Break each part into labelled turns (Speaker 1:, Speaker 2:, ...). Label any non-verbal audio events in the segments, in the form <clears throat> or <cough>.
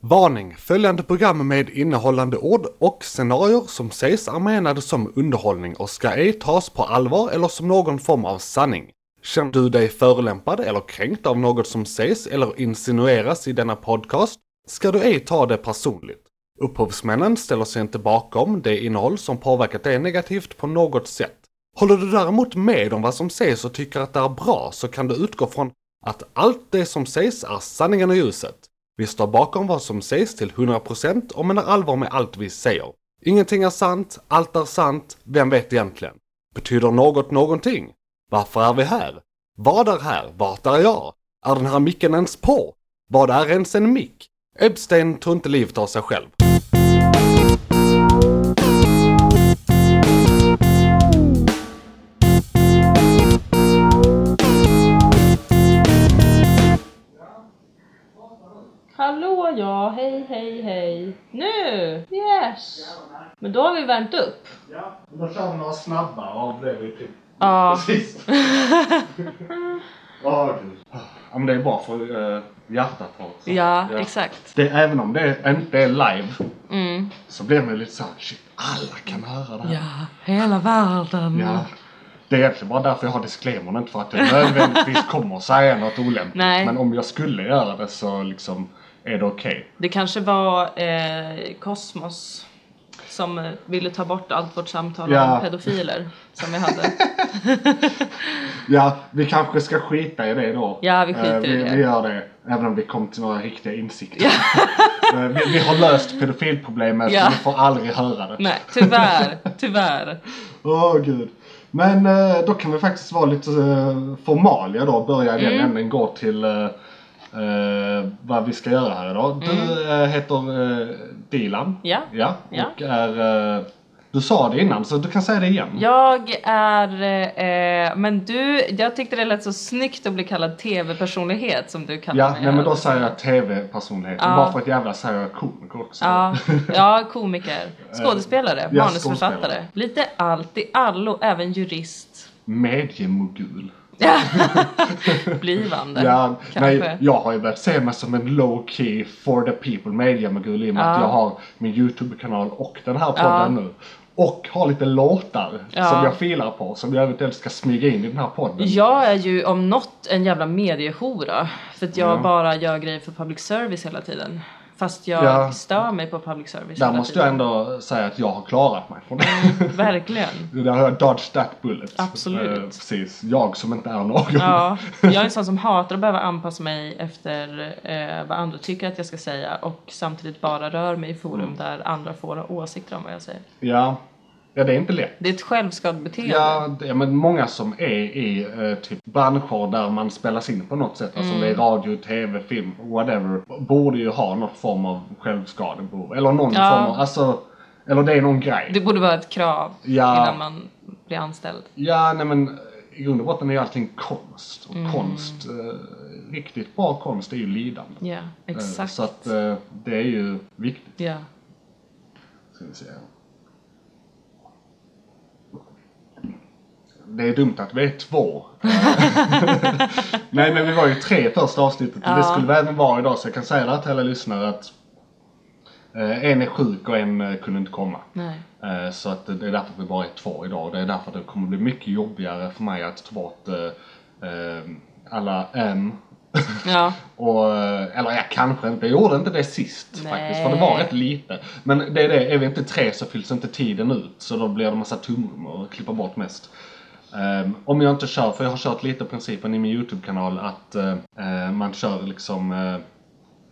Speaker 1: Varning! Följande program med innehållande ord och scenarier som sägs är menade som underhållning och ska ej tas på allvar eller som någon form av sanning. Känner du dig förolämpad eller kränkt av något som sägs eller insinueras i denna podcast ska du ej ta det personligt. Upphovsmännen ställer sig inte bakom det innehåll som påverkat dig negativt på något sätt. Håller du däremot med om vad som sägs och tycker att det är bra så kan du utgå från att allt det som sägs är sanningen och ljuset. Vi står bakom vad som sägs till 100% och menar allvar med allt vi säger. Ingenting är sant, allt är sant, vem vet egentligen? Betyder något någonting? Varför är vi här? Vad är här? Vart är jag? Är den här micken ens på? Vad är ens en mick? Epstein tog inte livet av sig själv.
Speaker 2: Hallå ja, hej hej hej. Nu! Yes! Men då har vi värmt upp.
Speaker 3: Ja, då kör vi några snabba och då blev vi typ
Speaker 2: Ja.
Speaker 3: <laughs> precis.
Speaker 2: <laughs>
Speaker 3: Ja, gud. Ja, men det är bra för uh, hjärtat också.
Speaker 2: Ja, exakt.
Speaker 3: Det, även om det inte är live
Speaker 2: Mm.
Speaker 3: så blir man ju lite såhär shit, alla kan höra det här.
Speaker 2: Ja, hela världen.
Speaker 3: Ja. Det är egentligen bara därför jag har disclaimern, inte för att jag nödvändigtvis kommer säga något olämpligt.
Speaker 2: Nej.
Speaker 3: Men om jag skulle göra det så liksom är det okej.
Speaker 2: Det kanske var eh, Kosmos som eh, ville ta bort allt vårt samtal om
Speaker 3: Ja.
Speaker 2: pedofiler som vi hade.
Speaker 3: Ja, vi kanske ska skita i det då.
Speaker 2: Ja, vi skiter
Speaker 3: Eh,
Speaker 2: i
Speaker 3: vi,
Speaker 2: det.
Speaker 3: Vi gör det, även om vi kom till några riktiga insikter. <laughs> Eh, vi, vi har löst pedofilproblemet,
Speaker 2: Ja.
Speaker 3: men vi får aldrig höra det.
Speaker 2: Nej, tyvärr, tyvärr.
Speaker 3: Åh gud. Men eh, då kan vi faktiskt vara lite eh, formalia då, börja i
Speaker 2: Mm.
Speaker 3: den änden, gå till eh, eh, vad vi ska göra här idag. Du eh, heter eh, Dilan.
Speaker 2: Mm. Ja.
Speaker 3: ja.
Speaker 2: Ja.
Speaker 3: Och är, eh, du sa det innan så du kan säga det igen.
Speaker 2: Jag är... Eh, men du, jag tyckte det lät så snyggt att bli kallad TV-personlighet som du kallar
Speaker 3: Ja,
Speaker 2: mig.
Speaker 3: nej, men då
Speaker 2: alltså.
Speaker 3: säger jag TV-personlighet.
Speaker 2: Ja.
Speaker 3: Bara för att jävla säger jag komiker också.
Speaker 2: Ja,
Speaker 3: <laughs>
Speaker 2: ja komiker, skådespelare,
Speaker 3: ja,
Speaker 2: manusförfattare.
Speaker 3: skådespelare.
Speaker 2: Lite allt i allo, även jurist.
Speaker 3: Mediemogul.
Speaker 2: <laughs> Blivande,
Speaker 3: Ja,
Speaker 2: kanske.
Speaker 3: nej, jag har ju börjat se mig som en low key for the people mediemogul i och med
Speaker 2: Ja.
Speaker 3: att jag har min YouTube-kanal och den här podden nu. Och har lite låtar
Speaker 2: Ja.
Speaker 3: som jag filar på som jag eventuellt ska smyga in i den här podden.
Speaker 2: Jag är ju om något en jävla mediehora. För att jag
Speaker 3: Ja.
Speaker 2: bara gör grejer för public service hela tiden. Fast jag
Speaker 3: Ja.
Speaker 2: stör mig på public service
Speaker 3: Där
Speaker 2: hela
Speaker 3: måste jag
Speaker 2: tiden.
Speaker 3: ändå säga att jag har klarat mig från det. <laughs>
Speaker 2: Verkligen.
Speaker 3: Där har jag dodged that bullet.
Speaker 2: Mm. Absolut.
Speaker 3: Eh, precis. Jag som inte är någon.
Speaker 2: Ja, jag är en sån som hatar att behöva anpassa mig efter eh, vad andra tycker att jag ska säga och samtidigt bara rör mig i forum
Speaker 3: Mm.
Speaker 2: där andra får ha åsikter om vad jag säger.
Speaker 3: <laughs> ja. Ja, det är inte lätt.
Speaker 2: Det är ett självskadebeteende.
Speaker 3: Ja, det- ja, men många som är i eh, typ branscher där man spelas in på något sätt, alltså om det är
Speaker 2: Mm.
Speaker 3: radio, tv, film, whatever, b- borde ju ha någon form av självskadebehov. Eller någon
Speaker 2: Ja.
Speaker 3: form av, alltså, eller det är någon grej.
Speaker 2: Det borde vara ett krav
Speaker 3: Ja.
Speaker 2: innan man blir anställd.
Speaker 3: Ja, nej men eh, i grund och botten är ju allting konst. Och
Speaker 2: Mm.
Speaker 3: konst, eh, riktigt bra konst är ju lidande.
Speaker 2: Ja,
Speaker 3: Eh,
Speaker 2: exakt.
Speaker 3: Så att eh, det är ju viktigt.
Speaker 2: Ja.
Speaker 3: Ska vi se. Det är dumt att vi är två. Nej men vi var ju tre i första avsnittet och det
Speaker 2: Ja.
Speaker 3: skulle vi även vara idag så jag kan säga det här till alla lyssnare att eh, en är sjuk och en eh, kunde inte komma.
Speaker 2: Nej.
Speaker 3: Eh, Så att det är därför vi bara är två idag och det är därför det kommer bli mycket jobbigare för mig att ta bort eh, eh, alla M
Speaker 2: Ja.
Speaker 3: och, eh, eller jag kanske inte, jag gjorde inte det sist
Speaker 2: Nej.
Speaker 3: faktiskt för det var rätt lite. Men det är det, är vi inte tre så fylls inte tiden ut så då blir det massa tummar och klippa bort mest. Ehm, om jag inte kör, för jag har kört lite principen i min YouTube-kanal att eh, eh, man kör liksom eh,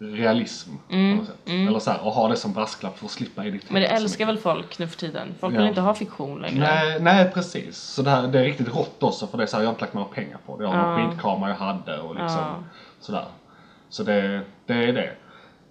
Speaker 3: realism på något sätt. Eller så här, och ha det som brasklapp för att slippa editera
Speaker 2: Mm, Men det
Speaker 3: så
Speaker 2: älskar
Speaker 3: mycket.
Speaker 2: väl folk nu för tiden? Folk
Speaker 3: Ja.
Speaker 2: vill inte ha fiktion längre.
Speaker 3: Nej, nej precis. Så det, här, det är riktigt rått också för det är så här, jag har inte lagt några pengar på det. Jag har
Speaker 2: Ja.
Speaker 3: någon skitkamera jag hade och liksom
Speaker 2: Ja.
Speaker 3: sådär. Så det, det är det.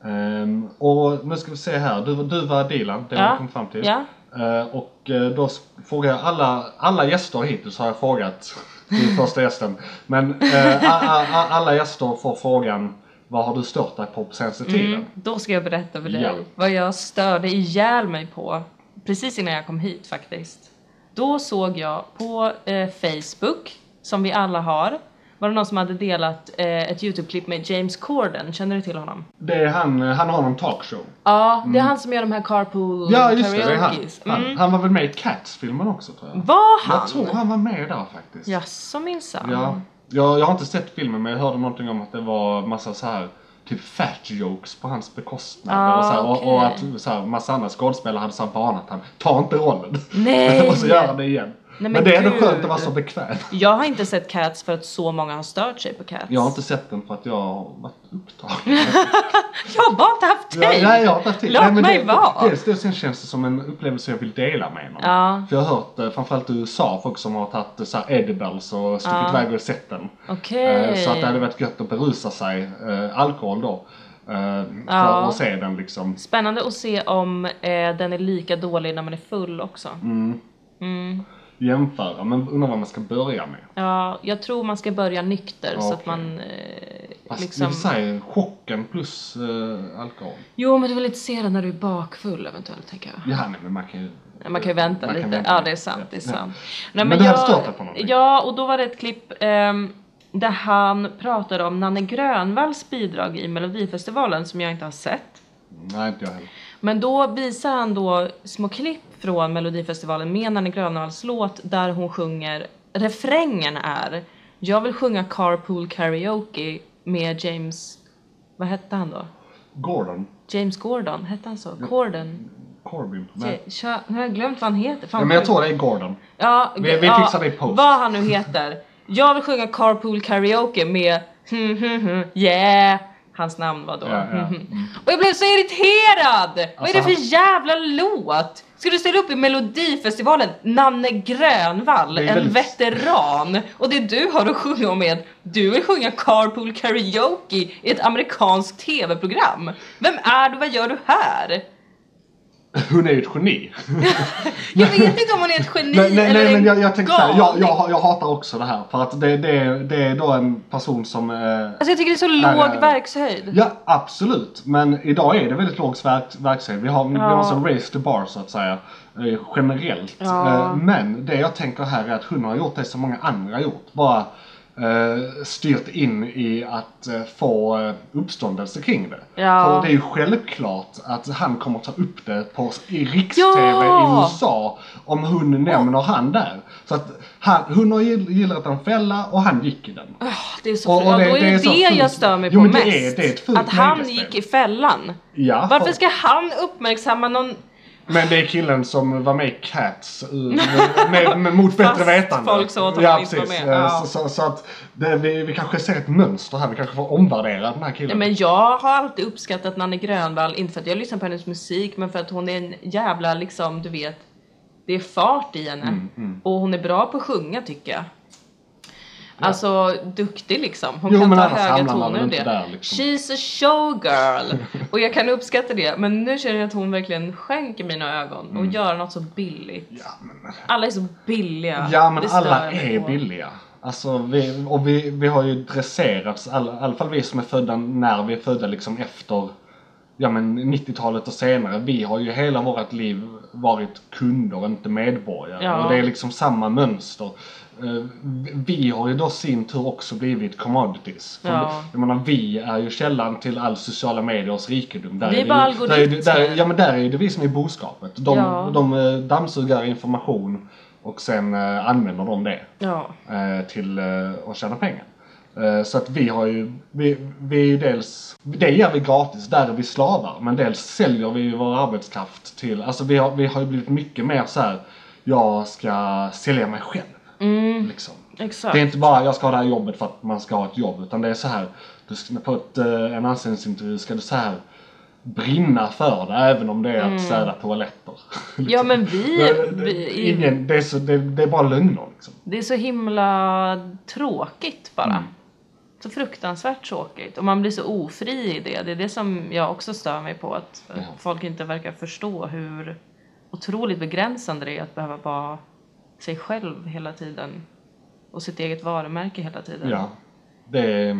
Speaker 3: Ehm, och nu ska vi se här, du, du var Dilan, det har
Speaker 2: Ja.
Speaker 3: vi kom fram till.
Speaker 2: Ja.
Speaker 3: Eh, och eh, då s- frågar jag alla, alla gäster hittills har jag frågat, <laughs> min första gästen. Men eh, a, a, a, alla gäster får frågan, vad har du stört dig på på senaste tiden?
Speaker 2: Mm, då ska jag berätta för dig
Speaker 3: Ja.
Speaker 2: vad jag störde ihjäl mig på precis innan jag kom hit faktiskt. Då såg jag på eh, Facebook, som vi alla har, var det någon som hade delat eh, ett YouTube-klipp med James Corden, känner du till honom?
Speaker 3: Det är han, eh, han har någon talkshow.
Speaker 2: Ja, det är han som gör de här carpool
Speaker 3: Mm. Ja just det, det är han.
Speaker 2: karaokes.
Speaker 3: Han,
Speaker 2: Mm.
Speaker 3: han var väl med i Cats-filmen också tror jag.
Speaker 2: Var han?
Speaker 3: Jag tror han var med där faktiskt.
Speaker 2: Jaså minsann.
Speaker 3: Ja. Jag, jag har inte sett filmen men jag hörde någonting om att det var massa så här typ fat jokes på hans bekostnad.
Speaker 2: Ah,
Speaker 3: och, så här, och, och
Speaker 2: okej.
Speaker 3: att så här, massa andra skådespelare hade så här varnat han. Ta inte rollen. <laughs>
Speaker 2: Nej!
Speaker 3: och så gör han det igen.
Speaker 2: men
Speaker 3: men, det är ändå
Speaker 2: gud.
Speaker 3: skönt att vara så bekväm.
Speaker 2: Jag har inte sett Cats för att så många har stört sig på Cats.
Speaker 3: Jag har inte sett den för att jag har varit upptagen.
Speaker 2: Jag har bara inte haft tid!
Speaker 3: Ja, ja, jag har tagit till.
Speaker 2: Låt
Speaker 3: Nej, men
Speaker 2: mig
Speaker 3: det,
Speaker 2: vara.
Speaker 3: Dels det, sen känns det som en upplevelse jag vill dela med någon.
Speaker 2: Ja.
Speaker 3: För jag har hört, eh, framförallt i USA, folk som har tagit eh, så här edibles och stuckit
Speaker 2: Ja.
Speaker 3: iväg och sett den.
Speaker 2: Okej.
Speaker 3: Eh, Så att det hade varit gött att berusa sig, eh, alkohol då, eh, för
Speaker 2: Ja.
Speaker 3: att se den liksom.
Speaker 2: Spännande att se om eh, den är lika dålig när man är full också.
Speaker 3: Mm,
Speaker 2: Mm.
Speaker 3: jämföra, men undrar vad man ska börja med.
Speaker 2: Ja, jag tror man ska börja nykter så att
Speaker 3: Okej.
Speaker 2: man eh,
Speaker 3: Fast i
Speaker 2: liksom...
Speaker 3: och för sig, chocken plus eh, alkohol.
Speaker 2: Jo, men du vill inte se den när du är bakfull eventuellt, tänker jag.
Speaker 3: Ja, nej, men man kan ju...
Speaker 2: Ja, Man kan ju vänta
Speaker 3: man
Speaker 2: lite.
Speaker 3: kan
Speaker 2: Ja, det är sant. Det är
Speaker 3: Ja.
Speaker 2: sant.
Speaker 3: Men du hade stört dig på någonting?
Speaker 2: Ja, och då var det ett klipp ehm, där han pratade om Nanne Grönvalls bidrag i Melodifestivalen som jag inte har sett.
Speaker 3: Nej, inte jag heller.
Speaker 2: Men då visar han då små klipp från Melodifestivalen med Nanne Grönvalls låt där hon sjunger, refrängen är Jag vill sjunga carpool karaoke med James, vad hette han då?
Speaker 3: Gordon?
Speaker 2: James Gordon, hette han så? Gordon?
Speaker 3: Corbyn?
Speaker 2: Ja,
Speaker 3: Nej.
Speaker 2: nu har jag glömt vad han heter. Fan,
Speaker 3: Ja, men jag tror det är Gordon. <laughs>
Speaker 2: Ja,
Speaker 3: Vi- vi
Speaker 2: ja,
Speaker 3: fixar det i post.
Speaker 2: Vad han nu heter. Jag vill sjunga carpool karaoke med hmm, yeah. Hans namn var då. Hmm,
Speaker 3: Ja, ja. Mm.
Speaker 2: Och jag blev så irriterad! Vad är det
Speaker 3: Alltså,
Speaker 2: för jävla låt? Ska du ställa upp i Melodifestivalen? Nanne Grönvall,
Speaker 3: Det är
Speaker 2: en
Speaker 3: väldigt-
Speaker 2: veteran. Och det du har att sjunga om är att du vill sjunga carpool karaoke i ett amerikanskt tv-program. Vem är du? Vad gör du här?
Speaker 3: Hon är ju ett geni.
Speaker 2: Jag vet inte om hon är ett geni
Speaker 3: <laughs> Nej, nej,
Speaker 2: eller
Speaker 3: nej
Speaker 2: en
Speaker 3: men jag, jag tänkte såhär, jag,
Speaker 2: galning.
Speaker 3: jag, jag hatar också det här. För att det, det, det är då en person som... Eh,
Speaker 2: Alltså jag tycker det är så
Speaker 3: Nej,
Speaker 2: låg
Speaker 3: nej.
Speaker 2: verkshöjd.
Speaker 3: ja, absolut. Men idag är det väldigt låg verk, verksamhet. Vi har, vi
Speaker 2: Ja.
Speaker 3: har alltså raised the bar så att säga. Eh, generellt.
Speaker 2: Ja.
Speaker 3: Eh, men det jag tänker här är att hon har gjort det som många andra har gjort. Bara eh, styrt in i att eh, få eh, uppståndelse kring det.
Speaker 2: Ja.
Speaker 3: För det är ju självklart att han kommer ta upp det på, i riks-tv
Speaker 2: Ja.
Speaker 3: i USA. sa om hon nämner han där. Så att han, hon har gill- gillat en fälla och han gick i den.
Speaker 2: Ah, Det är så
Speaker 3: Och-
Speaker 2: fult.
Speaker 3: och
Speaker 2: ja,
Speaker 3: det-
Speaker 2: då är
Speaker 3: det
Speaker 2: det
Speaker 3: är
Speaker 2: det,
Speaker 3: så fult.
Speaker 2: jag stör mig
Speaker 3: Jo,
Speaker 2: på
Speaker 3: men det är-
Speaker 2: mest.
Speaker 3: det är ett fult
Speaker 2: att han
Speaker 3: nöjesspel.
Speaker 2: gick i fällan.
Speaker 3: Ja,
Speaker 2: Varför ska han uppmärksamma någon
Speaker 3: Men det är killen som var med i Cats uh, med, med, med, mot bättre
Speaker 2: Fast
Speaker 3: vetande.
Speaker 2: folk sa att han
Speaker 3: ja,
Speaker 2: inte var
Speaker 3: precis.
Speaker 2: med.
Speaker 3: Eh,
Speaker 2: Ja.
Speaker 3: Så, så, så att det, vi, vi kanske ser ett mönster här. Vi kanske får omvärdera den här
Speaker 2: Nej,
Speaker 3: killen.
Speaker 2: men jag har alltid uppskattat Nanne Grönvall, inte för att jag lyssnar på hennes musik, men för att hon är en jävla liksom, du vet, det är fart i henne.
Speaker 3: Mm,
Speaker 2: Och hon är bra på att sjunga tycker jag. Alltså duktig liksom. Hon
Speaker 3: Jo,
Speaker 2: kan
Speaker 3: men
Speaker 2: ta
Speaker 3: annars
Speaker 2: höga
Speaker 3: hamnar man
Speaker 2: toner
Speaker 3: väl
Speaker 2: och
Speaker 3: inte
Speaker 2: det.
Speaker 3: där, liksom.
Speaker 2: She's a
Speaker 3: <laughs>
Speaker 2: showgirl! och jag kan uppskatta det. Men nu känner jag att hon verkligen skänker mina ögon och gör något så billigt.
Speaker 3: Mm. Ja, men,
Speaker 2: Alla är så billiga.
Speaker 3: ja, men
Speaker 2: Det stör
Speaker 3: alla
Speaker 2: jag mig
Speaker 3: är
Speaker 2: på.
Speaker 3: billiga. Alltså, vi, och vi, vi har ju dresserats, all- i alla fall vi som är födda när vi är födda liksom efter ja, men 90-talet och senare. Vi har ju hela vårt liv varit kunder, inte medborgare.
Speaker 2: Ja.
Speaker 3: Och det är liksom samma mönster. Eh, Vi har ju då sin tur också blivit commodities. För
Speaker 2: Ja.
Speaker 3: Jag menar, vi är ju källan till all sociala mediers rikedom. Där
Speaker 2: Vi är
Speaker 3: det
Speaker 2: bara
Speaker 3: ju- där är det- där,
Speaker 2: algoritmer.
Speaker 3: Ja men där är det vi som är boskapet. De,
Speaker 2: Ja.
Speaker 3: de eh, dammsugar information och sen eh, använder de det
Speaker 2: Ja.
Speaker 3: eh, till eh, att tjäna pengar. Eh, Så att vi har ju, vi, vi är ju dels, det gör vi gratis, där är vi slavar. Men dels säljer vi ju vår arbetskraft till, alltså vi har, vi har ju blivit mycket mer så här. jag ska sälja mig själv. Liksom.
Speaker 2: Exakt.
Speaker 3: Det är inte bara jag ska ha det här jobbet för att man ska ha ett jobb utan det är så här. Du ska, på ett, eh, en anställningsintervju ska du så här brinna för det även om det är
Speaker 2: Mm.
Speaker 3: att städa toaletter.
Speaker 2: <laughs> Ja men vi,
Speaker 3: Det- det-
Speaker 2: vi
Speaker 3: Ingen, det, är så, det, det är bara lögner liksom.
Speaker 2: Det är så himla tråkigt bara.
Speaker 3: Mm.
Speaker 2: Så fruktansvärt tråkigt. Och man blir så ofri i det. Det är det som jag också stör mig på. Att att folk inte verkar förstå hur otroligt begränsande det är att behöva vara sig själv hela tiden. Och sitt eget varumärke hela tiden.
Speaker 3: Ja. Det är,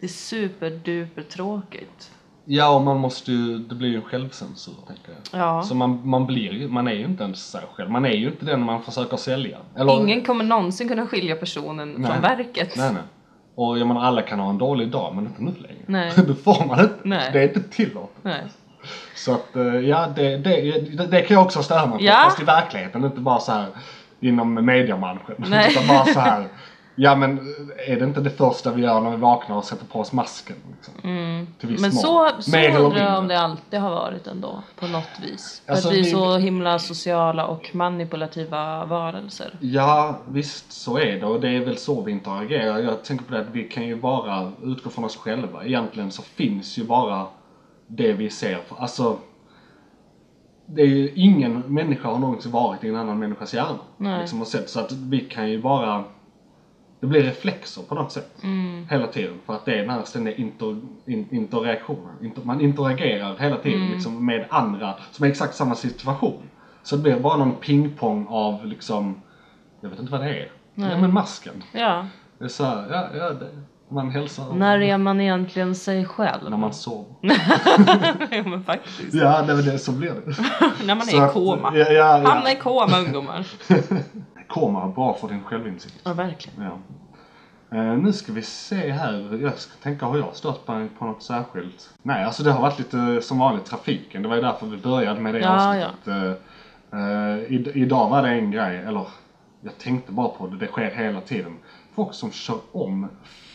Speaker 2: Det är superduper tråkigt.
Speaker 3: ja och man måste ju, det blir ju en självcensur tänker jag.
Speaker 2: Ja.
Speaker 3: Så man, man blir ju, man är ju inte ens sig själv. Man är ju inte den man försöker sälja. Eller,
Speaker 2: Ingen kommer någonsin kunna skilja personen
Speaker 3: Nej.
Speaker 2: från verket.
Speaker 3: Nej nej. Och jag menar alla kan ha en dålig dag men inte nu längre.
Speaker 2: Nej.
Speaker 3: <laughs> det får man inte.
Speaker 2: Nej.
Speaker 3: Det är inte tillåtet.
Speaker 2: Nej.
Speaker 3: Så att eh, ja, det, det, det, det kan jag också störa mig på.
Speaker 2: Ja.
Speaker 3: Fast i verkligheten, inte bara så här inom mediamanschen. <laughs>
Speaker 2: Nej.
Speaker 3: Utan bara så här. Ja men eh, är det inte det första vi gör när vi vaknar och sätter på oss masken? Liksom?
Speaker 2: Mm.
Speaker 3: Till viss
Speaker 2: Men
Speaker 3: mån.
Speaker 2: så, så
Speaker 3: Mer eller
Speaker 2: undrar jag
Speaker 3: mindre.
Speaker 2: om det alltid har varit ändå på något vis. För
Speaker 3: Alltså,
Speaker 2: att vi är
Speaker 3: vi-
Speaker 2: så himla sociala och manipulativa varelser.
Speaker 3: Ja, visst så är det och det är väl så vi interagerar. Jag tänker på det att vi kan ju bara utgå från oss själva. Egentligen så finns ju bara det vi ser. Alltså, det är ju ingen människa har någonsin varit i en annan människas hjärna.
Speaker 2: Nej.
Speaker 3: Liksom och sett. Så att vi kan ju bara... Det blir reflexer på något sätt. Hela tiden. För att det är den här ständiga inter, in, interaktionen. Inter, man interagerar hela tiden liksom, med andra som är i exakt samma situation. Så det blir bara någon pingpong av liksom... Jag vet inte vad det är.
Speaker 2: Nej.
Speaker 3: Ja men masken.
Speaker 2: Ja.
Speaker 3: Det är så här, ja, ja, det, man hälsar.
Speaker 2: När är man egentligen sig själv?
Speaker 3: När man sover.
Speaker 2: <laughs> ja, men faktiskt.
Speaker 3: Ja, det är väl det som blir det.
Speaker 2: När man
Speaker 3: Så
Speaker 2: är i
Speaker 3: att-
Speaker 2: koma.
Speaker 3: Ja, ja, ja.
Speaker 2: Hamna i koma ungdomar.
Speaker 3: Koma är bra för din självinsikt.
Speaker 2: <laughs> Ja, verkligen.
Speaker 3: Ja. Eh, nu ska vi se här. Jag ska tänka, har jag stört på, på något särskilt? Nej, alltså det har varit lite som vanligt trafiken. Det var ju därför vi började med det
Speaker 2: Ja,
Speaker 3: avsnittet. Eh, eh, id- idag var det en grej, eller jag tänkte bara på det, det sker hela tiden. Folk som kör om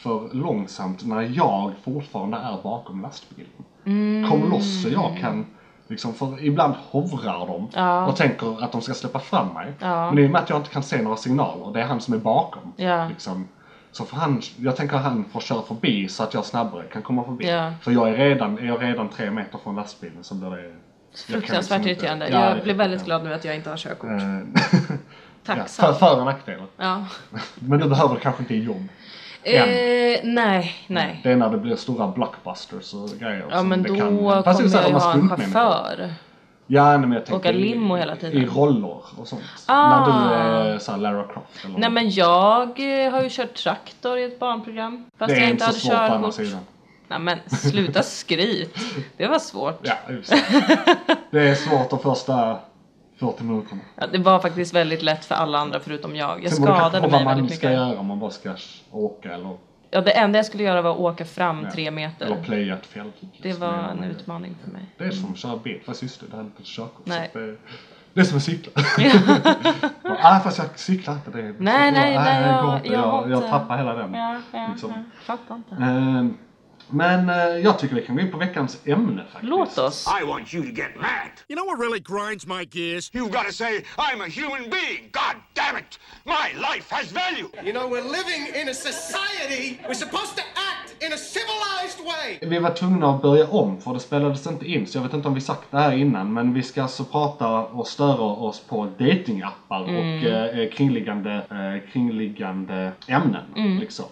Speaker 3: för långsamt när jag fortfarande är bakom lastbilen.
Speaker 2: Mm,
Speaker 3: Kom loss så jag kan Liksom, för ibland hovrar de
Speaker 2: Ja.
Speaker 3: och tänker att de ska släppa fram mig.
Speaker 2: Ja.
Speaker 3: Men i och med att jag inte kan se några signaler, det är han som är bakom.
Speaker 2: Ja.
Speaker 3: Liksom. Så för han, jag tänker att han får köra förbi så att jag snabbare kan komma förbi.
Speaker 2: Ja.
Speaker 3: För jag är redan, är jag redan tre meter från lastbilen så blir det... jag kan liksom
Speaker 2: Fruktansvärt
Speaker 3: inte-
Speaker 2: irriterande.
Speaker 3: Ja, det
Speaker 2: Jag
Speaker 3: är
Speaker 2: blir väldigt
Speaker 3: irriterande.
Speaker 2: glad nu att jag inte har körkort.
Speaker 3: Eh, ja, för,
Speaker 2: Tacksam.
Speaker 3: för och nackdelar.
Speaker 2: Ja.
Speaker 3: Men du behöver det kanske inte i jobb.
Speaker 2: Eh,
Speaker 3: Än.
Speaker 2: nej, nej.
Speaker 3: Det är när det blir stora blockbusters och grejer.
Speaker 2: Ja
Speaker 3: som
Speaker 2: men
Speaker 3: det
Speaker 2: då
Speaker 3: kan-
Speaker 2: kommer
Speaker 3: Fast det är så här
Speaker 2: jag ju
Speaker 3: de här
Speaker 2: ha en
Speaker 3: stuntmänniskorna.
Speaker 2: chaufför.
Speaker 3: Ja, nej, men jag tänker
Speaker 2: Åka limo
Speaker 3: i-
Speaker 2: hela tiden.
Speaker 3: I roller och sånt.
Speaker 2: Ah.
Speaker 3: När du är såhär Lara Croft eller
Speaker 2: Nej
Speaker 3: något.
Speaker 2: men jag eh, har ju kört traktor i ett barnprogram. Fast
Speaker 3: Det är
Speaker 2: jag
Speaker 3: inte
Speaker 2: inte
Speaker 3: så
Speaker 2: hade
Speaker 3: svårt på andra
Speaker 2: körkort.
Speaker 3: sidan.
Speaker 2: Nej men sluta skryt. Det var svårt.
Speaker 3: Ja, just det.
Speaker 2: <laughs>
Speaker 3: det är svårt de första 40 minuterna.
Speaker 2: Ja, det var faktiskt väldigt lätt för alla andra förutom jag. Jag
Speaker 3: Sen beror det kanske
Speaker 2: skadade
Speaker 3: på vad
Speaker 2: mig
Speaker 3: man
Speaker 2: väldigt
Speaker 3: ska
Speaker 2: mycket.
Speaker 3: göra om man bara ska åka eller,
Speaker 2: Ja, det enda jag skulle göra var att åka fram
Speaker 3: Ja. Mm.
Speaker 2: tre
Speaker 3: eller
Speaker 2: meter.
Speaker 3: playa ett fält.
Speaker 2: Det var en utmaning för mig.
Speaker 3: Det är som att köra bil, fast just det, det hade inte ett körkort.
Speaker 2: Nej.
Speaker 3: Så att Det, det är som att cykla. <laughs> Bara, ah, fast jag cyklar inte. Det är,
Speaker 2: Nej, nej, nej,
Speaker 3: det går
Speaker 2: jag-
Speaker 3: inte.
Speaker 2: jag har
Speaker 3: jag, jag
Speaker 2: inte-
Speaker 3: tappar hela den.
Speaker 2: Ja, ja,
Speaker 3: Liksom.
Speaker 2: ja. Fattar inte.
Speaker 3: Ehm, Men eh, jag tycker vi kan gå in på veckans ämne faktiskt.
Speaker 2: Låt oss.
Speaker 4: I want you to get mad.
Speaker 5: You know what really grinds my gears?
Speaker 4: You gotta say, I'm a human being. God damn it! My life has value.
Speaker 6: You know, we're living in a society. We're supposed to act in a civilized way.
Speaker 3: Vi var tvungna att börja om för det spelades inte in så jag vet inte om vi sagt det här innan men vi ska alltså prata och störa oss på datingappar och
Speaker 2: Mm.
Speaker 3: eh, kringliggande, eh, kringliggande ämnen.
Speaker 2: Mm.
Speaker 3: Liksom.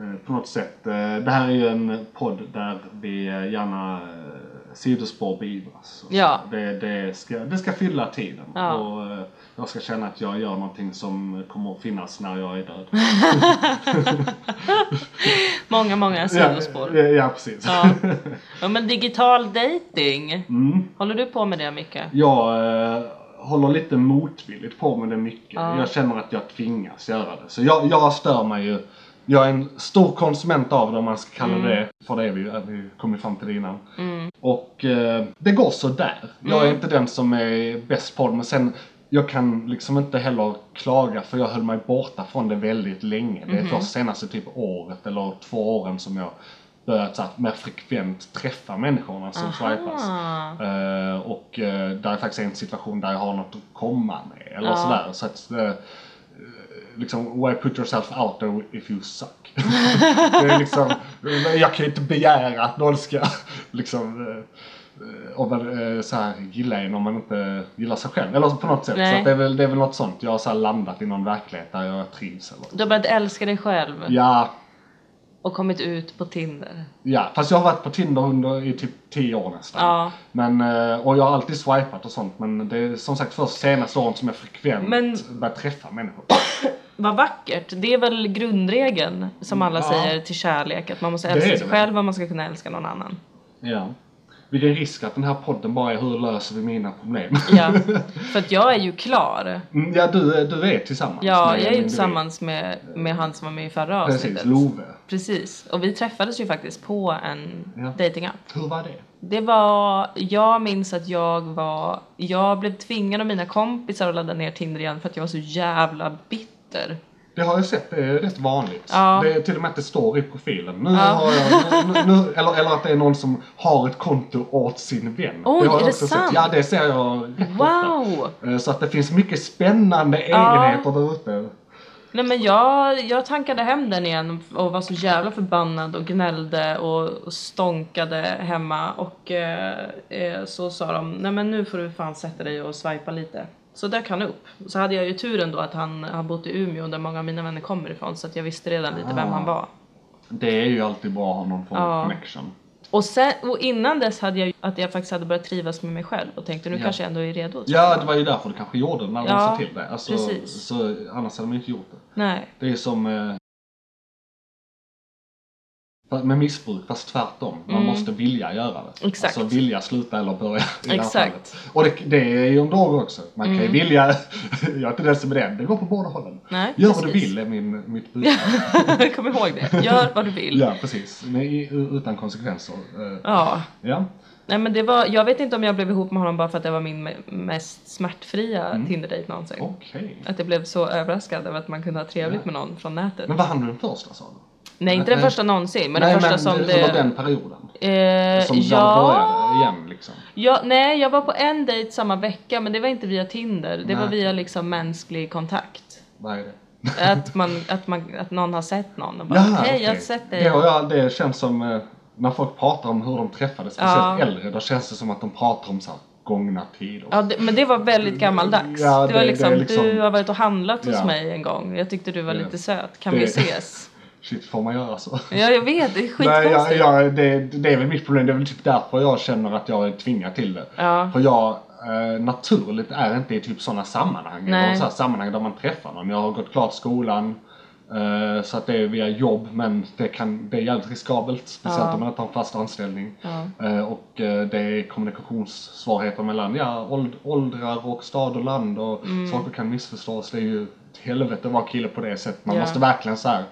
Speaker 3: Eh, på något sätt. Eh, det här är ju en podd där vi eh, gärna eh, sidospår beivras. och så.
Speaker 2: Ja.
Speaker 3: Det, det, ska, det ska fylla tiden
Speaker 2: Ja.
Speaker 3: och eh, jag ska känna att jag gör någonting som kommer att finnas när jag är död.
Speaker 2: Många, många
Speaker 3: Ja,
Speaker 2: sidospår.
Speaker 3: ja, ja precis.
Speaker 2: Ja. ja, men digital dating.
Speaker 3: Mm.
Speaker 2: Håller du på med det Micke?
Speaker 3: Jag eh, håller lite motvilligt på med det mycket.
Speaker 2: Ja.
Speaker 3: Jag känner att jag tvingas göra det. Så jag, jag stör mig ju. Jag är en stor konsument av det om man ska kalla det för det. är Vi, eh, vi kom ju fram till det innan. Och eh, det går så där. Jag är inte den som är bäst på det. Men sen, jag kan liksom inte heller klaga för jag höll mig borta från det väldigt länge. Det är först senaste typ året eller två åren som jag börjat så här, mer frekvent träffa människorna som swipas.
Speaker 2: Ah.
Speaker 3: Eh, och eh, där är faktiskt en situation där jag har något att komma med. Eller
Speaker 2: Ja.
Speaker 3: sådär. Så att, eh, liksom, why put yourself out there if you
Speaker 2: <laughs>
Speaker 3: suck? det är liksom, eh, jag kan ju inte begära att någon ska liksom, eh, om man, eh, så här, gilla en om man inte gillar sig själv. Eller på något sätt.
Speaker 2: Nej.
Speaker 3: Så att det, är väl, det är väl något sånt. Jag har så här landat i någon verklighet där jag trivs. Eller.
Speaker 2: Du har börjat älska dig själv
Speaker 3: Ja,
Speaker 2: och kommit ut på Tinder.
Speaker 3: Ja, fast jag har varit på Tinder under i typ 10 år nästan.
Speaker 2: Ja.
Speaker 3: Men, eh, och jag har alltid swipat och sånt men det är som sagt först senaste åren som jag frekvent
Speaker 2: Men-
Speaker 3: börjar träffa människor.
Speaker 2: <coughs> Vad vackert! Det är väl grundregeln som alla
Speaker 3: Ja.
Speaker 2: säger till kärlek, att man måste
Speaker 3: är
Speaker 2: älska
Speaker 3: det
Speaker 2: sig
Speaker 3: väl. <laughs>
Speaker 2: själv och man ska kunna älska någon annan.
Speaker 3: ja. vilken risk att den här podden bara är hur löser vi mina problem?
Speaker 2: Ja, för att jag är ju klar.
Speaker 3: <laughs> Mm, ja du, du är tillsammans
Speaker 2: Ja,
Speaker 3: med
Speaker 2: jag är ju
Speaker 3: Lindy
Speaker 2: tillsammans med, med han som var med i förra
Speaker 3: Lee.
Speaker 2: avsnittet.
Speaker 3: Precis, Love.
Speaker 2: Precis, och vi träffades ju faktiskt på en
Speaker 3: Ja.
Speaker 2: datingapp.
Speaker 3: Hur var det?
Speaker 2: Det var, jag minns att jag var, jag blev tvingad av mina kompisar att ladda ner Tinder igen för att jag var så jävla bitter.
Speaker 3: Det har jag sett, det är rätt vanligt.
Speaker 2: Ja.
Speaker 3: Det är till och med att det står i profilen. Nu
Speaker 2: Ja.
Speaker 3: har jag, nu, nu, eller, eller att det är någon som har ett konto åt sin vän. har
Speaker 2: Oj,
Speaker 3: jag
Speaker 2: är det sant?
Speaker 3: Sett. Ja, det ser jag rätt ofta.
Speaker 2: Wow!
Speaker 3: Eh, Så att det finns mycket spännande
Speaker 2: Ja.
Speaker 3: egenheter där ute.
Speaker 2: Nej men jag, jag tankade hem den igen och var så jävla förbannad och gnällde och, och stånkade hemma och eh, eh, så sa de nej men nu får du fan sätta dig och swipa lite. Så dök han upp. Så hade jag ju turen då att han har bott i Umeå där många av mina vänner kommer ifrån så att jag visste redan lite vem
Speaker 3: Ah.
Speaker 2: han var.
Speaker 3: Det är ju alltid bra att ha någon form av
Speaker 2: Ja.
Speaker 3: connection.
Speaker 2: Och, sen, och innan dess hade jag ju- att jag faktiskt hade börjat trivas med mig själv och tänkte nu
Speaker 3: Ja.
Speaker 2: kanske jag ändå är redo.
Speaker 3: Ja, det var ju därför du kanske gjorde det när de
Speaker 2: Ja,
Speaker 3: sa till dig. Alltså,
Speaker 2: precis.
Speaker 3: så, annars hade man ju inte gjort det.
Speaker 2: Nej. <laughs>
Speaker 3: Det är som eh, fa- med missbruk, fast tvärtom. Man måste vilja göra det.
Speaker 2: Mm. Exakt.
Speaker 3: Alltså vilja sluta eller börja. I det här
Speaker 2: Exakt. Mm.
Speaker 3: fallet. Och det, det är ju en drog också. Man kan ju vilja, <laughs> jag är inte den som är den, det går på båda hållen.
Speaker 2: Nej,
Speaker 3: Gör vad du
Speaker 2: precis.
Speaker 3: vill är min, mitt budskap.
Speaker 2: Kom ihåg det. Gör vad du vill.
Speaker 3: ja, precis. Men i- utan konsekvenser. Eh,
Speaker 2: ja.
Speaker 3: Ja.
Speaker 2: Nej men det var, jag vet inte om jag blev ihop med honom bara för att det var min me- mest smärtfria
Speaker 3: Mm.
Speaker 2: Tinder-date någonsin.
Speaker 3: Okej.
Speaker 2: Att jag blev så överraskad över att man kunde ha trevligt med någon från nätet.
Speaker 3: Men var han den första sa du?
Speaker 2: Nej inte den
Speaker 3: Nej.
Speaker 2: första någonsin men
Speaker 3: Nej,
Speaker 2: den första
Speaker 3: men
Speaker 2: som
Speaker 3: det-
Speaker 2: det...
Speaker 3: Under den perioden.
Speaker 2: Eh,
Speaker 3: Som ja.
Speaker 2: ja,
Speaker 3: började igen liksom.
Speaker 2: ja, nej jag var på en dejt samma vecka men det var inte via Tinder, det var
Speaker 3: Nej.
Speaker 2: via liksom mänsklig kontakt.
Speaker 3: Vad är det?
Speaker 2: Att, man, att, man, att någon har sett någon och bara
Speaker 3: Jaha,
Speaker 2: hej
Speaker 3: okej.
Speaker 2: jag har sett dig.
Speaker 3: Det, har jag, det känns som eh, när folk pratar om hur de träffades, speciellt
Speaker 2: Ja.
Speaker 3: äldre, då känns det som att de pratar om så här, gångna tider.
Speaker 2: Ja, det, men det var väldigt gammaldags.
Speaker 3: Ja,
Speaker 2: det
Speaker 3: det-
Speaker 2: var
Speaker 3: det
Speaker 2: liksom,
Speaker 3: är liksom-
Speaker 2: du har varit och handlat hos
Speaker 3: Ja.
Speaker 2: mig en gång. Jag tyckte du var
Speaker 3: Det-
Speaker 2: lite söt. Kan
Speaker 3: det-
Speaker 2: vi ses?
Speaker 3: Shit, får man göra så?
Speaker 2: Ja, jag vet. Det är
Speaker 3: Nej, jag,
Speaker 2: skitkonstigt.
Speaker 3: jag, det, det är väl mitt problem. Det är väl typ därför jag känner att jag är tvingad till det.
Speaker 2: Ja.
Speaker 3: För jag eh, naturligt är inte i typ sådana sammanhang.
Speaker 2: Nej.
Speaker 3: Jag har så här sammanhang där man träffar någon. Jag har gått klart skolan. eh, Så att det är via jobb, men det, kan, det är jävligt riskabelt. Speciellt
Speaker 2: Ja.
Speaker 3: om man inte har en fast anställning.
Speaker 2: Ja.
Speaker 3: Eh, Och eh, det är kommunikationssvårigheter mellan ja, åld- åldrar och stad och land och
Speaker 2: Mm.
Speaker 3: saker kan missförstås. Det är ju ett helvete att vara kille på det sättet. Man
Speaker 2: Ja.
Speaker 3: måste verkligen så här,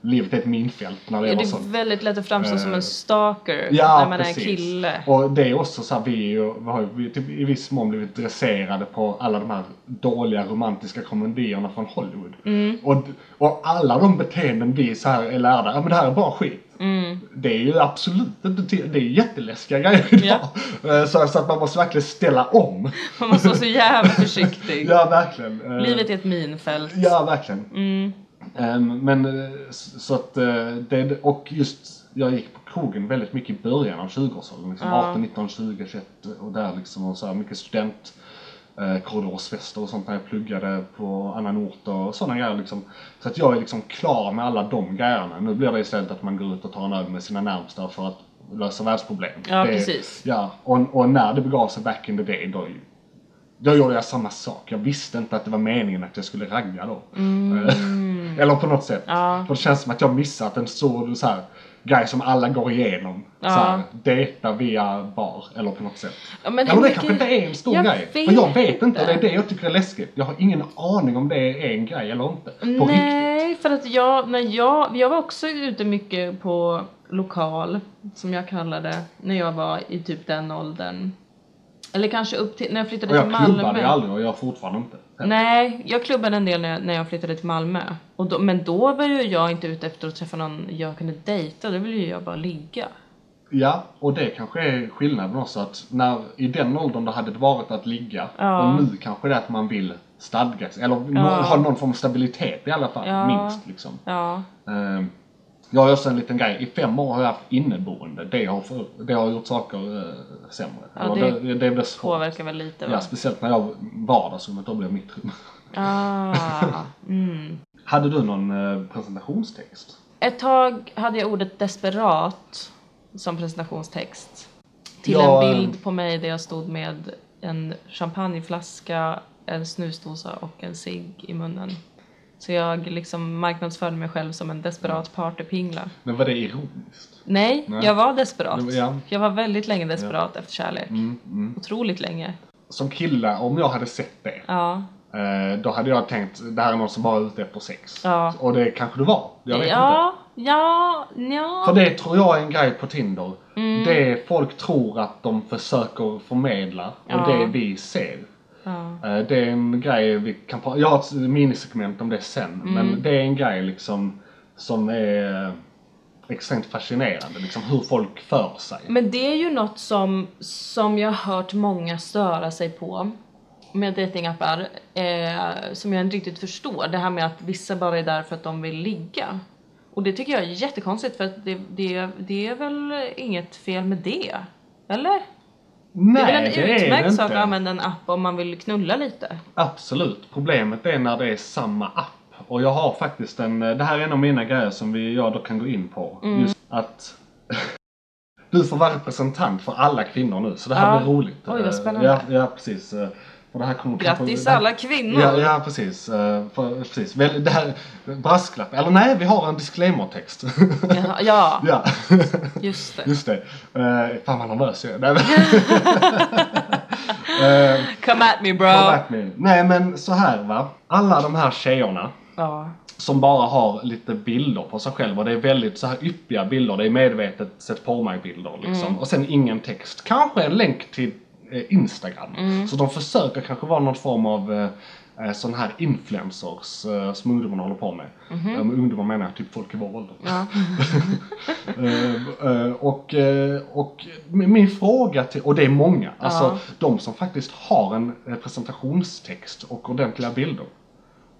Speaker 3: livet är ett minfält när det
Speaker 2: Ja,
Speaker 3: var
Speaker 2: det
Speaker 3: sånt.
Speaker 2: är väldigt lätt att framstå som
Speaker 3: Eh,
Speaker 2: en stalker
Speaker 3: Ja,
Speaker 2: när man
Speaker 3: precis.
Speaker 2: är en kille.
Speaker 3: Och det är också så här, vi, är ju, vi har ju vi är typ, i viss mån blivit dresserade på alla de här dåliga romantiska komedierna från Hollywood.
Speaker 2: Mm.
Speaker 3: Och, och alla de beteenden vi så här är lärda, ja men det här är bara skit.
Speaker 2: Mm.
Speaker 3: Det är ju absolut inte, till- det är jätteläskiga grejer idag. <laughs> Eh, Så, så att man måste verkligen ställa
Speaker 2: <laughs>
Speaker 3: om.
Speaker 2: Man måste vara så jävla försiktig.
Speaker 3: Ja, verkligen. Eh,
Speaker 2: Livet är ett minfält.
Speaker 3: Ja, verkligen.
Speaker 2: Mm.
Speaker 3: Ehm, men eh, s- så att eh, det, och just jag gick på krogen väldigt mycket i början av 20-årsåldern. Liksom,
Speaker 2: Ja.
Speaker 3: 18, 19, 20, 21 och där liksom. Och så här, mycket student eh, korridorsfester och sånt när jag pluggade på annan ort och sådana grejer liksom. Så att jag är liksom klar med alla de grejerna. Nu blir det istället att man går ut och tar en öl med sina närmsta för att lösa världsproblem.
Speaker 2: Ja,
Speaker 3: det,
Speaker 2: precis.
Speaker 3: Ja, och, och när det begav sig back in the day då då gjorde jag samma sak. Jag visste inte att det var meningen att jag skulle ragga då. <laughs> Eller på något sätt.
Speaker 2: Mm. Ja.
Speaker 3: För det känns som att jag missat en stor så här, grej som alla går igenom.
Speaker 2: Ja.
Speaker 3: Så här, dejta via bar eller på något sätt.
Speaker 2: Ja,
Speaker 3: Men
Speaker 2: men
Speaker 3: ja,
Speaker 2: hur
Speaker 3: men det
Speaker 2: mycket-
Speaker 3: kanske inte är en stor
Speaker 2: Jag
Speaker 3: grej.
Speaker 2: vet
Speaker 3: För jag vet inte. och Det är
Speaker 2: inte.
Speaker 3: det jag tycker är läskigt. Jag har ingen aning om det är en grej eller inte. På riktigt.
Speaker 2: Nej, för att jag, när jag, jag var också ute mycket på lokal, som jag kallade när jag var i typ den åldern. Eller kanske upp till, när jag flyttade
Speaker 3: Och
Speaker 2: till
Speaker 3: jag
Speaker 2: Malmö.
Speaker 3: klubbade ju aldrig och jag har fortfarande inte.
Speaker 2: Nej, jag klubbade en del när jag, när jag flyttade till Malmö. Och då, men då var ju jag inte ute efter att träffa någon jag kunde dejta, då ville ju jag bara ligga.
Speaker 3: Ja, och det kanske är skillnaden också att när, i den åldern då hade det varit att ligga
Speaker 2: Ja.
Speaker 3: och nu kanske det är att man vill stadga sig, eller nå-
Speaker 2: Ja.
Speaker 3: ha någon form av stabilitet i alla fall,
Speaker 2: Ja.
Speaker 3: minst liksom.
Speaker 2: Ja,
Speaker 3: Ehm, jag har också en liten grej, i fem år har jag haft inneboende, det har, för, det har gjort saker eh, sämre.
Speaker 2: Ja,
Speaker 3: Eller
Speaker 2: det
Speaker 3: det blev svårt.
Speaker 2: påverkar väl lite
Speaker 3: Ja,
Speaker 2: va?
Speaker 3: speciellt när jag vardagsrummet då blev mitt rum. <laughs>
Speaker 2: Ah, mm.
Speaker 3: Hade du någon eh, presentationstext?
Speaker 2: Ett tag hade jag ordet desperat som presentationstext. Till
Speaker 3: Ja,
Speaker 2: en
Speaker 3: eh.
Speaker 2: bild på mig där jag stod med en champagneflaska, en snusdosa och en cigg i munnen. Så jag liksom marknadsförde mig själv som en desperat partypingla.
Speaker 3: Men var det ironiskt?
Speaker 2: Nej, jag var desperat.
Speaker 3: Det var- ja. Mm,
Speaker 2: Jag var väldigt länge desperat efter kärlek. Otroligt länge.
Speaker 3: Som kille, om jag hade sett det,
Speaker 2: Ja.
Speaker 3: eh, då hade jag tänkt det här är någon som bara är ute efter sex.
Speaker 2: Ja.
Speaker 3: Och det kanske du var. Jag vet inte.
Speaker 2: Ja, ja,
Speaker 3: För
Speaker 2: ja.
Speaker 3: det tror jag är en grej på Tinder.
Speaker 2: Mm.
Speaker 3: Det folk tror att de försöker förmedla och
Speaker 2: Ja.
Speaker 3: det vi ser.
Speaker 2: ja.
Speaker 3: Eh, Det är en grej vi kan prata Jag har ett minisegment om det sen.
Speaker 2: Mm.
Speaker 3: Men det är en grej liksom som är extremt fascinerande. Liksom hur folk för sig.
Speaker 2: Men det är ju något som, som jag har hört många störa sig på med datingappar eh, som jag inte riktigt förstår. Det här med att vissa bara är där för att de vill ligga. Och det tycker jag är jättekonstigt för att det, det, det är väl inget fel med det? Eller?
Speaker 3: Nej,
Speaker 2: det är väl en utmärkt
Speaker 3: inte.
Speaker 2: sak att använda en app om man vill knulla lite?
Speaker 3: Absolut. Problemet är när det är samma app. Och jag har faktiskt en, eh, det här är en av mina grejer som vi, jag då kan gå in på.
Speaker 2: Mm.
Speaker 3: Just att <laughs> du får vara representant för alla kvinnor nu, så det här
Speaker 2: Ja.
Speaker 3: blir roligt.
Speaker 2: Oj, vad
Speaker 3: Eh,
Speaker 2: spännande.
Speaker 3: Ja, ja precis. Eh, Och det här kommer
Speaker 2: Grattis
Speaker 3: det här-
Speaker 2: alla kvinnor!
Speaker 3: Ja, ja precis. Eh, För, precis. Väl, det här, brasklapp. Eller nej, vi har en disclaimer-text.
Speaker 2: Jaha, <laughs> ja,
Speaker 3: <laughs> ja,
Speaker 2: just det.
Speaker 3: just det. Uh, fan vad nervös jag är. Nej, men- Eh,
Speaker 2: Come at me bro!
Speaker 3: Come at me. <laughs> Nej men så här va. Alla de här tjejerna
Speaker 2: Ja.
Speaker 3: som bara har lite bilder på sig själva. Det är väldigt så här yppiga bilder. Det är medvetet sett på mig bilder liksom. Och sen ingen text. Kanske en länk till eh, Instagram. Så de försöker kanske vara någon form av eh, eh, sån här influencers eh, som ungdomarna håller på med. Mm. ungdomar menar jag typ folk i vår ålder.
Speaker 2: Ja.
Speaker 3: <laughs> Eh, eh, och, eh, och min min fråga till, och det är många, alltså de som faktiskt har en eh, presentationstext och ordentliga bilder.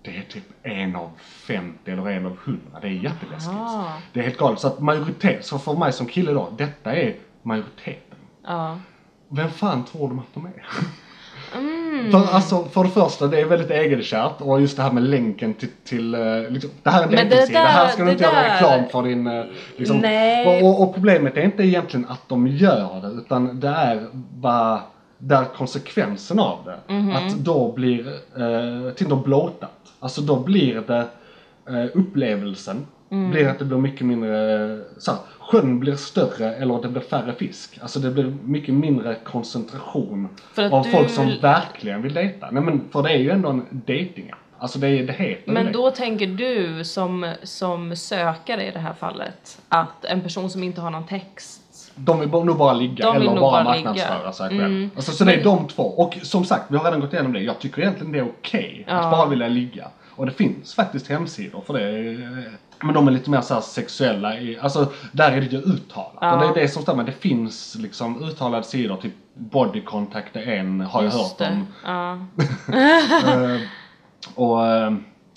Speaker 3: Det är typ en av 50 eller en av 100. Det är jätteläskigt.
Speaker 2: Ah.
Speaker 3: Det är helt galet. Så att majoritet, så för mig som kille då, detta är majoriteten.
Speaker 2: ja.
Speaker 3: Vem fan tror de att de är?
Speaker 2: Mm.
Speaker 3: För, alltså, för det första, det är väldigt egenkärt och just det här med länken till... till eh, liksom, det här är en
Speaker 2: Men det
Speaker 3: dejtingsida,
Speaker 2: där-
Speaker 3: här ska du
Speaker 2: det
Speaker 3: inte göra
Speaker 2: där-
Speaker 3: reklam för din... eh, Liksom,
Speaker 2: Nej.
Speaker 3: Och, och problemet är inte egentligen att de gör det, utan det är bara där konsekvensen av det.
Speaker 2: Mhm.
Speaker 3: Att då blir eh, Tinder blåtat. Alltså då blir det eh, upplevelsen
Speaker 2: Mm.
Speaker 3: blir att det blir mycket mindre, eh, så här, sjön blir större eller det blir färre fisk. Alltså det blir mycket mindre koncentration
Speaker 2: För att
Speaker 3: av
Speaker 2: du-
Speaker 3: folk som verkligen vill dejta. Nej men för det är ju ändå en datingapp. Alltså det, är, det heter ju
Speaker 2: Men
Speaker 3: det.
Speaker 2: då tänker du som, som sökare i det här fallet att en person som inte har någon text.
Speaker 3: De vill bara- nog bara ligga
Speaker 2: De vill
Speaker 3: eller
Speaker 2: nog
Speaker 3: bara
Speaker 2: bara
Speaker 3: marknadsföra
Speaker 2: ligga. Mm.
Speaker 3: sig själv. Alltså, så det är de två. Och som sagt, vi har redan gått igenom det. Jag tycker egentligen det är okej
Speaker 2: Ja.
Speaker 3: att bara vilja ligga. Och det finns faktiskt hemsidor för det. eh, Men de är lite mer så här sexuella. i- Alltså där är det ju uttalat.
Speaker 2: Ja.
Speaker 3: Och det är det som stämmer. Det finns liksom uttalade sidor. Typ body contact är en, har jag hört
Speaker 2: Just det.
Speaker 3: om.
Speaker 2: Ja.
Speaker 3: Och, eh,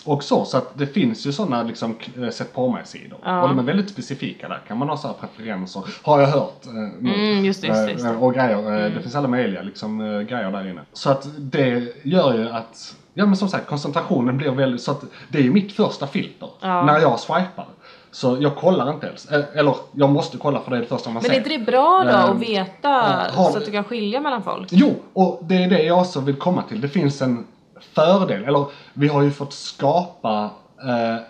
Speaker 3: och så, så att det finns ju sådana liksom k- eh, sett på mig-sidor.
Speaker 2: Ja.
Speaker 3: Och de är väldigt specifika där. Kan man ha så här preferenser. Har jag hört. eh, nu.
Speaker 2: Mm, just det, just det, Mm. just det.
Speaker 3: Eh, Och grejer. eh, Det finns alla möjliga liksom, eh, grejer där inne. Så att det gör ju att, ja men som sagt koncentrationen blir väldigt, så att det är ju mitt första filter.
Speaker 2: Ja.
Speaker 3: När jag swipar. Så jag kollar inte ens. Eh, Eller jag måste kolla för det är det första man
Speaker 2: Men
Speaker 3: ser.
Speaker 2: är inte det bra då
Speaker 3: Ehm,
Speaker 2: att veta
Speaker 3: har-
Speaker 2: så att du kan skilja mellan folk?
Speaker 3: Jo, och det är det jag också vill komma till. Det finns en fördel, eller vi har ju fått skapa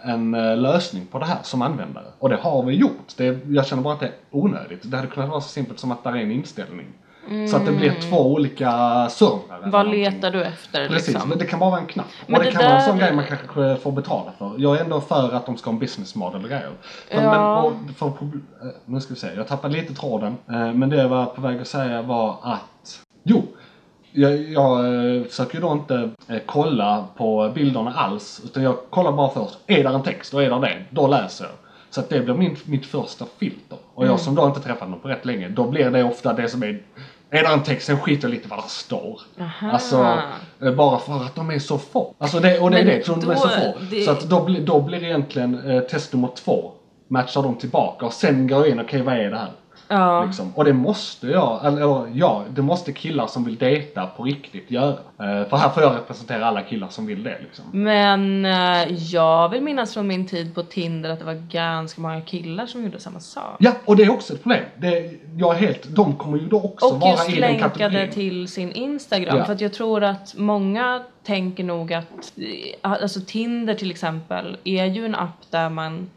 Speaker 3: eh, en eh, lösning på det här som användare. Och det har vi gjort. Det, jag känner bara att det är onödigt. Det hade kunnat vara så simpelt som att det är en inställning. Så att det blir två olika servrar. eller
Speaker 2: Mm. Vad
Speaker 3: någonting.
Speaker 2: letar du efter
Speaker 3: Precis,
Speaker 2: liksom?
Speaker 3: men det kan bara vara en knapp.
Speaker 2: Men
Speaker 3: och det,
Speaker 2: det
Speaker 3: kan vara en sån
Speaker 2: där-
Speaker 3: grej man kanske får betala för. Jag är ändå för att de ska ha en business model och grejer. Men,
Speaker 2: Ja.
Speaker 3: men, och, för, prob- eh, nu ska vi se, jag tappade lite tråden. Eh, Men det jag var på väg att säga var att, jo, jag, jag eh, försöker ju då inte eh, kolla på bilderna alls. Utan jag kollar bara först, är där en text och är där det, då läser jag. Så att det blir min, mitt första filter. Och
Speaker 2: Mm.
Speaker 3: jag som då inte träffat någon på rätt länge, då blir det ofta det som är är där en text, sen skiter jag lite vad det står.
Speaker 2: Aha.
Speaker 3: Alltså, eh, bara för att de är så få. Alltså det, och det är
Speaker 2: Men
Speaker 3: det, så de är så
Speaker 2: då-
Speaker 3: få.
Speaker 2: det-
Speaker 3: Så att då, blir- då blir egentligen eh, test nummer två, matchar de tillbaka och sen går jag in, okej vad är det här?
Speaker 2: Ja.
Speaker 3: Liksom. Och det måste jag, eller eller, ja, det måste killar som vill dejta på riktigt göra. Eh, för här får jag representera alla killar som vill det liksom.
Speaker 2: Men eh, jag vill minnas från min tid på Tinder att det var ganska många killar som gjorde samma sak.
Speaker 3: Ja, och det är också ett problem. Det, jag är helt, de kommer ju då också
Speaker 2: Och
Speaker 3: vara
Speaker 2: just
Speaker 3: i den
Speaker 2: länkade
Speaker 3: kategorin.
Speaker 2: till sin Instagram.
Speaker 3: Ja.
Speaker 2: För att jag tror att många tänker nog att eh, alltså Tinder till exempel är ju en app där man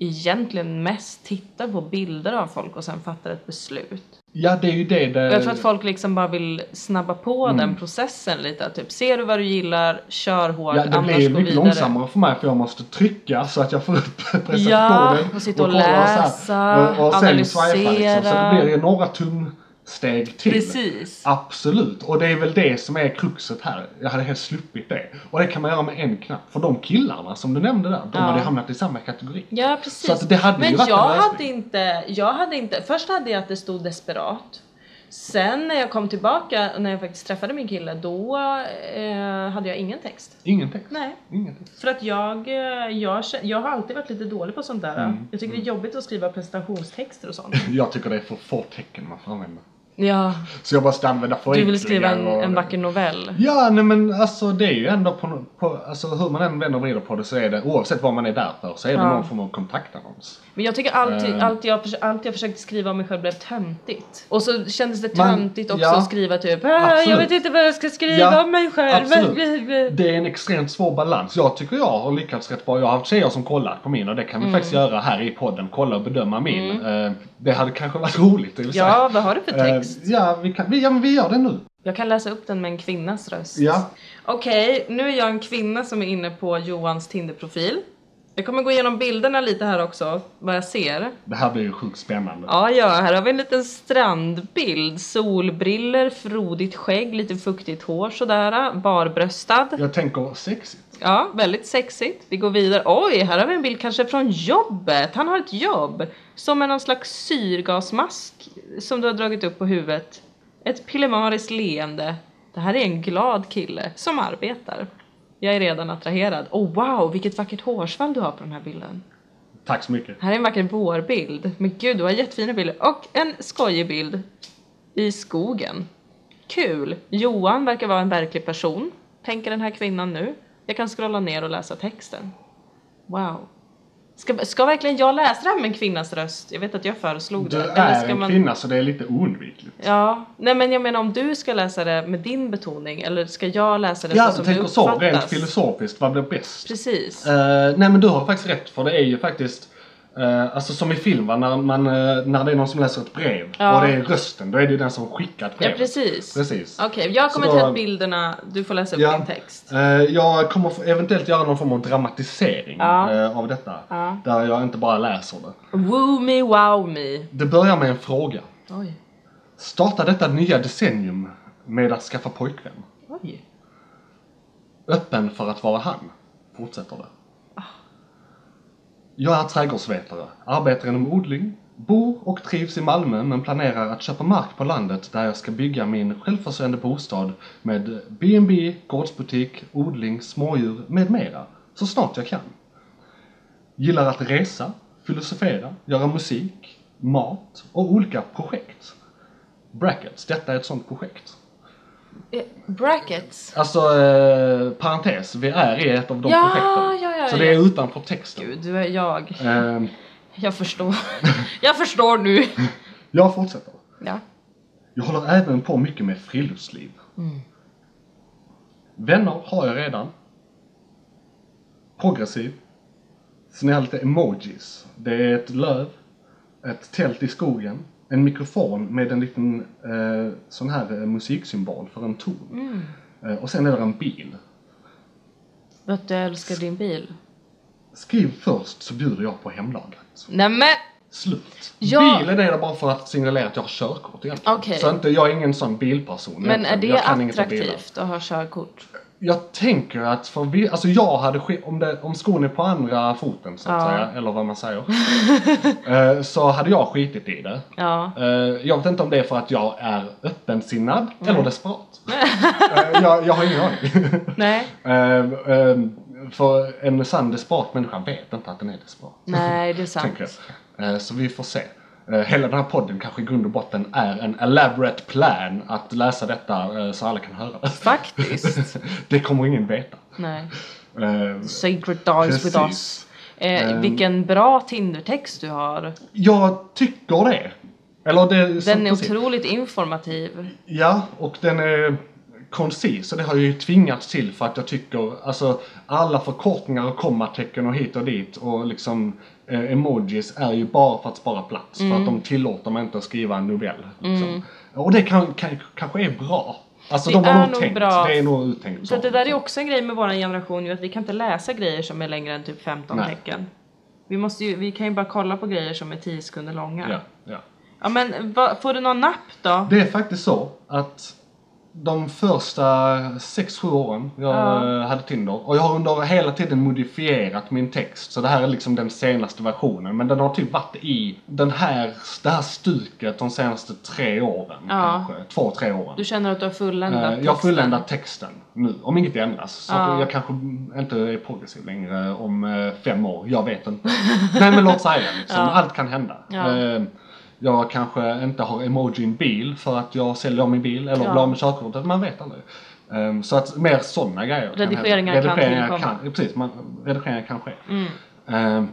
Speaker 2: egentligen mest tittar på bilder av folk och sen fattar ett beslut.
Speaker 3: Ja, det är ju det det...
Speaker 2: Och Jag tror att folk liksom bara vill snabba på
Speaker 3: Mm.
Speaker 2: den processen lite. att Typ, ser du vad du gillar, kör hårt,
Speaker 3: Ja, det
Speaker 2: annars
Speaker 3: blir
Speaker 2: gå
Speaker 3: mycket
Speaker 2: vidare.
Speaker 3: långsammare för mig för jag måste trycka så att jag får upp <laughs> presentationen.
Speaker 2: Ja, och sitta och
Speaker 3: kolla så här,
Speaker 2: läsa,
Speaker 3: och, och sen swipa liksom. Så
Speaker 2: analysera.
Speaker 3: det blir ju några tumsteg till.
Speaker 2: Precis.
Speaker 3: Absolut, och det är väl det som är kruxet här. Jag hade helt sluppit det. Och det kan man göra med en knapp. För de killarna som du nämnde där, de
Speaker 2: Ja.
Speaker 3: hade hamnat i samma kategori.
Speaker 2: Ja precis.
Speaker 3: Så att det hade
Speaker 2: Men
Speaker 3: ju varit en
Speaker 2: jag
Speaker 3: lösning.
Speaker 2: hade inte, jag hade inte, först hade jag att det stod desperat. Sen när jag kom tillbaka, när jag faktiskt träffade min kille, då eh, hade jag ingen text.
Speaker 3: Ingen text.
Speaker 2: Nej.
Speaker 3: Ingen text.
Speaker 2: För att jag, eh, jag, kä- jag har alltid varit lite dålig på sånt där.
Speaker 3: Mm.
Speaker 2: Jag tycker det är jobbigt att skriva presentationstexter och sånt.
Speaker 3: Jag tycker det är för få tecken man får använda.
Speaker 2: Ja,
Speaker 3: Så jag måste använda
Speaker 2: du
Speaker 3: förenklingar
Speaker 2: vill skriva en,
Speaker 3: och-
Speaker 2: en vacker novell.
Speaker 3: Ja, nej men alltså det är ju ändå på, på alltså hur man än vänder och vrider på det så är det, oavsett vad man är där för, så är det
Speaker 2: Ja.
Speaker 3: någon form av kontaktannons.
Speaker 2: Men jag tycker alltid,
Speaker 3: Ehm.
Speaker 2: allt, jag, förs- allt jag försökte skriva om mig själv blev töntigt. Och så kändes det
Speaker 3: Man-
Speaker 2: töntigt också
Speaker 3: ja.
Speaker 2: att skriva typ "Ah, Jag
Speaker 3: Absolut.
Speaker 2: vet inte vad jag ska skriva
Speaker 3: Ja,
Speaker 2: om mig själv. <laughs>
Speaker 3: absolut. Det är en extremt svår balans. Jag tycker jag har lyckats rätt bra. Jag har haft tjejer som kollat på min och det kan vi
Speaker 2: Mm.
Speaker 3: faktiskt göra här i podden, kolla och bedöma min. Eh, Det hade kanske varit <laughs> roligt, det vill säga.
Speaker 2: Ja, vad har du för
Speaker 3: Eh,
Speaker 2: text?
Speaker 3: Ja, vi kan, vi, ja, men vi gör det nu.
Speaker 2: Jag kan läsa upp den med en kvinnas röst.
Speaker 3: Ja.
Speaker 2: Okej, nu är jag en kvinna som är inne på Johans Tinder-profil. Jag kommer gå igenom bilderna lite här också, vad jag ser.
Speaker 3: Det här blir ju sjukt spännande.
Speaker 2: Ja, ja, här har vi en liten strandbild. Solbriller, frodigt skägg, lite fuktigt hår sådär, barbröstad.
Speaker 3: Jag tänker sexigt.
Speaker 2: Ja, väldigt sexigt. Vi går vidare. Oj, här har vi en bild kanske från jobbet. Han har ett jobb. Som är någon slags syrgasmask som du har dragit upp på huvudet. Ett pillemariskt leende. Det här är en glad kille som arbetar. Jag är redan attraherad. Oh wow, vilket vackert hårsvall du har på den här bilden.
Speaker 3: Tack så mycket.
Speaker 2: Här är en vacker vårbild. Men gud, du har jättefina bilder. Och en skojig bild i skogen. Kul! Johan verkar vara en verklig person, tänker den här kvinnan nu. Jag kan scrolla ner och läsa texten. Wow. Ska, ska verkligen jag läsa det här med en kvinnas röst? Jag vet att jag föreslog
Speaker 3: Du
Speaker 2: det.
Speaker 3: är en kvinna så det är lite oundvikligt.
Speaker 2: Ja, nej men jag menar om du ska läsa det med din betoning eller ska jag läsa det
Speaker 3: Ja, alltså,
Speaker 2: så som
Speaker 3: jag
Speaker 2: det
Speaker 3: tänker så,
Speaker 2: uppfattas?
Speaker 3: rent filosofiskt, vad blir bäst?
Speaker 2: Precis.
Speaker 3: Eh, nej men du har faktiskt rätt för det är ju faktiskt eh, alltså som i film va, när, man, eh, när det är någon som läser ett brev
Speaker 2: Ja.
Speaker 3: och det är rösten, då är det ju den som skickat
Speaker 2: Ja,
Speaker 3: brevet.
Speaker 2: precis.
Speaker 3: Precis.
Speaker 2: Okej, jag kommer
Speaker 3: Så då-
Speaker 2: ta upp bilderna, du får läsa upp
Speaker 3: Ja.
Speaker 2: din text.
Speaker 3: Eh, jag kommer få- eventuellt göra någon form av dramatisering
Speaker 2: Ja.
Speaker 3: eh, av detta.
Speaker 2: Ja.
Speaker 3: Där jag inte bara läser det.
Speaker 2: Woo me, wow me.
Speaker 3: Det börjar med en fråga.
Speaker 2: Oj.
Speaker 3: Starta detta nya decennium med att skaffa pojkvän.
Speaker 2: Oj.
Speaker 3: Öppen för att vara han. Fortsätter det. Jag är trädgårdsvetare, arbetar inom odling, bor och trivs i Malmö men planerar att köpa mark på landet där jag ska bygga min självförsörjande bostad med B&B, gårdsbutik, odling, smådjur med mera så snart jag kan. Gillar att resa, filosofera, göra musik, mat och olika projekt. Brackets, detta är ett sånt projekt.
Speaker 2: Eh, Brackets.
Speaker 3: Alltså, eh, parentes, vi är i ett av de
Speaker 2: Ja,
Speaker 3: projekten.
Speaker 2: ja, ja,
Speaker 3: så
Speaker 2: ja.
Speaker 3: det är utanför texten.
Speaker 2: Gud, du är jag.
Speaker 3: Eh,
Speaker 2: Jag förstår. <laughs> Jag förstår nu.
Speaker 3: jag fortsätter.
Speaker 2: Ja.
Speaker 3: Jag håller även på mycket med friluftsliv.
Speaker 2: Mm.
Speaker 3: Vänner har jag redan. Progressiv. Sen är jag lite emojis. Det är ett löv, ett tält i skogen, en mikrofon med en liten eh, sån här eh, musiksymbol för en ton.
Speaker 2: Mm.
Speaker 3: Eh, och sen är det en bil.
Speaker 2: Vet du, jag älskar din bil.
Speaker 3: Skriv först så bjuder jag på hemlaget.
Speaker 2: Nämen!
Speaker 3: Slut.
Speaker 2: Ja.
Speaker 3: Bilen är där bara för att signalera att jag har körkort egentligen.
Speaker 2: Okej.
Speaker 3: Så inte, jag är ingen sån bilperson
Speaker 2: Men är
Speaker 3: egentligen.
Speaker 2: det
Speaker 3: jag kan inget om bilar. Eh,
Speaker 2: attraktivt att ha körkort?
Speaker 3: Jag tänker att för vi, alltså jag hade ske- om, det, om skon är på andra foten så att
Speaker 2: Ja.
Speaker 3: säga, eller vad man säger. <laughs> eh, så hade jag skitit i det.
Speaker 2: Ja.
Speaker 3: Eh, jag vet inte om det är för att jag är öppensinnad
Speaker 2: Mm.
Speaker 3: eller desperat. eh, jag, jag har ingen aning. <laughs>
Speaker 2: Nej.
Speaker 3: eh, eh, för en sann desperat människa vet inte att den är desperat.
Speaker 2: Nej, det är sant.
Speaker 3: tänker jag. Eh, Så vi får se. Eh, Eh, Hela den här podden kanske i grund och botten är en elaborate plan att läsa detta eh, så alla kan höra det.
Speaker 2: Faktiskt.
Speaker 3: <laughs> Det kommer ingen veta.
Speaker 2: Nej.
Speaker 3: Eh,
Speaker 2: Sacred dies with
Speaker 3: Precis.
Speaker 2: us. Eh,
Speaker 3: Ehm.
Speaker 2: vilken bra Tinder-text du har.
Speaker 3: Jag tycker det. Eller det
Speaker 2: Den är
Speaker 3: precis.
Speaker 2: otroligt informativ.
Speaker 3: Ja, och den är koncis och det har jag ju tvingats till för att jag tycker alltså alla förkortningar och kommatecken och hit och dit och liksom eh, emojis är ju bara för att spara plats
Speaker 2: Mm.
Speaker 3: för att de tillåter mig inte att skriva en novell. Liksom. Och det kan, kan, kanske är bra. Alltså
Speaker 2: Det
Speaker 3: de har
Speaker 2: är
Speaker 3: nog
Speaker 2: nog
Speaker 3: tänkt,
Speaker 2: bra.
Speaker 3: det är nog uttänkt
Speaker 2: Så att det där är också en grej med vår generation ju att vi kan inte läsa grejer som är längre än typ 15
Speaker 3: Nej.
Speaker 2: tecken. Vi, måste ju, vi kan ju bara kolla på grejer som är 10 sekunder långa.
Speaker 3: Ja, ja.
Speaker 2: Ja, men va, får du någon napp då?
Speaker 3: Det är faktiskt så att de första 6-7 åren jag eh, hade Tinder och jag har under hela tiden modifierat min text så det här är liksom den senaste versionen men den har typ varit i den här, det här stuket de senaste tre åren
Speaker 2: Ja.
Speaker 3: kanske, två, tre åren.
Speaker 2: Du känner att du har fulländat
Speaker 3: Eh, jag har
Speaker 2: texten?
Speaker 3: fulländat texten nu, om inget ändras. Så
Speaker 2: Ja.
Speaker 3: att jag kanske inte är progressiv längre om eh, fem år, jag vet inte. Nej men låt säga liksom, allt kan hända.
Speaker 2: Ja.
Speaker 3: Eh, jag kanske inte har emojin bil för att jag säljer min bil eller
Speaker 2: Ja.
Speaker 3: blir av med körkortet, man vet aldrig. Eh, så att mer sådana grejer kan hända.
Speaker 2: Redigeringar kan
Speaker 3: redigeringar
Speaker 2: tillkomma. Mm.
Speaker 3: kan, Precis, man, redigeringar kan ske. Eh,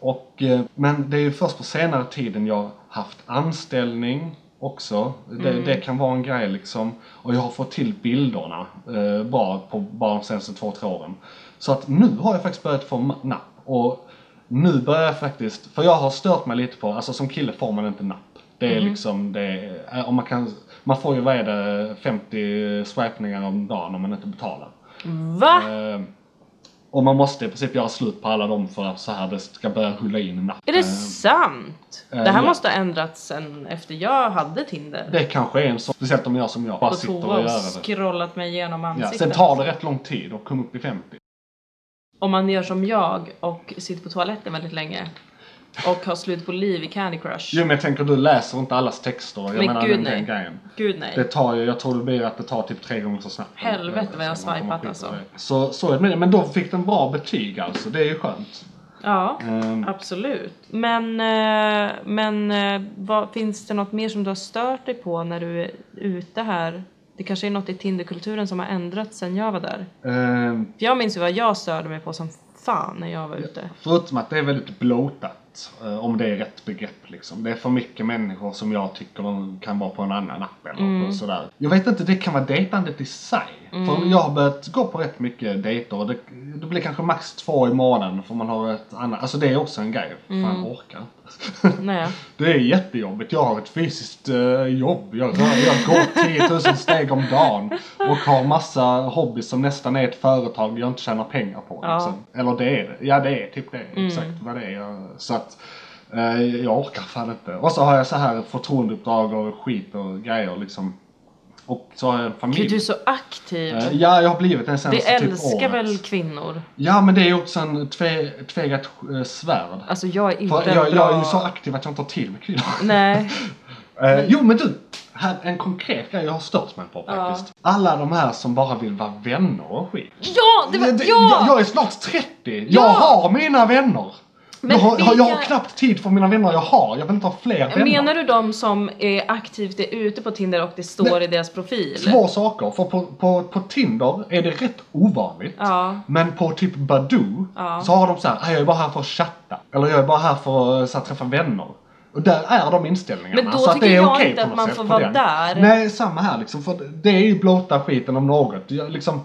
Speaker 3: och, eh, men det är ju först på senare tiden jag haft anställning också. Det,
Speaker 2: Mm.
Speaker 3: det kan vara en grej liksom. Och jag har fått till bilderna eh, bra på bara de senaste två, tre åren. Så att nu har jag faktiskt börjat få ma- napp. Och nu börjar jag faktiskt, för jag har stört mig lite på, alltså som kille får man inte napp. Det är
Speaker 2: Mm.
Speaker 3: liksom, det är, om man kan, man får ju vad är det, 50 swipningar om dagen om man inte betalar.
Speaker 2: Va?
Speaker 3: Eh, och man måste i princip göra slut på alla dem för att så här det ska börja rulla in i natten.
Speaker 2: Är det sant? det här
Speaker 3: Eh, ja.
Speaker 2: måste ha ändrats sen efter jag hade Tinder.
Speaker 3: Det kanske är en sån, speciellt om jag som jag bara
Speaker 2: på
Speaker 3: sitter
Speaker 2: toa
Speaker 3: och
Speaker 2: och
Speaker 3: gör det.
Speaker 2: scrollat mig igenom
Speaker 3: Ja,
Speaker 2: ansiktet.
Speaker 3: sen tar det rätt lång tid att komma upp i 50.
Speaker 2: Om man gör som jag och sitter på toaletten väldigt länge och har slut på liv i Candy Crush.
Speaker 3: Jo men jag tänker du läser inte allas texter. Jag
Speaker 2: Men
Speaker 3: menar
Speaker 2: gud,
Speaker 3: den, den
Speaker 2: nej.
Speaker 3: grejen.
Speaker 2: Gud nej.
Speaker 3: Det tar ju, jag tror det blir att det tar typ tre gånger så snabbt.
Speaker 2: Helvete vad jag har
Speaker 3: Så man kommer
Speaker 2: swipat,
Speaker 3: skita
Speaker 2: alltså.
Speaker 3: sig. Så, så är det med det. Men då fick den bra betyg alltså, det är ju skönt.
Speaker 2: Ja,
Speaker 3: Ehm.
Speaker 2: absolut. Men, eh, men eh, vad, finns det något mer som du har stört dig på när du är ute här? Det kanske är något i Tinderkulturen som har ändrats sen jag var där.
Speaker 3: Ehm,
Speaker 2: För jag minns ju vad jag störde mig på som fan när jag var ute.
Speaker 3: Förutom att det är väldigt blotat, eh, om det är rätt begrepp liksom. Det är för mycket människor som jag tycker de kan vara på en annan app eller på sådär. Jag vet inte, det kan vara dejtandet i sig. För jag har börjat gå på rätt mycket dejter och det, det blir kanske max två i månaden för man har ett annat, alltså det är också en grej. Fan, jag orkar inte. <laughs>
Speaker 2: Nej.
Speaker 3: Det är jättejobbigt. Jag har ett fysiskt eh, jobb. Jag, rör, jag går 10 000 steg om dagen och har massa hobbys som nästan är ett företag jag inte tjänar pengar på.
Speaker 2: Ja. Mm.
Speaker 3: Liksom. Eller det är det. Ja, det är typ det. Exakt vad det är. Jag- Så att eh, jag orkar fan inte. Och så har jag så här förtroendeuppdrag och skit och grejer liksom. Och så har jag en familj.
Speaker 2: Gud, du är så aktiv.
Speaker 3: Eh, Ja, jag har blivit det senaste
Speaker 2: Vi
Speaker 3: typ
Speaker 2: älskar
Speaker 3: året.
Speaker 2: väl kvinnor?
Speaker 3: Ja, men det är ju också en tve, tvegat eh, svärd.
Speaker 2: Alltså jag är inte
Speaker 3: För jag,
Speaker 2: bra...
Speaker 3: jag är ju så aktiv att jag inte har till med kvinnor. <laughs>
Speaker 2: Nej. Mm.
Speaker 3: Eh, jo men du! Här, en konkret grej jag har stört mig på faktiskt. Alla de här som bara vill vara vänner och skit.
Speaker 2: Ja! Det var...
Speaker 3: Det-
Speaker 2: ja!
Speaker 3: Jag, jag är snart 30! Jag har mina vänner! jag,
Speaker 2: Men
Speaker 3: har, jag- jag har
Speaker 2: vilka-
Speaker 3: knappt tid för mina vänner jag har, jag vill inte ha fler vänner.
Speaker 2: Menar du de som är aktivt är ute på Tinder och det står
Speaker 3: Nej.
Speaker 2: i deras profil?
Speaker 3: Två saker, för på, på, på Tinder är det rätt ovanligt.
Speaker 2: Ja.
Speaker 3: Men på typ Badoo
Speaker 2: Ja.
Speaker 3: så har de så här, "Ah, jag är bara här för att chatta. Eller jag är bara här för att så här, träffa vänner. Och där är de inställningarna.
Speaker 2: Men då
Speaker 3: så att
Speaker 2: tycker
Speaker 3: det är
Speaker 2: jag
Speaker 3: okej på
Speaker 2: inte att
Speaker 3: något
Speaker 2: man
Speaker 3: sätt
Speaker 2: får
Speaker 3: på
Speaker 2: vara
Speaker 3: den.
Speaker 2: där.
Speaker 3: Nej, samma här liksom. För det är ju blåta skiten om något. Jag, liksom,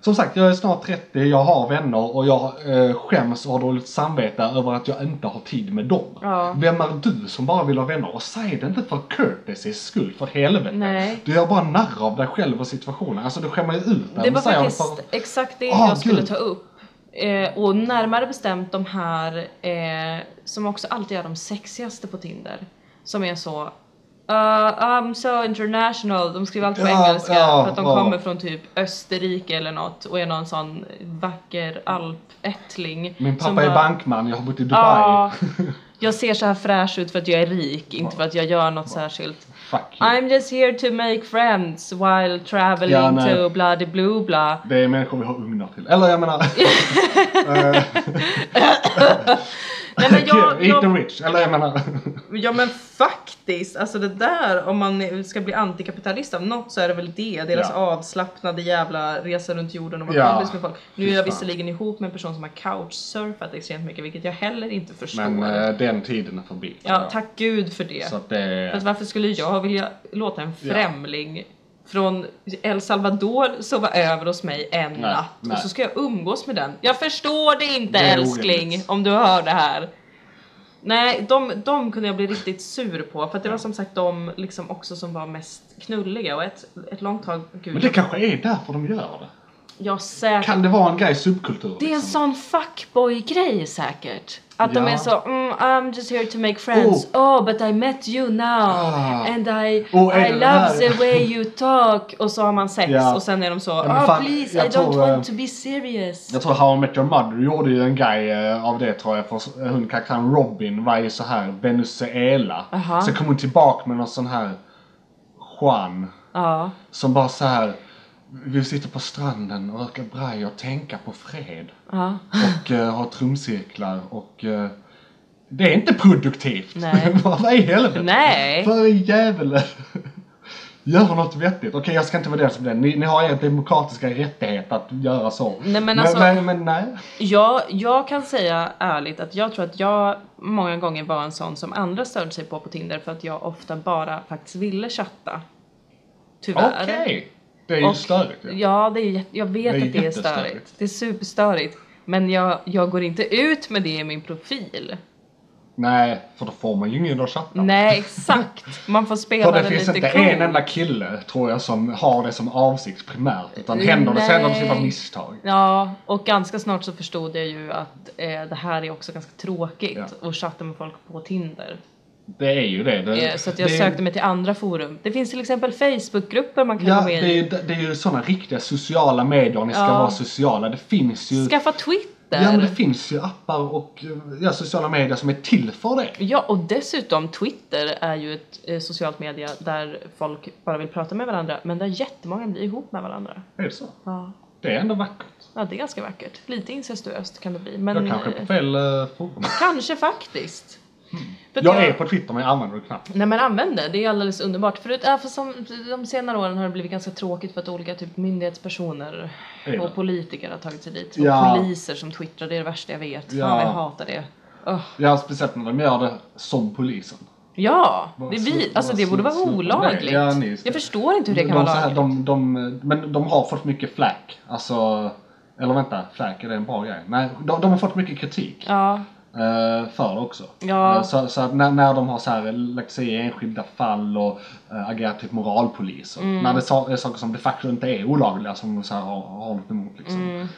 Speaker 3: som sagt, jag är snart 30, jag har vänner och jag eh, skäms och har dåligt samvete över att jag inte har tid med dem.
Speaker 2: Ja.
Speaker 3: Vem är du som bara vill ha vänner? Och säg det inte för courtesys skull, för helvete.
Speaker 2: Nej.
Speaker 3: Du gör bara narr av dig själv och situationen. Alltså du skämmer ju ut dig.
Speaker 2: Det
Speaker 3: Men
Speaker 2: var
Speaker 3: säger
Speaker 2: faktiskt
Speaker 3: för-
Speaker 2: exakt det
Speaker 3: Ah,
Speaker 2: jag skulle
Speaker 3: gud.
Speaker 2: ta upp. Eh, och närmare bestämt de här eh, som också alltid är de sexigaste på Tinder. Som är så "Uh, I'm so international. De skriver alltid på
Speaker 3: Ja,
Speaker 2: engelska
Speaker 3: ja,
Speaker 2: för att de
Speaker 3: ja.
Speaker 2: kommer från typ Österrike eller något och är någon sån vacker alpättling.
Speaker 3: Min
Speaker 2: som
Speaker 3: pappa är
Speaker 2: bara-
Speaker 3: bankman, jag har bott i Dubai.
Speaker 2: Ja. <laughs> Jag ser så här fräsch ut för att jag är rik, inte för att jag gör något särskilt.
Speaker 3: Fuck you.
Speaker 2: I'm just here to make friends while traveling
Speaker 3: Ja, nej.
Speaker 2: to blah de blue blah.
Speaker 3: Det är människor vi har ugnar till. Eller jag menar...
Speaker 2: Nej,
Speaker 3: <laughs>
Speaker 2: men
Speaker 3: Eat
Speaker 2: jag,
Speaker 3: the
Speaker 2: jag,
Speaker 3: rich. Eller jag menar...
Speaker 2: ja men faktiskt, alltså det där om man ska bli antikapitalist av något så är det väl det. Deras
Speaker 3: Ja.
Speaker 2: avslappnade jävla resa runt jorden och vara
Speaker 3: Ja.
Speaker 2: kompis med folk. Nu är
Speaker 3: Fy fan.
Speaker 2: jag visserligen ihop med en person som har couchsurfat extremt mycket vilket jag heller inte förstår.
Speaker 3: men eh, den tiden är förbi. tror
Speaker 2: ja,
Speaker 3: jag.
Speaker 2: tack gud för det.
Speaker 3: Så att
Speaker 2: För att
Speaker 3: det...
Speaker 2: Alltså, varför skulle jag vilja låta en
Speaker 3: Ja.
Speaker 2: främling från El Salvador sova över hos mig en natt
Speaker 3: nej.
Speaker 2: och så ska jag umgås med den? Jag förstår det inte
Speaker 3: Det är
Speaker 2: älskling
Speaker 3: orimligt.
Speaker 2: om du hör det här. Nej, de, de kunde jag bli riktigt sur på för att det var som sagt de liksom också som var mest knulliga och ett, ett långt tag,
Speaker 3: Men det
Speaker 2: gud,
Speaker 3: kanske är därför de gör det.
Speaker 2: jag säkert
Speaker 3: Kan det vara en grej i subkultur?
Speaker 2: Det är en
Speaker 3: liksom?
Speaker 2: sån fuckboy-grej säkert. Att de
Speaker 3: Ja.
Speaker 2: är så mm, I'm just here to make friends. Oh, but I met you now.
Speaker 3: Ah.
Speaker 2: And I,
Speaker 3: Oh, är det
Speaker 2: I
Speaker 3: den
Speaker 2: love
Speaker 3: här?
Speaker 2: the way you talk. Och så har man sex
Speaker 3: Ja.
Speaker 2: och sen är de så
Speaker 3: men
Speaker 2: ah
Speaker 3: fan,
Speaker 2: please
Speaker 3: jag
Speaker 2: I don't
Speaker 3: tror, eh,
Speaker 2: want to be serious.
Speaker 3: Jag tror How I Met Your Mother gjorde ju en grej eh, av det tror jag. För s- hon karaktären Robin var ju så här Venezuela.
Speaker 2: Aha.
Speaker 3: Sen kom hon tillbaka med någon sån här Juan.
Speaker 2: Ja.
Speaker 3: Som bara så här. Vi sitter på stranden och röker braj och tänka på fred.
Speaker 2: ja. <laughs>
Speaker 3: Och eh, har trumcirklar och eh, det är inte produktivt. <laughs>
Speaker 2: Nej.
Speaker 3: Vad vad i helvete?
Speaker 2: Nej.
Speaker 3: För i jävel. <laughs> Gör något vettigt. Okej, jag ska inte vara den som den. Ni, ni har er demokratiska rättighet att göra så.
Speaker 2: Nej, men alltså-
Speaker 3: men, men nej.
Speaker 2: Jag, jag kan säga ärligt att jag tror att jag många gånger var en sån som andra störde sig på på Tinder för att jag ofta bara faktiskt ville chatta. Tyvärr.
Speaker 3: Okej. Det är ju
Speaker 2: Och-
Speaker 3: störigt. Ja.
Speaker 2: Ja, det är, jätte- jag vet
Speaker 3: Det är
Speaker 2: att det är
Speaker 3: jättestörigt.
Speaker 2: störigt. Det är superstörigt. Men jag, jag går inte ut med det i min profil.
Speaker 3: Nej, för då får man ju ingen att chatta med.
Speaker 2: Nej, exakt. Man får
Speaker 3: För
Speaker 2: spela
Speaker 3: det
Speaker 2: den
Speaker 3: finns
Speaker 2: lite
Speaker 3: inte
Speaker 2: cool.
Speaker 3: en enda kille, tror jag, som har det som avsikt primärt. Utan händer det så händer det
Speaker 2: Eh, Nej.
Speaker 3: typ av misstag.
Speaker 2: Ja, och ganska snart så förstod jag ju att eh, det här är också ganska tråkigt
Speaker 3: Ja.
Speaker 2: att chatta med folk på Tinder.
Speaker 3: Det är ju det. det
Speaker 2: Eh, så att jag
Speaker 3: Mm. det är-
Speaker 2: sökte mig till andra forum. Det finns till exempel Facebookgrupper man kan
Speaker 3: Ja,
Speaker 2: gå
Speaker 3: det
Speaker 2: med
Speaker 3: är, ju,
Speaker 2: i.
Speaker 3: det är ju sådana riktiga sociala medier. Ni ska
Speaker 2: Ja.
Speaker 3: vara sociala. Det finns ju...
Speaker 2: Skaffa Twitter!
Speaker 3: Ja, men det finns ju appar och ja, sociala medier som är till för det.
Speaker 2: Ja, och dessutom Twitter är ju ett eh, socialt media där folk bara vill prata med varandra, men där jättemånga blir ihop med varandra.
Speaker 3: Är det så?
Speaker 2: Ja.
Speaker 3: Det är ändå vackert.
Speaker 2: Ja, det är ganska vackert. Lite incestuöst kan det bli,
Speaker 3: Jag
Speaker 2: men
Speaker 3: kanske är på
Speaker 2: eh,
Speaker 3: fel eh, forum.
Speaker 2: <laughs> kanske faktiskt. För att
Speaker 3: Jag är på Twitter men jag använder det knappt.
Speaker 2: Nej men använd det, det är alldeles underbart. Förut, ja, för som, de senare åren har det blivit ganska tråkigt för att olika typ myndighetspersoner
Speaker 3: Är det?
Speaker 2: och politiker har tagit sig dit.
Speaker 3: Ja.
Speaker 2: Och poliser som twittrar, det är det värsta jag vet.
Speaker 3: Ja.
Speaker 2: Fan vad jag hatar det. Ugh.
Speaker 3: Ja, speciellt när de gör det som polisen.
Speaker 2: Ja,
Speaker 3: Bara
Speaker 2: det, är
Speaker 3: sluta-
Speaker 2: vi, alltså
Speaker 3: bara
Speaker 2: det borde vara
Speaker 3: sluta med det.
Speaker 2: olagligt.
Speaker 3: Ja, nej, just det.
Speaker 2: jag förstår inte hur det kan
Speaker 3: de,
Speaker 2: vara
Speaker 3: så här,
Speaker 2: lagligt.
Speaker 3: de, de, Men de har fått mycket flack. Alltså, eller vänta, flack, är det en bra grej? Nej, de, de har fått mycket kritik.
Speaker 2: Ja,
Speaker 3: eh, för det också.
Speaker 2: Ja.
Speaker 3: Eh, Så, så att när, när de har så här, lagt sig i enskilda fall och äh, agerat typ moralpoliser.
Speaker 2: Mm.
Speaker 3: När det sa- är saker som de facto inte är olagliga som de så här, har, har något emot liksom. Eh,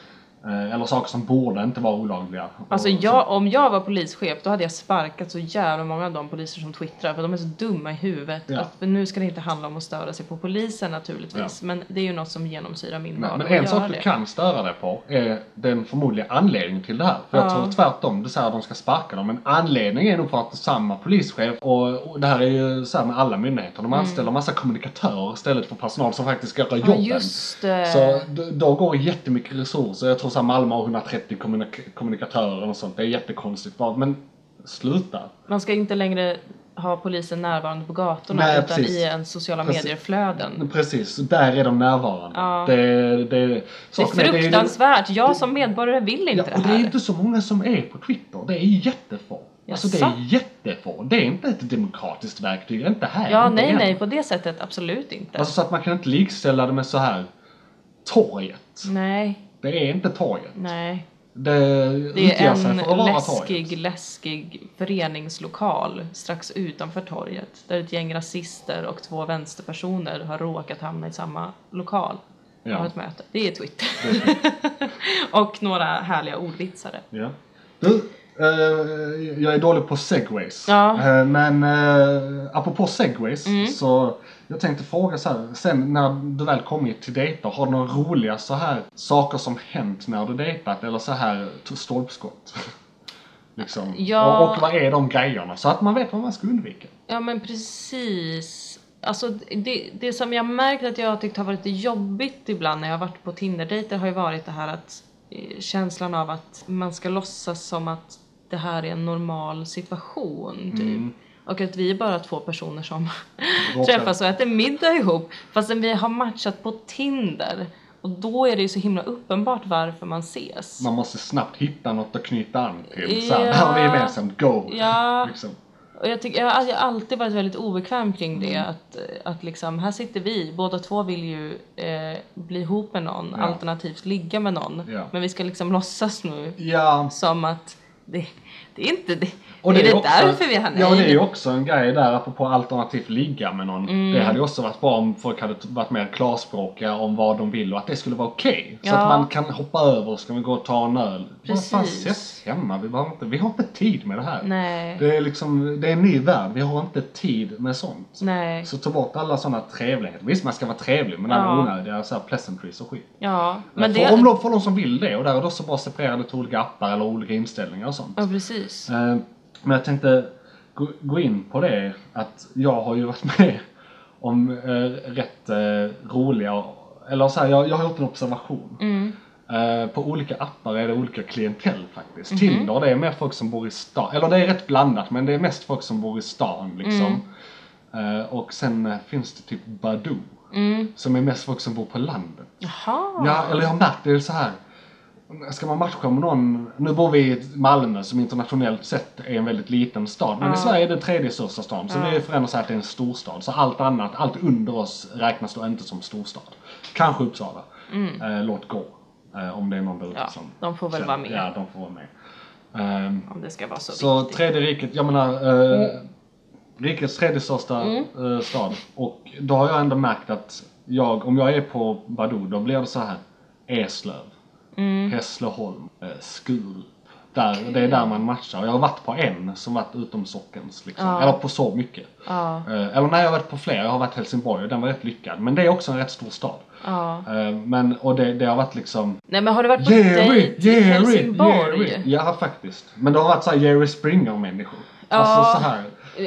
Speaker 3: eller saker som borde inte vara olagliga.
Speaker 2: Mm. alltså
Speaker 3: Och
Speaker 2: jag, om jag var polischef då hade jag sparkat så jävla många av de poliser som twittrar för de är så dumma i huvudet.
Speaker 3: Ja.
Speaker 2: Att, men nu ska det inte handla om att störa sig på polisen naturligtvis. Men det är ju något som genomsyrar min
Speaker 3: Men,
Speaker 2: vardag.
Speaker 3: men
Speaker 2: och
Speaker 3: en
Speaker 2: gör
Speaker 3: sak du
Speaker 2: det.
Speaker 3: kan störa dig på är den förmodliga anledningen till det här. För jag tror tvärtom, du säger att de ska sparka dem. Men anledningen är nog för att det är samma polischef och, och det här är ju så här med alla myndigheter. De anställer massa kommunikatörer istället för personal som faktiskt ska göra
Speaker 2: Mm. Ja,
Speaker 3: jobben.
Speaker 2: just eh, det.
Speaker 3: Så d- då går jättemycket resurser. Jag tror så här Malmö har 130 kommunik- kommunikatörer och sånt. Det är jättekonstigt. Bara, Men sluta.
Speaker 2: Man ska inte längre ha polisen närvarande på gatorna
Speaker 3: Nej,
Speaker 2: utan
Speaker 3: precis.
Speaker 2: i ens sociala
Speaker 3: Precis.
Speaker 2: medier-flöden.
Speaker 3: Precis, där är de närvarande.
Speaker 2: Ja.
Speaker 3: Det, det,
Speaker 2: Det är
Speaker 3: saken ju-
Speaker 2: fruktansvärt. Jag som medborgare vill
Speaker 3: Ja,
Speaker 2: inte
Speaker 3: och
Speaker 2: det
Speaker 3: det är
Speaker 2: här.
Speaker 3: inte så många som är på Twitter. Det är jättefå. Alltså det är
Speaker 2: Jaså?
Speaker 3: jättefå. Det är inte ett demokratiskt verktyg. Inte här.
Speaker 2: Ja,
Speaker 3: inte
Speaker 2: nej,
Speaker 3: än.
Speaker 2: nej, på det sättet absolut inte.
Speaker 3: Alltså så att man kan inte likställa det med så här torget.
Speaker 2: Nej,
Speaker 3: Det är inte torget.
Speaker 2: nej.
Speaker 3: Det,
Speaker 2: Det är
Speaker 3: utger sig
Speaker 2: en
Speaker 3: för att vara
Speaker 2: läskig,
Speaker 3: torget.
Speaker 2: läskig föreningslokal strax utanför torget där ett gäng rasister och två vänsterpersoner har råkat hamna i samma lokal och
Speaker 3: Ja.
Speaker 2: har ett möte. Det är Twitter. <laughs> och några härliga ordvitsare.
Speaker 3: Ja. Du, eh, jag är dålig på segways.
Speaker 2: Ja. Mm.
Speaker 3: Eh, men eh, apropå segways så jag tänkte fråga så här. Sen när du väl kommit till dejter, har du några roliga så här saker som hänt när du dejtat? Eller så här t- stolpskott? <laughs> liksom.
Speaker 2: Ja.
Speaker 3: och, och vad är de grejerna? Så att man vet vad man ska undvika.
Speaker 2: Ja men precis. Alltså det, det som jag märkt att jag har tyckt har varit lite jobbigt ibland när jag har varit på Tinder-dejter har ju varit det här att eh, känslan av att man ska låtsas som att det här är en normal situation typ. Och att vi är bara två personer som träffas och äter middag ihop fastän vi har matchat på Tinder. Och då är det ju så himla uppenbart varför man ses.
Speaker 3: Man måste snabbt hitta något att knyta an till. Så här,
Speaker 2: Ja.
Speaker 3: det <laughs> här har vi gemensamt, go!
Speaker 2: Ja.
Speaker 3: Liksom.
Speaker 2: Och jag, tycker, jag har jag har alltid varit väldigt obekväm kring det.
Speaker 3: Mm.
Speaker 2: Att, att liksom, här sitter vi, båda två vill ju eh, bli ihop med någon,
Speaker 3: Ja.
Speaker 2: alternativt ligga med någon.
Speaker 3: Ja.
Speaker 2: Men vi ska liksom låtsas nu
Speaker 3: ja.
Speaker 2: som att det, det är inte det.
Speaker 3: Och
Speaker 2: det är, det
Speaker 3: också-
Speaker 2: därför vi har
Speaker 3: Ja, och det är ju
Speaker 2: nej. Mm.
Speaker 3: också en grej där, apropå alternativt ligga med någon. Det hade ju också varit bra om folk hade varit mer klarspråkiga om vad de vill och att det skulle vara okej. Så
Speaker 2: Ja.
Speaker 3: att man kan hoppa över, ska vi gå och ta en öl?
Speaker 2: Precis.
Speaker 3: Vad fan, ses hemma, vi, behöver inte, vi har inte tid med det här.
Speaker 2: Nej.
Speaker 3: Det är liksom, det är en ny värld, vi har inte tid med sånt.
Speaker 2: Nej.
Speaker 3: Så ta bort alla sådana trevligheter. Visst, man ska vara trevlig, men alla
Speaker 2: Ja.
Speaker 3: onödiga så här pleasantries och skit.
Speaker 2: Ja, men
Speaker 3: för,
Speaker 2: det...
Speaker 3: om de, för de som vill det, och där är det också bara separerade till olika appar eller olika inställningar och sånt.
Speaker 2: Ja, precis.
Speaker 3: Eh, Men jag tänkte gå- gå in på det att jag har ju varit <laughs> med om eh, rätt eh, roliga, eller så här, jag, jag har gjort en observation. Eh, på olika appar är det olika klientell faktiskt. Tinder det är mer folk som bor i stan, eller det är rätt blandat men det är mest folk som bor i stan liksom. Eh, och sen eh, finns det typ Badoo. Som är mest folk som bor på landet.
Speaker 2: Jaha.
Speaker 3: Ja, eller jag har märkt det är så här. Ska man matcha med någon, nu bor vi i Malmö som internationellt sett är en väldigt liten stad. Men i Sverige är det tredje största staden. Så det förändras att det är en storstad. Så allt annat, allt under oss räknas då inte som storstad. Kanske Uppsala. Eh, låt gå. Eh, om det är någon där ute
Speaker 2: Mm. Ja,
Speaker 3: som...
Speaker 2: de får väl
Speaker 3: känner-
Speaker 2: vara med.
Speaker 3: Ja, de får vara med. Ehm,
Speaker 2: Om det ska vara så,
Speaker 3: så
Speaker 2: viktigt.
Speaker 3: tredje riket, jag menar eh, rikets tredje största eh, stad. Och då har jag ändå märkt att jag, om jag är på Badoo, då blir det så här Eslöv, Hässleholm, eh, Skurup. Där, Det är där man matchar. Och Jag har varit på en som varit utom sockens. Liksom. Eller på så mycket. Eh, Eller nej, jag har varit på fler. Jag har varit i Helsingborg och den var rätt lyckad. Men det är också en rätt stor stad.
Speaker 2: Ja.
Speaker 3: Eh, Men, och det, det har varit liksom
Speaker 2: Nej, men har du varit på
Speaker 3: Jerry,
Speaker 2: dejt i
Speaker 3: Jerry,
Speaker 2: Helsingborg?
Speaker 3: Jerry. Ja, faktiskt. Men det har varit så här Jerry Springer-människor.
Speaker 2: Ja.
Speaker 3: Alltså så här.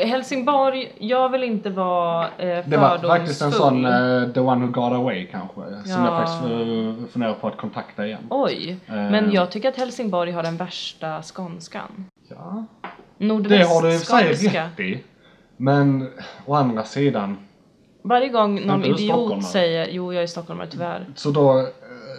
Speaker 2: Helsingborg, jag vill inte vara eh,
Speaker 3: Det var faktiskt en sån
Speaker 2: fördomsfull.
Speaker 3: eh, The One Who Got Away kanske. Som
Speaker 2: Ja.
Speaker 3: jag faktiskt uh, funderar på att kontakta igen.
Speaker 2: Oj,
Speaker 3: Ehm.
Speaker 2: men jag tycker att Helsingborg har den värsta skånskan.
Speaker 3: Ja. Det har du i och för sig
Speaker 2: Nordvästskånska.
Speaker 3: rätt i. Men å andra sidan.
Speaker 2: Varje gång någon
Speaker 3: Inte du stockholmare?
Speaker 2: idiot säger jo jag är stockholmare tyvärr.
Speaker 3: Så då eh,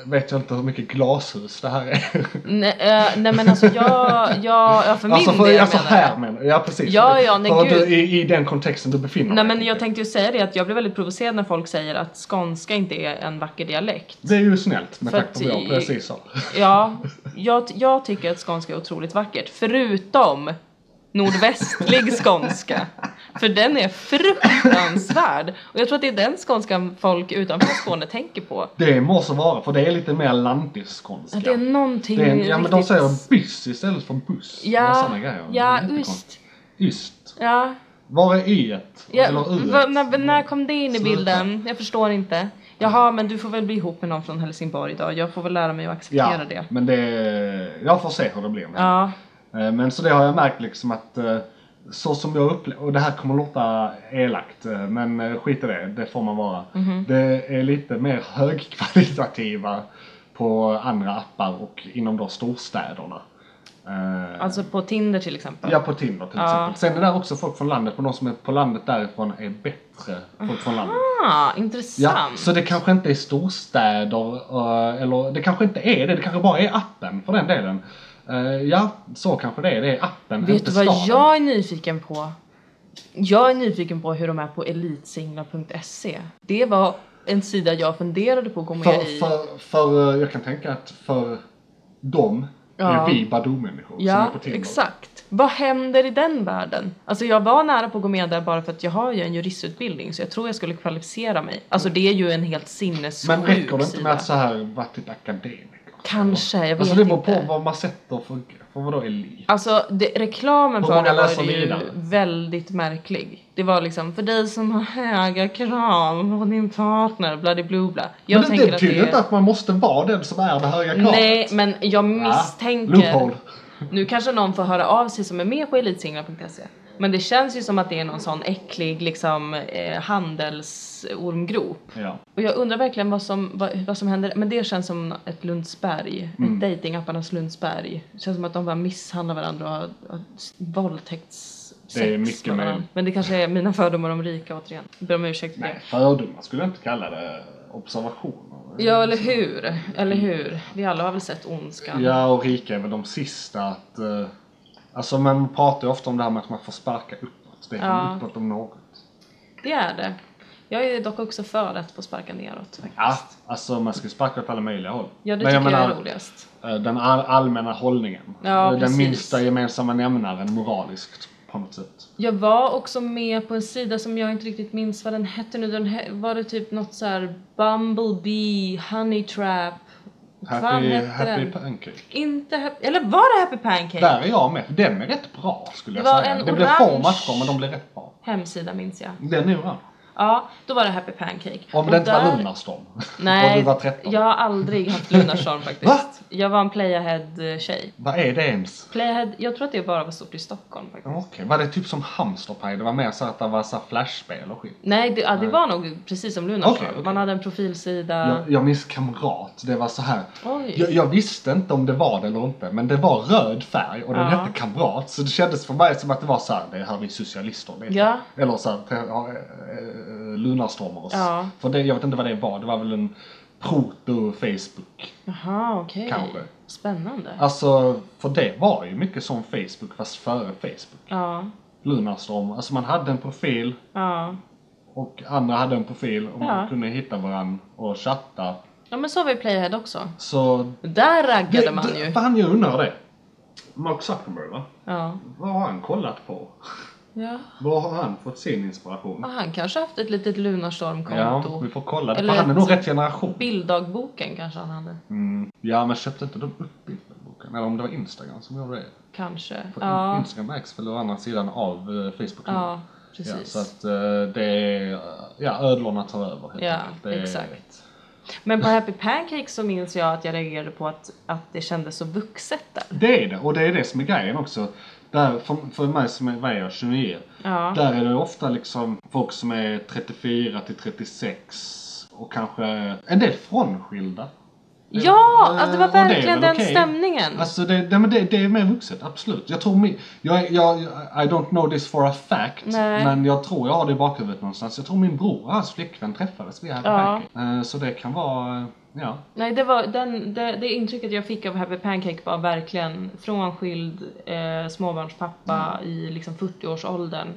Speaker 3: vet jag inte hur mycket glashus det här är.
Speaker 2: Nej, eh, nej men alltså jag, jag, ja, för min
Speaker 3: alltså, för,
Speaker 2: del
Speaker 3: alltså
Speaker 2: menar jag.
Speaker 3: här menar Ja precis.
Speaker 2: Ja, ja, nej,
Speaker 3: för
Speaker 2: gud.
Speaker 3: du, i, I den kontexten du befinner
Speaker 2: Nej
Speaker 3: dig.
Speaker 2: men jag tänkte ju säga det att jag blir väldigt provocerad när folk säger att skånska inte är en vacker dialekt.
Speaker 3: Det är ju snällt med
Speaker 2: För
Speaker 3: tanke på vad jag
Speaker 2: att i-
Speaker 3: precis sa.
Speaker 2: Ja, jag, jag tycker att skånska är otroligt vackert. Förutom nordvästlig skånska. För den är fruktansvärd. Och jag tror att det är den skånskan folk utanför Skåne tänker på.
Speaker 3: Det må så vara för det är lite mer lantisskånska.
Speaker 2: Att det är någonting
Speaker 3: Det är, en- ja men de
Speaker 2: riktigt-
Speaker 3: säger byss istället för buss. och
Speaker 2: Ja,
Speaker 3: såna grejer. Det är
Speaker 2: ja,
Speaker 3: jättekonstigt.
Speaker 2: just.
Speaker 3: Yst.
Speaker 2: Ja,
Speaker 3: Var är yet?
Speaker 2: ja
Speaker 3: Eller uet?
Speaker 2: v- när, när kom det in i
Speaker 3: Sluta.
Speaker 2: bilden? Jag förstår inte. Jaha, men du får väl bli ihop med någon från Helsingborg idag. Jag får väl lära mig att acceptera
Speaker 3: ja,
Speaker 2: det.
Speaker 3: men det... Jag får se hur det blir med
Speaker 2: Ja,
Speaker 3: Eh, Men så det har jag märkt liksom att eh, så som jag upplever, och det här kommer låta elakt eh, men eh, skit i det, det får man vara.
Speaker 2: Mhm.
Speaker 3: Det är lite mer högkvalitativa på andra appar och inom då storstäderna. Eh,
Speaker 2: alltså på Tinder till exempel.
Speaker 3: Ja, på Tinder till
Speaker 2: Ja.
Speaker 3: exempel. Sen är det också folk från landet, men de som är på landet därifrån är bättre folk från landet.
Speaker 2: Ah,
Speaker 3: Ja,
Speaker 2: intressant.
Speaker 3: så det kanske inte är storstäder, eh, eller det kanske inte är det, det kanske bara är appen för den delen. Eh, Ja, så kanske det är, det är appen,
Speaker 2: Vet
Speaker 3: inte
Speaker 2: du vad
Speaker 3: staden.
Speaker 2: jag är nyfiken på? Jag är nyfiken på hur de är på elitsinglar.se. Det var en sida jag funderade på att gå med
Speaker 3: För,
Speaker 2: i.
Speaker 3: för, för, eh, jag kan tänka att för dem
Speaker 2: Ja.
Speaker 3: är vi Badoo-människor som är
Speaker 2: ja,
Speaker 3: på Tinder.
Speaker 2: exakt. Vad händer i den världen? Alltså jag var nära på att gå med där bara för att jag har ju en juristutbildning så jag tror jag skulle kvalificera mig. Alltså det är ju en helt
Speaker 3: Men räcker
Speaker 2: sinnessjuk
Speaker 3: det inte med
Speaker 2: sida.
Speaker 3: att så här vara typ akademiker?
Speaker 2: Kanske, jag vet
Speaker 3: Alltså det beror på
Speaker 2: inte.
Speaker 3: vad man sätter för, för vadå elit?
Speaker 2: Alltså det, reklamen
Speaker 3: Hur
Speaker 2: för
Speaker 3: många
Speaker 2: det
Speaker 3: läser
Speaker 2: var ju
Speaker 3: vidare?
Speaker 2: väldigt märklig. Det var liksom för dig som har höga krav på din partner, bladiblubbla. Jag
Speaker 3: men det,
Speaker 2: tänker
Speaker 3: det
Speaker 2: att det
Speaker 3: betyder
Speaker 2: är...
Speaker 3: inte att man måste vara den som är det höga kravet.
Speaker 2: Nej, men jag
Speaker 3: Ja,
Speaker 2: misstänker...
Speaker 3: Loophole.
Speaker 2: Nu kanske någon får höra av sig som är med på elitsinglar.se. E. Men det känns ju som att det är någon sån äcklig liksom eh, handelsormgrop.
Speaker 3: Ja.
Speaker 2: Och jag undrar verkligen vad som, vad, vad som händer. Men det känns som ett Lundsberg.
Speaker 3: Mm.
Speaker 2: Ett dejtingapparnas Lundsberg. Det känns som att de bara misshandlar varandra och har, har s- våldtäkts...
Speaker 3: Det är
Speaker 2: sex
Speaker 3: mycket
Speaker 2: med varandra.
Speaker 3: möjligt.
Speaker 2: Men det kanske är mina fördomar om rika återigen. Jag ber om ursäkt för
Speaker 3: Nej,
Speaker 2: det.
Speaker 3: fördomar skulle jag inte kalla det. Observationer.
Speaker 2: Ja, eller hur? Eller hur? Vi alla har väl sett Ondskan?
Speaker 3: Ja, och rika är väl de sista att... Eh, alltså man pratar ju ofta om det här med att man får sparka uppåt. Det är
Speaker 2: Ja.
Speaker 3: uppåt om något.
Speaker 2: Det är det. Jag är dock också för att få sparka neråt faktiskt.
Speaker 3: Ja, alltså man ska ju sparka åt alla möjliga håll.
Speaker 2: Ja, det
Speaker 3: Men
Speaker 2: tycker jag,
Speaker 3: menar,
Speaker 2: är roligast.
Speaker 3: eh, Den all- allmänna hållningen.
Speaker 2: Ja,
Speaker 3: Eh, den
Speaker 2: precis.
Speaker 3: minsta gemensamma nämnaren moraliskt på något sätt.
Speaker 2: Jag var också med på en sida som jag inte riktigt minns vad den hette nu. Den he- var det typ något så här Bumblebee, Honey Trap. Vad fan
Speaker 3: Happy,
Speaker 2: hette
Speaker 3: happy
Speaker 2: den?
Speaker 3: pancake.
Speaker 2: Inte happy, eller var det Happy Pancake?
Speaker 3: Där är jag med. Den är rätt bra skulle jag
Speaker 2: Det var
Speaker 3: säga.
Speaker 2: en
Speaker 3: Det blev få
Speaker 2: orange-
Speaker 3: matcher men de blev rätt bra.
Speaker 2: Hemsida minns jag.
Speaker 3: Den är orange.
Speaker 2: Ja, då var det Happy Pancake.
Speaker 3: Om
Speaker 2: Och
Speaker 3: det inte
Speaker 2: där-
Speaker 3: var Lunarstorm. <laughs>
Speaker 2: Nej,
Speaker 3: Och du var 13.
Speaker 2: jag har aldrig
Speaker 3: <laughs>
Speaker 2: haft Lunarstorm faktiskt.
Speaker 3: Va?
Speaker 2: Jag var en Playahead-tjej.
Speaker 3: Vad är det ens?
Speaker 2: Playahead, jag tror att det bara var stort i Stockholm faktiskt.
Speaker 3: Okej, var det typ som Hamsterpaj? Det var mer så att det var så här flashspel och skit.
Speaker 2: Nej, det, ja, det var nog precis som Lunarstorm.
Speaker 3: Okej, okej.
Speaker 2: Man hade en profilsida.
Speaker 3: Jag, jag minns Kamrat, det var så här.
Speaker 2: Oj.
Speaker 3: Jag, jag visste inte om det var det eller inte, men det var röd färg och den
Speaker 2: Ja.
Speaker 3: hette Kamrat. Så det kändes för mig som att det var så här, det här är socialister. Det.
Speaker 2: Ja.
Speaker 3: Eller så här, pre- ja, eh, Lunarstormers.
Speaker 2: Ja.
Speaker 3: För det, jag vet inte vad det var, det var väl en proto-Facebook.
Speaker 2: Jaha, okej.
Speaker 3: Kanske.
Speaker 2: Spännande.
Speaker 3: Alltså, för det var ju mycket som Facebook fast före Facebook.
Speaker 2: Ja,
Speaker 3: Lunarstorm, alltså man hade en profil,
Speaker 2: ja.
Speaker 3: Och andra hade en profil och man
Speaker 2: Ja.
Speaker 3: kunde hitta varandra och chatta.
Speaker 2: Ja men så var ju Playhead också.
Speaker 3: Så...
Speaker 2: Där raggade
Speaker 3: Det-
Speaker 2: man
Speaker 3: det-
Speaker 2: ju.
Speaker 3: Fan, jag undrar det. Mark Zuckerberg, va?
Speaker 2: Ja.
Speaker 3: Vad har han kollat på?
Speaker 2: ja.
Speaker 3: Var har han fått sin inspiration?
Speaker 2: Och han kanske haft ett litet
Speaker 3: Ja,
Speaker 2: Lunarstorm-konto.
Speaker 3: vi får kolla. det,
Speaker 2: Eller
Speaker 3: För han är
Speaker 2: ett-
Speaker 3: nog rätt generation.
Speaker 2: Bilddagboken kanske han hade.
Speaker 3: Ja, men köpte inte de upp bilderboken? Eller om det var Instagram som gjorde det?
Speaker 2: Kanske.
Speaker 3: För in-
Speaker 2: Ja.
Speaker 3: Instagram ägs väl å andra sidan av eh, Facebook nu.
Speaker 2: ja,
Speaker 3: Ja,
Speaker 2: precis.
Speaker 3: så att eh, det är... Ja, ödlorna tar över helt
Speaker 2: Ja,
Speaker 3: enkelt. Det är-
Speaker 2: exakt. Men på Happy Pancake så minns jag att jag reagerade på att, att det kändes så vuxet där.
Speaker 3: Det är det, och det är det som är grejen också. Där, för, för mig som är, vad är jag, 29?
Speaker 2: Ja.
Speaker 3: Där är det ofta liksom folk som är 34 till 36 och kanske en del frånskilda.
Speaker 2: Ja, att det var
Speaker 3: Eh, och är väl
Speaker 2: verkligen den
Speaker 3: okej.
Speaker 2: stämningen.
Speaker 3: Alltså det, det, men det, det är mer vuxet, absolut. Jag tror min, jag, jag, I don't know this for a fact,
Speaker 2: Nej.
Speaker 3: men jag tror jag har det i bakhuvudet någonstans. Jag tror min bror och hans flickvän träffades via Happy
Speaker 2: Ja.
Speaker 3: Pancake. Eh, Så det kan vara, eh, ja.
Speaker 2: Nej, det, var den, det, det intrycket jag fick av Happy Pancake var verkligen frånskild eh, småbarnspappa
Speaker 3: Mm.
Speaker 2: i liksom 40-årsåldern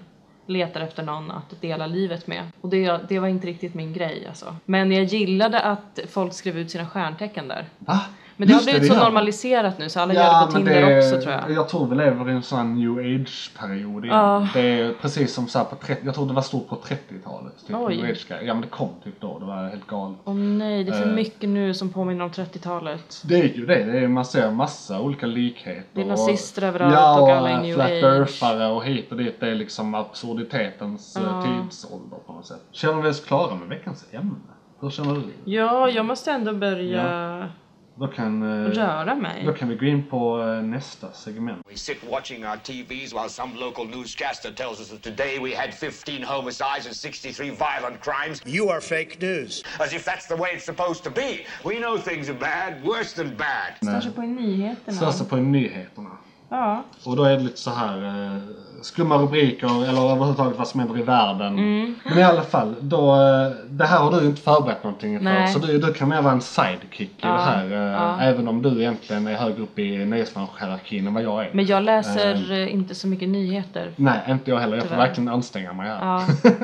Speaker 2: letar efter någon att dela livet med. Och det, det var inte riktigt min grej alltså. Men jag gillade att folk skrev ut sina stjärntecken där.
Speaker 3: Va?
Speaker 2: Men det har
Speaker 3: Just
Speaker 2: blivit
Speaker 3: gör
Speaker 2: så
Speaker 3: de.
Speaker 2: normaliserat nu så alla gör det på
Speaker 3: men
Speaker 2: Tinder också tror jag.
Speaker 3: Jag tror vi lever i en sån new age-period igen.
Speaker 2: Ja.
Speaker 3: Det är precis som så här på 30, jag tror det var stort på 30-talet. Typ
Speaker 2: Oj.
Speaker 3: new age Ja men det kom typ då, det var helt galet.
Speaker 2: Åh nej, det är för
Speaker 3: Eh.
Speaker 2: mycket nu som påminner om 30-talet.
Speaker 3: Det är ju det, det är, man ser massa olika likheter.
Speaker 2: Det är
Speaker 3: och-
Speaker 2: nazister överallt
Speaker 3: ja,
Speaker 2: och alla är new
Speaker 3: flat
Speaker 2: age.
Speaker 3: earthare och hit och dit. Det är liksom absurditetens eh, tidsålder på något sätt. Känner vi oss klara med veckans ämne? Hur känner du?
Speaker 2: Ja, jag måste ändå börja
Speaker 3: Då kan, eh,
Speaker 2: röra
Speaker 3: då
Speaker 2: mig.
Speaker 3: kan vi gå in på eh, nästa segment.
Speaker 4: We sit watching our TVs while some local newscaster tells us that today we had 15 homicides and 63 violent crimes,
Speaker 5: You are fake news.
Speaker 4: as if that's the way it's supposed to be. We know things are bad, worse than bad.
Speaker 2: Kanske på nyheterna.
Speaker 3: Slösa på nyheterna.
Speaker 2: Ja.
Speaker 3: Och då är det lite så här eh, skumma rubriker eller överhuvudtaget vad som händer i världen.
Speaker 2: Mm.
Speaker 3: Men i alla fall, då, eh, det här har du ju inte förberett någonting för.
Speaker 2: Nej.
Speaker 3: Så du, du kan mer vara en sidekick i det här. Eh, Även om du egentligen är högre upp i nyhetsbranschhierarkin än vad jag är.
Speaker 2: Men jag
Speaker 3: Ehm.
Speaker 2: läser eh, inte så mycket nyheter.
Speaker 3: Nej, inte jag heller. Jag får
Speaker 2: Tyvärr.
Speaker 3: verkligen anstränga mig här.
Speaker 2: Ja.
Speaker 3: <laughs>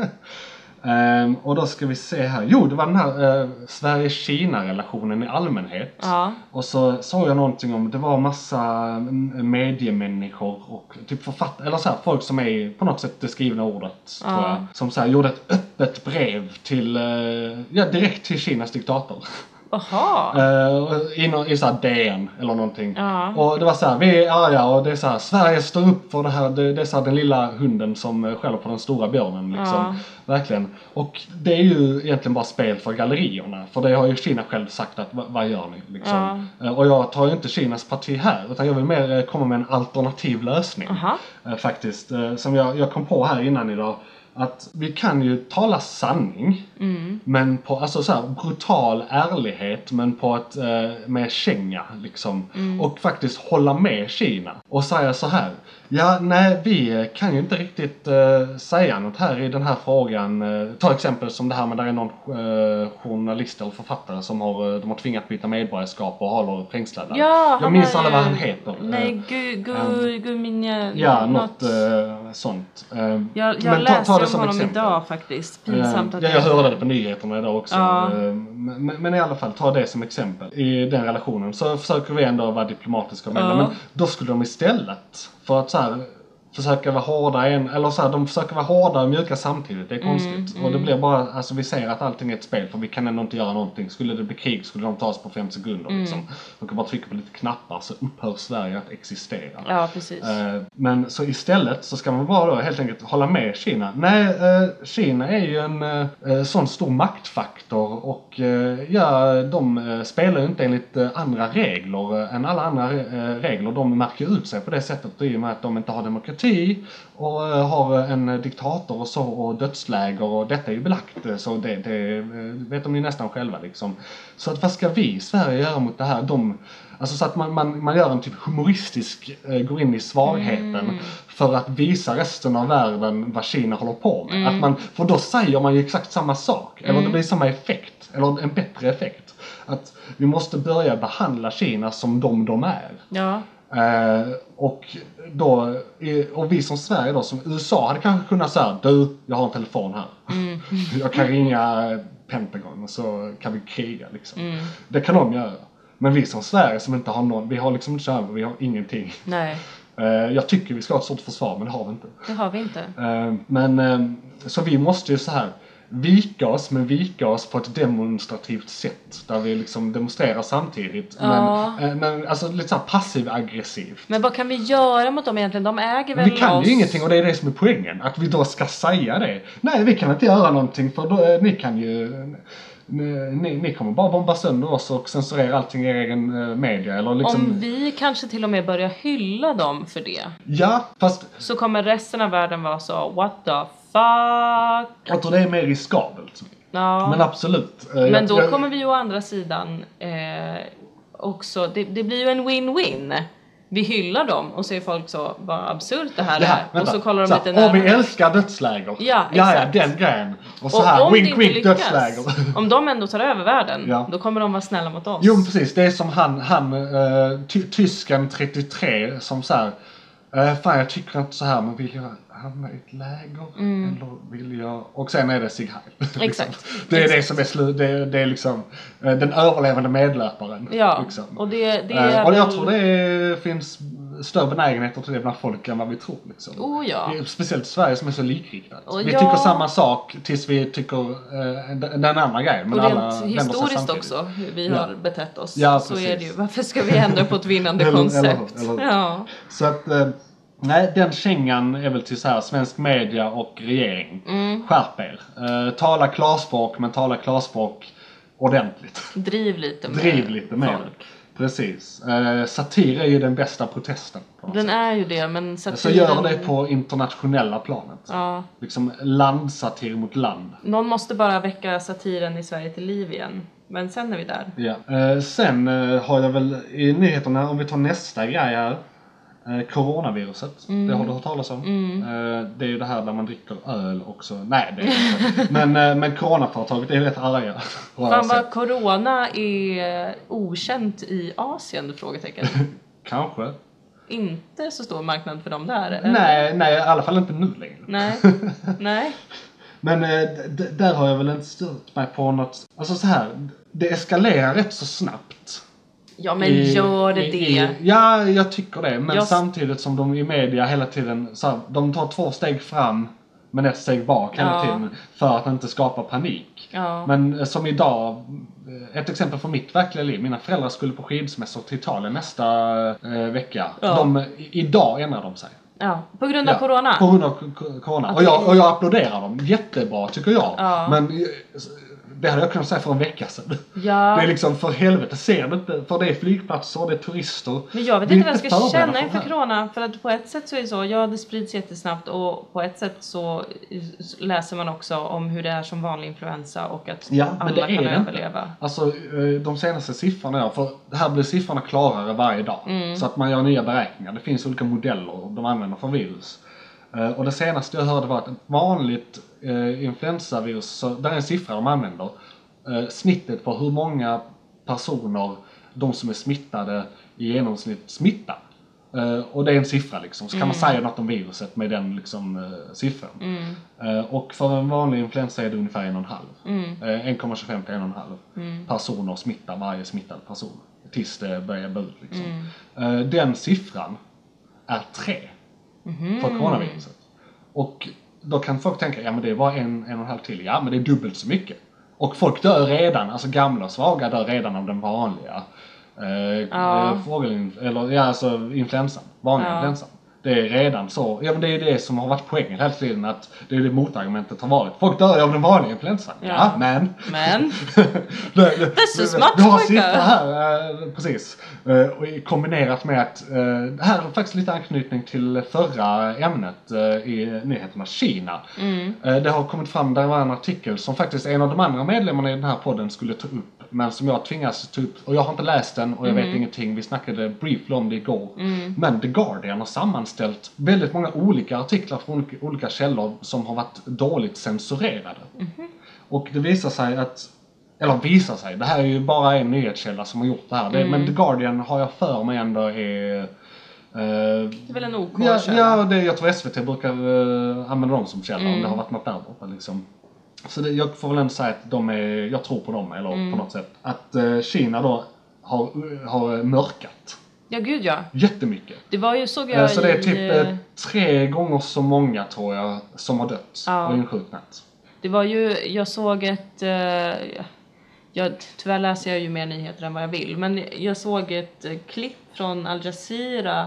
Speaker 3: Ehm, och då ska vi se här. Jo, det var den här eh, Sverige-Kina-relationen i allmänhet.
Speaker 2: Ja.
Speaker 3: Och så såg jag någonting om, det var massa mm, mediemänniskor och typ författare, eller så här, folk som är på något sätt det skrivna ordet, tror jag. Som så här, gjorde ett öppet brev till, eh, ja direkt till Kinas diktator.
Speaker 2: Jaha.
Speaker 3: Eh, i, nå- I såhär DN eller någonting.
Speaker 2: Ja.
Speaker 3: Och det var såhär, vi är arga och det är såhär, Sverige står upp för det här. Det, det är såhär den lilla hunden som eh, skäller på den stora björnen liksom. Verkligen. Och det är ju egentligen bara spel för gallerierna. För det har ju Kina själv sagt att, "Va- vad gör ni? Liksom. Eh, Och jag tar ju inte Kinas parti här, utan jag vill mer eh, komma med en alternativ lösning.
Speaker 2: Aha.
Speaker 3: Eh, Faktiskt. Eh, Som jag, jag kom på här innan idag. Att vi kan ju tala sanning.
Speaker 2: Mm.
Speaker 3: Men på, alltså så här, brutal ärlighet men på ett, eh, med känga liksom.
Speaker 2: Mm.
Speaker 3: Och faktiskt hålla med Kina och säga så här. Ja, nej, vi eh, kan ju inte riktigt eh, säga något här i den här frågan. Eh, ta exempel som det här med där är någon eh, journalist eller författare som har, eh, de har tvingat byta medborgarskap och håller fängslade.
Speaker 2: Ja,
Speaker 3: Jag
Speaker 2: han
Speaker 3: minns
Speaker 2: är-
Speaker 3: aldrig vad han heter. Eh,
Speaker 2: Nej, gu, gu, guminje...
Speaker 3: Ja, något eh, sånt. Eh,
Speaker 2: Jag,
Speaker 3: men
Speaker 2: jag
Speaker 3: ta- ta
Speaker 2: läste
Speaker 3: det
Speaker 2: om
Speaker 3: som
Speaker 2: honom
Speaker 3: exempel.
Speaker 2: idag faktiskt. Pinsamt
Speaker 3: Eh,
Speaker 2: att
Speaker 3: ja, jag hörde det på nyheterna idag också.
Speaker 2: Ja.
Speaker 3: Eh, Men, men- men i alla fall, ta det som exempel. I den relationen så försöker vi ändå vara diplomatiska med
Speaker 2: Ja.
Speaker 3: Men då skulle de istället, för att så här, försöka vara hårda, en, eller så här, de försöker vara hårda och mjuka samtidigt. Det är
Speaker 2: Mm,
Speaker 3: konstigt. Och det blir bara, alltså vi säger att allting är ett spel för vi kan ändå inte göra någonting. Skulle det bli krig skulle de ta oss på fem sekunder
Speaker 2: Mm.
Speaker 3: liksom. De kan bara trycka på lite knappar så upphör Sverige att existera.
Speaker 2: Ja, precis.
Speaker 3: Eh, Men så istället så ska man bara då helt enkelt hålla med Kina. Nej, eh, Kina är ju en eh, sån stor maktfaktor och eh, ja, de eh, spelar ju inte enligt eh, andra regler eh, än alla andra eh, regler. De märker ut sig på det sättet i och med att de inte har demokrati och eh, har en diktator och så och dödsläger och detta är ju belagt eh, så det, det eh, vet de ju nästan själva liksom. Så att vad ska vi i Sverige göra mot det här? De, Alltså så att man, man, man gör en typ humoristisk, eh, går in i svagheten för att visa resten av världen vad Kina håller på med. Att man, för då säger man ju exakt samma sak, eller det blir samma effekt, eller en bättre effekt. Att vi måste börja behandla Kina som de de är.
Speaker 2: Ja.
Speaker 3: Eh, och, då, eh, och vi som Sverige då, som USA hade kanske kunnat säga du, jag har en telefon här. <laughs> jag kan ringa Pentagon och så kan vi kriga liksom. Det kan de göra. Men vi som Sverige som inte har någon, vi har liksom inte kärnvapen, vi har ingenting.
Speaker 2: Nej,
Speaker 3: Eh, jag tycker vi ska ha ett stort försvar men det har vi inte.
Speaker 2: det har vi inte.
Speaker 3: Eh, men eh, så vi måste ju så här vika oss men vika oss på ett demonstrativt sätt där vi liksom demonstrerar samtidigt.
Speaker 2: Ja.
Speaker 3: Men, eh, men alltså lite så här passiv aggressivt.
Speaker 2: Men vad kan vi göra mot dem egentligen? De äger väl
Speaker 3: Vi kan
Speaker 2: oss?
Speaker 3: ju ingenting och det är det som är poängen. Att vi då ska säga det. Nej, vi kan inte göra någonting för då, eh, ni kan ju... Ni, ni- ni kommer bara bomba sönder oss och censurera allting i er egen eh, media eller liksom...
Speaker 2: Om vi kanske till och med börjar hylla dem för det
Speaker 3: Ja, fast
Speaker 2: så kommer resten av världen vara så what the fuck?
Speaker 3: jag tror det är mer riskabelt.
Speaker 2: Ja.
Speaker 3: Men absolut. eh,
Speaker 2: Men
Speaker 3: jag-
Speaker 2: då
Speaker 3: jag-
Speaker 2: kommer vi ju å andra sidan eh, också, det, det blir ju en win-win. Vi hyllar dem och så är folk så, vad absurt det här
Speaker 3: Ja,
Speaker 2: är.
Speaker 3: vänta.
Speaker 2: och så kollar de
Speaker 3: Så här,
Speaker 2: lite
Speaker 3: "Åh, vi
Speaker 2: närmare.
Speaker 3: älskar dödsläger.
Speaker 2: Ja,
Speaker 3: ja,
Speaker 2: exakt.
Speaker 3: den grejen. Och så
Speaker 2: Och
Speaker 3: här,
Speaker 2: om det
Speaker 3: wink
Speaker 2: inte
Speaker 3: wink
Speaker 2: lyckas,
Speaker 3: dödsläger.
Speaker 2: Om de ändå tar över världen,
Speaker 3: Ja.
Speaker 2: då kommer de vara snälla mot oss.
Speaker 3: Jo men precis, det är som han, han eh, ty tysken 33 som såhär Uh, fan jag tycker inte så här men vill jag hamna i ett läger? Eller vill jag... Och sen är det Sig Heil. <laughs> liksom.
Speaker 2: Mm. Exakt.
Speaker 3: Det är det
Speaker 2: Exakt.
Speaker 3: som är slut, det, är- det är liksom eh, den överlevande medlöparen.
Speaker 2: ja,
Speaker 3: liksom.
Speaker 2: och det, det
Speaker 3: Eh,
Speaker 2: är
Speaker 3: och jag
Speaker 2: väl-
Speaker 3: tror det är, finns större benägenhet till det bland folk än vad vi tror. Liksom.
Speaker 2: Oh, ja.
Speaker 3: Det är Speciellt Sverige som är så likriktat.
Speaker 2: Och
Speaker 3: vi
Speaker 2: ja.
Speaker 3: tycker samma sak tills vi tycker eh, den, den andra grejen. Men
Speaker 2: Och
Speaker 3: alla
Speaker 2: rent
Speaker 3: vänder sig
Speaker 2: historiskt
Speaker 3: samtidigt.
Speaker 2: också, hur vi
Speaker 3: Ja.
Speaker 2: har betett oss.
Speaker 3: Ja,
Speaker 2: så
Speaker 3: precis.
Speaker 2: är det ju. Varför ska vi ändra på ett
Speaker 3: <laughs>
Speaker 2: vinnande
Speaker 3: Eller-
Speaker 2: koncept?
Speaker 3: eller hur?
Speaker 2: Ja.
Speaker 3: Så att, eh, nej, den kängan är väl till så här, svensk media och regering.
Speaker 2: Mm.
Speaker 3: Skärp er. Eh, tala klarspråk, men tala klarspråk
Speaker 2: <laughs>
Speaker 3: ordentligt.
Speaker 2: Driv lite med
Speaker 3: Driv lite med
Speaker 2: folk.
Speaker 3: det. Precis. Eh, satir är ju den bästa protesten. på något
Speaker 2: Den
Speaker 3: sätt.
Speaker 2: är ju det, men
Speaker 3: Så gör det på internationella planet.
Speaker 2: Ja.
Speaker 3: Liksom landsatir mot land.
Speaker 2: Någon måste bara väcka satiren i Sverige till liv igen. Men sen är vi där.
Speaker 3: Ja. Eh, sen eh, har jag väl i nyheterna, om vi tar nästa grej här. Eh, coronaviruset,
Speaker 2: Mm.
Speaker 3: det har du hört talas om. Eh, det är ju det här där man dricker öl också. Nej, det är det inte. men, eh, men coronaföretaget är ju rätt arga. Alltså, har jag
Speaker 2: <laughs> Fan
Speaker 3: sett.
Speaker 2: vad corona är okänt i Asien?
Speaker 3: <laughs>
Speaker 2: Frågetecken.
Speaker 3: Kanske.
Speaker 2: Inte så stor marknad för dem där? eller?
Speaker 3: Nej, nej, i alla fall inte nu längre. <laughs>
Speaker 2: Nej. Nej.
Speaker 3: Men eh, d- d- där har jag väl inte stört mig på något. Alltså så här, det eskalerar rätt så snabbt.
Speaker 2: Ja men
Speaker 3: I-
Speaker 2: gör det
Speaker 3: i-
Speaker 2: det?
Speaker 3: i- Ja, jag tycker det. Men
Speaker 2: Jag s-
Speaker 3: samtidigt som de i media hela tiden, så här, de tar två steg fram men ett steg bak hela
Speaker 2: Ja.
Speaker 3: tiden för att inte skapa panik.
Speaker 2: Ja.
Speaker 3: Men eh, som idag, eh, ett exempel från mitt verkliga liv. Mina föräldrar skulle på skidsmässor till Italien nästa eh, vecka.
Speaker 2: Ja.
Speaker 3: De, i- idag ändrar de sig.
Speaker 2: Ja, på grund av corona.
Speaker 3: På grund av co- corona. Och jag, och jag applåderar dem. Jättebra tycker jag.
Speaker 2: Ja.
Speaker 3: Men eh, det hade jag kunnat säga för en vecka sedan.
Speaker 2: Ja.
Speaker 3: Det är liksom för helvete, ser du inte? För det är flygplatser, det är turister.
Speaker 2: Men jag vet
Speaker 3: Vi är
Speaker 2: inte vad
Speaker 3: <laughs>
Speaker 2: jag ska
Speaker 3: förberedda
Speaker 2: känna
Speaker 3: för det
Speaker 2: inför
Speaker 3: här.
Speaker 2: corona. För att på ett sätt så är det så, ja det sprids jättesnabbt och på ett sätt så läser man också om hur det är som vanlig influensa och att
Speaker 3: Ja, men det
Speaker 2: alla
Speaker 3: är
Speaker 2: kan
Speaker 3: det inte.
Speaker 2: överleva.
Speaker 3: Alltså eh, de senaste siffrorna jag för det här blir siffrorna klarare varje dag.
Speaker 2: Mm.
Speaker 3: Så att man gör nya beräkningar. Det finns olika modeller de använder för virus. Eh, Och det senaste jag hörde var att ett vanligt eh, influensavirus, så där är en siffra de använder. Eh, snittet på hur många personer de som är smittade i genomsnitt smittar. Eh, och det är en siffra liksom. Så kan man säga något om viruset med den liksom, eh, siffran. Eh, och för en vanlig influensa är det ungefär en och en halv. Eh, 1,25 till en och en halv personer smittar varje smittad person. Tills det börjar bli ut liksom. Eh, den siffran är tre
Speaker 2: Mhm.
Speaker 3: för coronaviruset. Och då kan folk tänka, ja men det är bara en, en och en halv till. Ja men det är dubbelt så mycket. Och folk dör redan, alltså gamla och svaga dör redan av den vanliga eh,
Speaker 2: Ja.
Speaker 3: eh, fågelin, eller ja alltså influensan, vanliga
Speaker 2: Ja.
Speaker 3: influensan. Det är redan så, ja men det är det som har varit poängen hela tiden att det är det motargumentet har varit. Folk dör ju av den vanliga influensan. Ja,
Speaker 2: Ja.
Speaker 3: men.
Speaker 2: Men
Speaker 3: <laughs> Det- det-
Speaker 2: This is
Speaker 3: det-
Speaker 2: much
Speaker 3: Du har
Speaker 2: quicker.
Speaker 3: siffror här, eh, precis. Eh, och i- kombinerat med att, eh, det här har faktiskt lite anknytning till förra ämnet eh, i nyheterna, Kina.
Speaker 2: Mm.
Speaker 3: Eh, det har kommit fram, där var en artikel som faktiskt en av de andra medlemmarna i den här podden skulle ta upp, men som jag tvingas ta upp, och jag har inte läst den och jag
Speaker 2: Mm.
Speaker 3: vet ingenting, vi snackade briefly om det igår. Men The Guardian har sammanställt väldigt många olika artiklar från olika- olika källor som har varit dåligt censurerade. Och det visar sig att, eller visar sig, det här är ju bara en nyhetskälla som har gjort det här. Det, men The Guardian har jag för mig ändå är... eh,
Speaker 2: det är väl en OK
Speaker 3: ja,
Speaker 2: källa?
Speaker 3: ja det, jag tror SVT brukar eh, använda dem som källa om det har varit något där borta liksom. Så det, jag får väl ändå säga att de är, jag tror på dem eller på något sätt. Att eh, Kina då har, har mörkat
Speaker 2: Ja, gud ja.
Speaker 3: jättemycket.
Speaker 2: Det var ju, såg
Speaker 3: Eh,
Speaker 2: jag
Speaker 3: Så det är typ
Speaker 2: i...
Speaker 3: eh, tre gånger så många tror jag som har dött
Speaker 2: Ja.
Speaker 3: och insjuknat.
Speaker 2: Det var ju, jag såg ett... eh, Jag, tyvärr läser jag ju mer nyheter än vad jag vill, men jag såg ett eh, klipp från Al Jazeera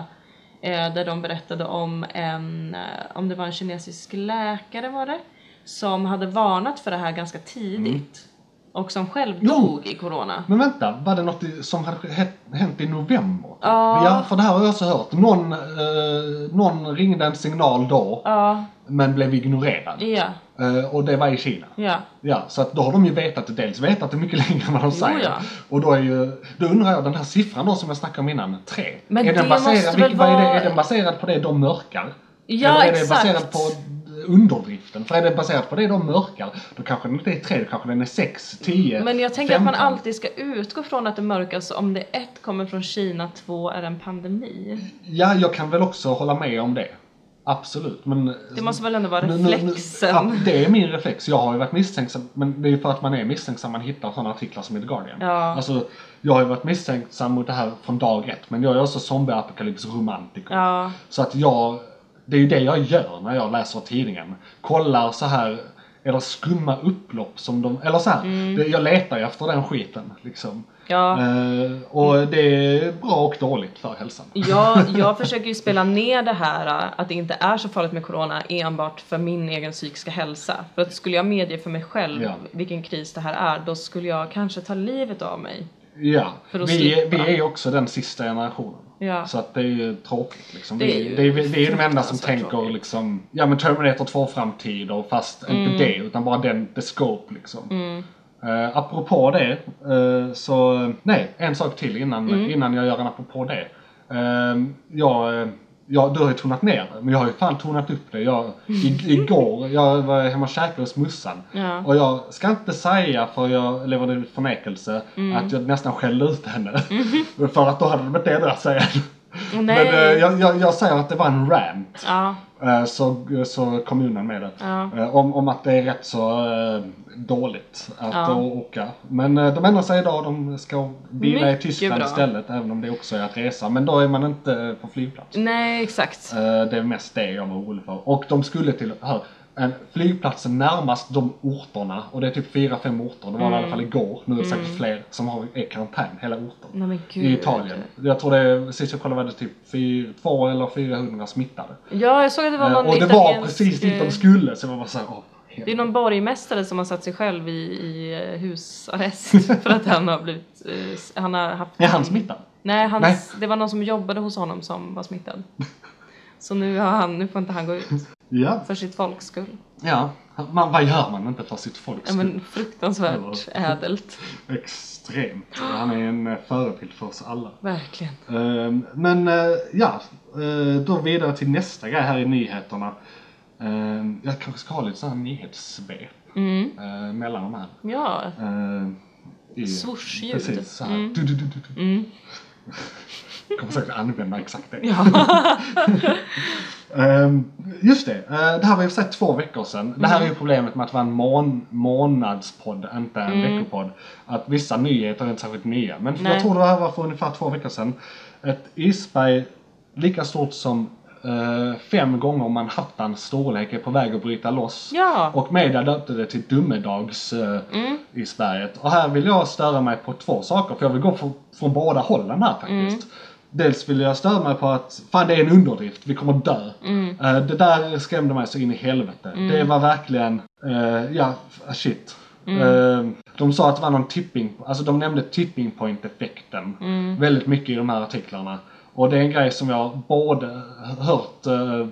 Speaker 2: eh, där de berättade om en, eh, om det var en kinesisk läkare var det, som hade varnat för det här ganska tidigt.
Speaker 3: Mm.
Speaker 2: Och som själv
Speaker 3: Jo.
Speaker 2: dog i corona.
Speaker 3: Men vänta, var det något i- som hade sk- hänt i november?
Speaker 2: Ja.
Speaker 3: ja för det här har jag också hört. Någon, eh, någon ringde en signal då,
Speaker 2: Ja,
Speaker 3: men blev ignorerad.
Speaker 2: ja,
Speaker 3: Eh, och det var i Kina.
Speaker 2: ja.
Speaker 3: Ja, så att då har de ju vetat det, dels vetat det mycket <laughs> längre än vad de
Speaker 2: Jo,
Speaker 3: säger.
Speaker 2: ja.
Speaker 3: Och då är ju, då undrar jag den här siffran då som jag snackade om innan, tre.
Speaker 2: Men
Speaker 3: är, den
Speaker 2: det
Speaker 3: baserad,
Speaker 2: måste väl
Speaker 3: vilken- vad är, det,
Speaker 2: vara-
Speaker 3: är den baserad på det de mörkar?
Speaker 2: Ja,
Speaker 3: Eller är det
Speaker 2: exakt.
Speaker 3: baserat på underdriften? För är det baserat på det de mörkar, då kanske den inte är tre, då kanske den är sex, tio,
Speaker 2: Men jag tänker att man
Speaker 3: 15.
Speaker 2: alltid ska utgå från att det mörkas om det ett kommer från Kina, två är en pandemi.
Speaker 3: Ja, jag kan väl också hålla med om det. Absolut, men...
Speaker 2: Det måste väl ändå vara
Speaker 3: Nu- nu- nu-
Speaker 2: reflexen.
Speaker 3: ja, det är min reflex. Jag har ju varit misstänksam, men det är ju för att man är misstänksam man hittar sådana artiklar som i The Guardian.
Speaker 2: Ja.
Speaker 3: Alltså, jag har ju varit misstänksam mot det här från dag ett, men jag är också zombie-apokalyps-romantiker.
Speaker 2: Ja.
Speaker 3: Så att jag, det är ju det jag gör när jag läser tidningen. Kollar så här eller skumma upplopp som de, eller så här, det, jag letar ju efter den skiten liksom.
Speaker 2: Mm. Ja.
Speaker 3: Eh, och det är bra och dåligt för hälsan.
Speaker 2: Jag, jag försöker ju spela ner det här äh, att det inte är så farligt med corona enbart för min egen psykiska hälsa. För att skulle jag medge för mig själv
Speaker 3: Ja.
Speaker 2: vilken kris det här är, då skulle jag kanske ta livet av mig.
Speaker 3: Ja,
Speaker 2: För att
Speaker 3: vi, är- vi
Speaker 2: slippa.
Speaker 3: är ju också den sista generationen.
Speaker 2: Ja.
Speaker 3: Så att det är ju tråkigt liksom.
Speaker 2: Det
Speaker 3: vi,
Speaker 2: är ju
Speaker 3: det, är, vi- vi är ju de enda som
Speaker 2: fruktansvärt
Speaker 3: tänker
Speaker 2: tråkigt.
Speaker 3: liksom, ja men Terminator 2 framtid och fast
Speaker 2: Mm.
Speaker 3: inte det utan bara den, the scope liksom. Eh, apropå det, eh, så, nej, en sak till innan,
Speaker 2: Mm.
Speaker 3: innan jag gör en apropå det. Eh, jag, eh, jag, du har ju tonat ner det, men jag har ju fan tonat upp det. Jag,
Speaker 2: <laughs>
Speaker 3: i, igår, jag var hemma och käkade hos mussan.
Speaker 2: Ja.
Speaker 3: Och jag ska inte säga, för jag lever i förnekelse,
Speaker 2: Mm.
Speaker 3: att jag nästan skällde ut
Speaker 2: <laughs>
Speaker 3: henne. för att då hade de inte ändrat sig än.
Speaker 2: nej.
Speaker 3: Men eh, jag, jag, jag säger att det var en rant.
Speaker 2: Ja,
Speaker 3: Eh, så, så kommunen med det.
Speaker 2: Ja.
Speaker 3: Eh, Om, om att det är rätt så eh, dåligt att
Speaker 2: Ja.
Speaker 3: åka. Men eh, de ändrar sig idag, de ska bila i
Speaker 2: Mycket
Speaker 3: Tyskland
Speaker 2: bra.
Speaker 3: istället. Även om det också är att resa. Men då är man inte på flygplats.
Speaker 2: nej exakt.
Speaker 3: Äh, Eh, Det är mest det jag var orolig för. Och de skulle till, hör, en flygplats närmast de orterna och det är typ fyra, fem orter, det var i alla fall igår, nu är det säkert fler som har är karantän, hela orter.
Speaker 2: Mm. Nej, men gud.
Speaker 3: I Italien. Jag tror det, är- sist jag kollade var det typ fyr- två eller 400 smittade.
Speaker 2: Ja, jag såg att det var
Speaker 3: Eh,
Speaker 2: någon
Speaker 3: och det var
Speaker 2: italiensk,
Speaker 3: precis dit
Speaker 2: eh,
Speaker 3: de skulle, så jag var bara såhär, åh.
Speaker 2: Det är
Speaker 3: helvete.
Speaker 2: någon borgmästare som har satt sig själv i, i eh, husarrest
Speaker 3: <laughs>
Speaker 2: för att han har blivit, eh, s- han har haft...
Speaker 3: Är han smittad?
Speaker 2: Nej, hans,
Speaker 3: Nej.
Speaker 2: det var någon som jobbade hos honom som
Speaker 3: <laughs>
Speaker 2: var smittad. Så nu, har han, nu får inte han gå ut,
Speaker 3: Ja.
Speaker 2: för sitt folks skull.
Speaker 3: ja. Man, vad gör man inte för sitt folks
Speaker 2: Ja,
Speaker 3: skull? <laughs>
Speaker 2: men fruktansvärt ädelt.
Speaker 3: Extremt. Han är en eh, förebild för oss alla.
Speaker 2: Verkligen.
Speaker 3: Ehm, Men eh, ja, eh, då vidare till nästa grej här i nyheterna. Ehm, Jag kanske ska ha lite sån här nyhetssvep
Speaker 2: Mm.
Speaker 3: eh, mellan de här.
Speaker 2: Ja,
Speaker 3: Ehm, i-
Speaker 2: Swoosh-ljud.
Speaker 3: Precis, så här.
Speaker 2: Mm.
Speaker 3: Du, du, du, du, du.
Speaker 2: Mm.
Speaker 3: Jag kommer säkert använda exakt det.
Speaker 2: ja.
Speaker 3: <laughs> Ehm, just det, Eh, det här var i och för sig två veckor sedan. Det här är
Speaker 2: Mm.
Speaker 3: ju problemet med att vara en mån- månadspodd, inte en veckopodd. Att vissa nyheter är inte särskilt nya. Men
Speaker 2: Mm. Nej.
Speaker 3: jag tror det här var för ungefär två veckor sedan. Ett isberg lika stort som eh, fem gånger Manhattans storlek är på väg att bryta loss.
Speaker 2: Ja.
Speaker 3: Och media döpte det till Dummedags eh, isberget. Och här vill jag störa mig på två saker, för jag vill gå från, från båda hållen här faktiskt. Dels vill jag störa mig på att fan det är en underdrift, vi kommer dö. Eh, det där skrämde mig så in i helvete. Det var verkligen, eh, ja f- shit. Eh, de sa att det var någon tipping, alltså de nämnde tipping point effekten väldigt mycket i de här artiklarna. Och det är en grej som jag både hört eh,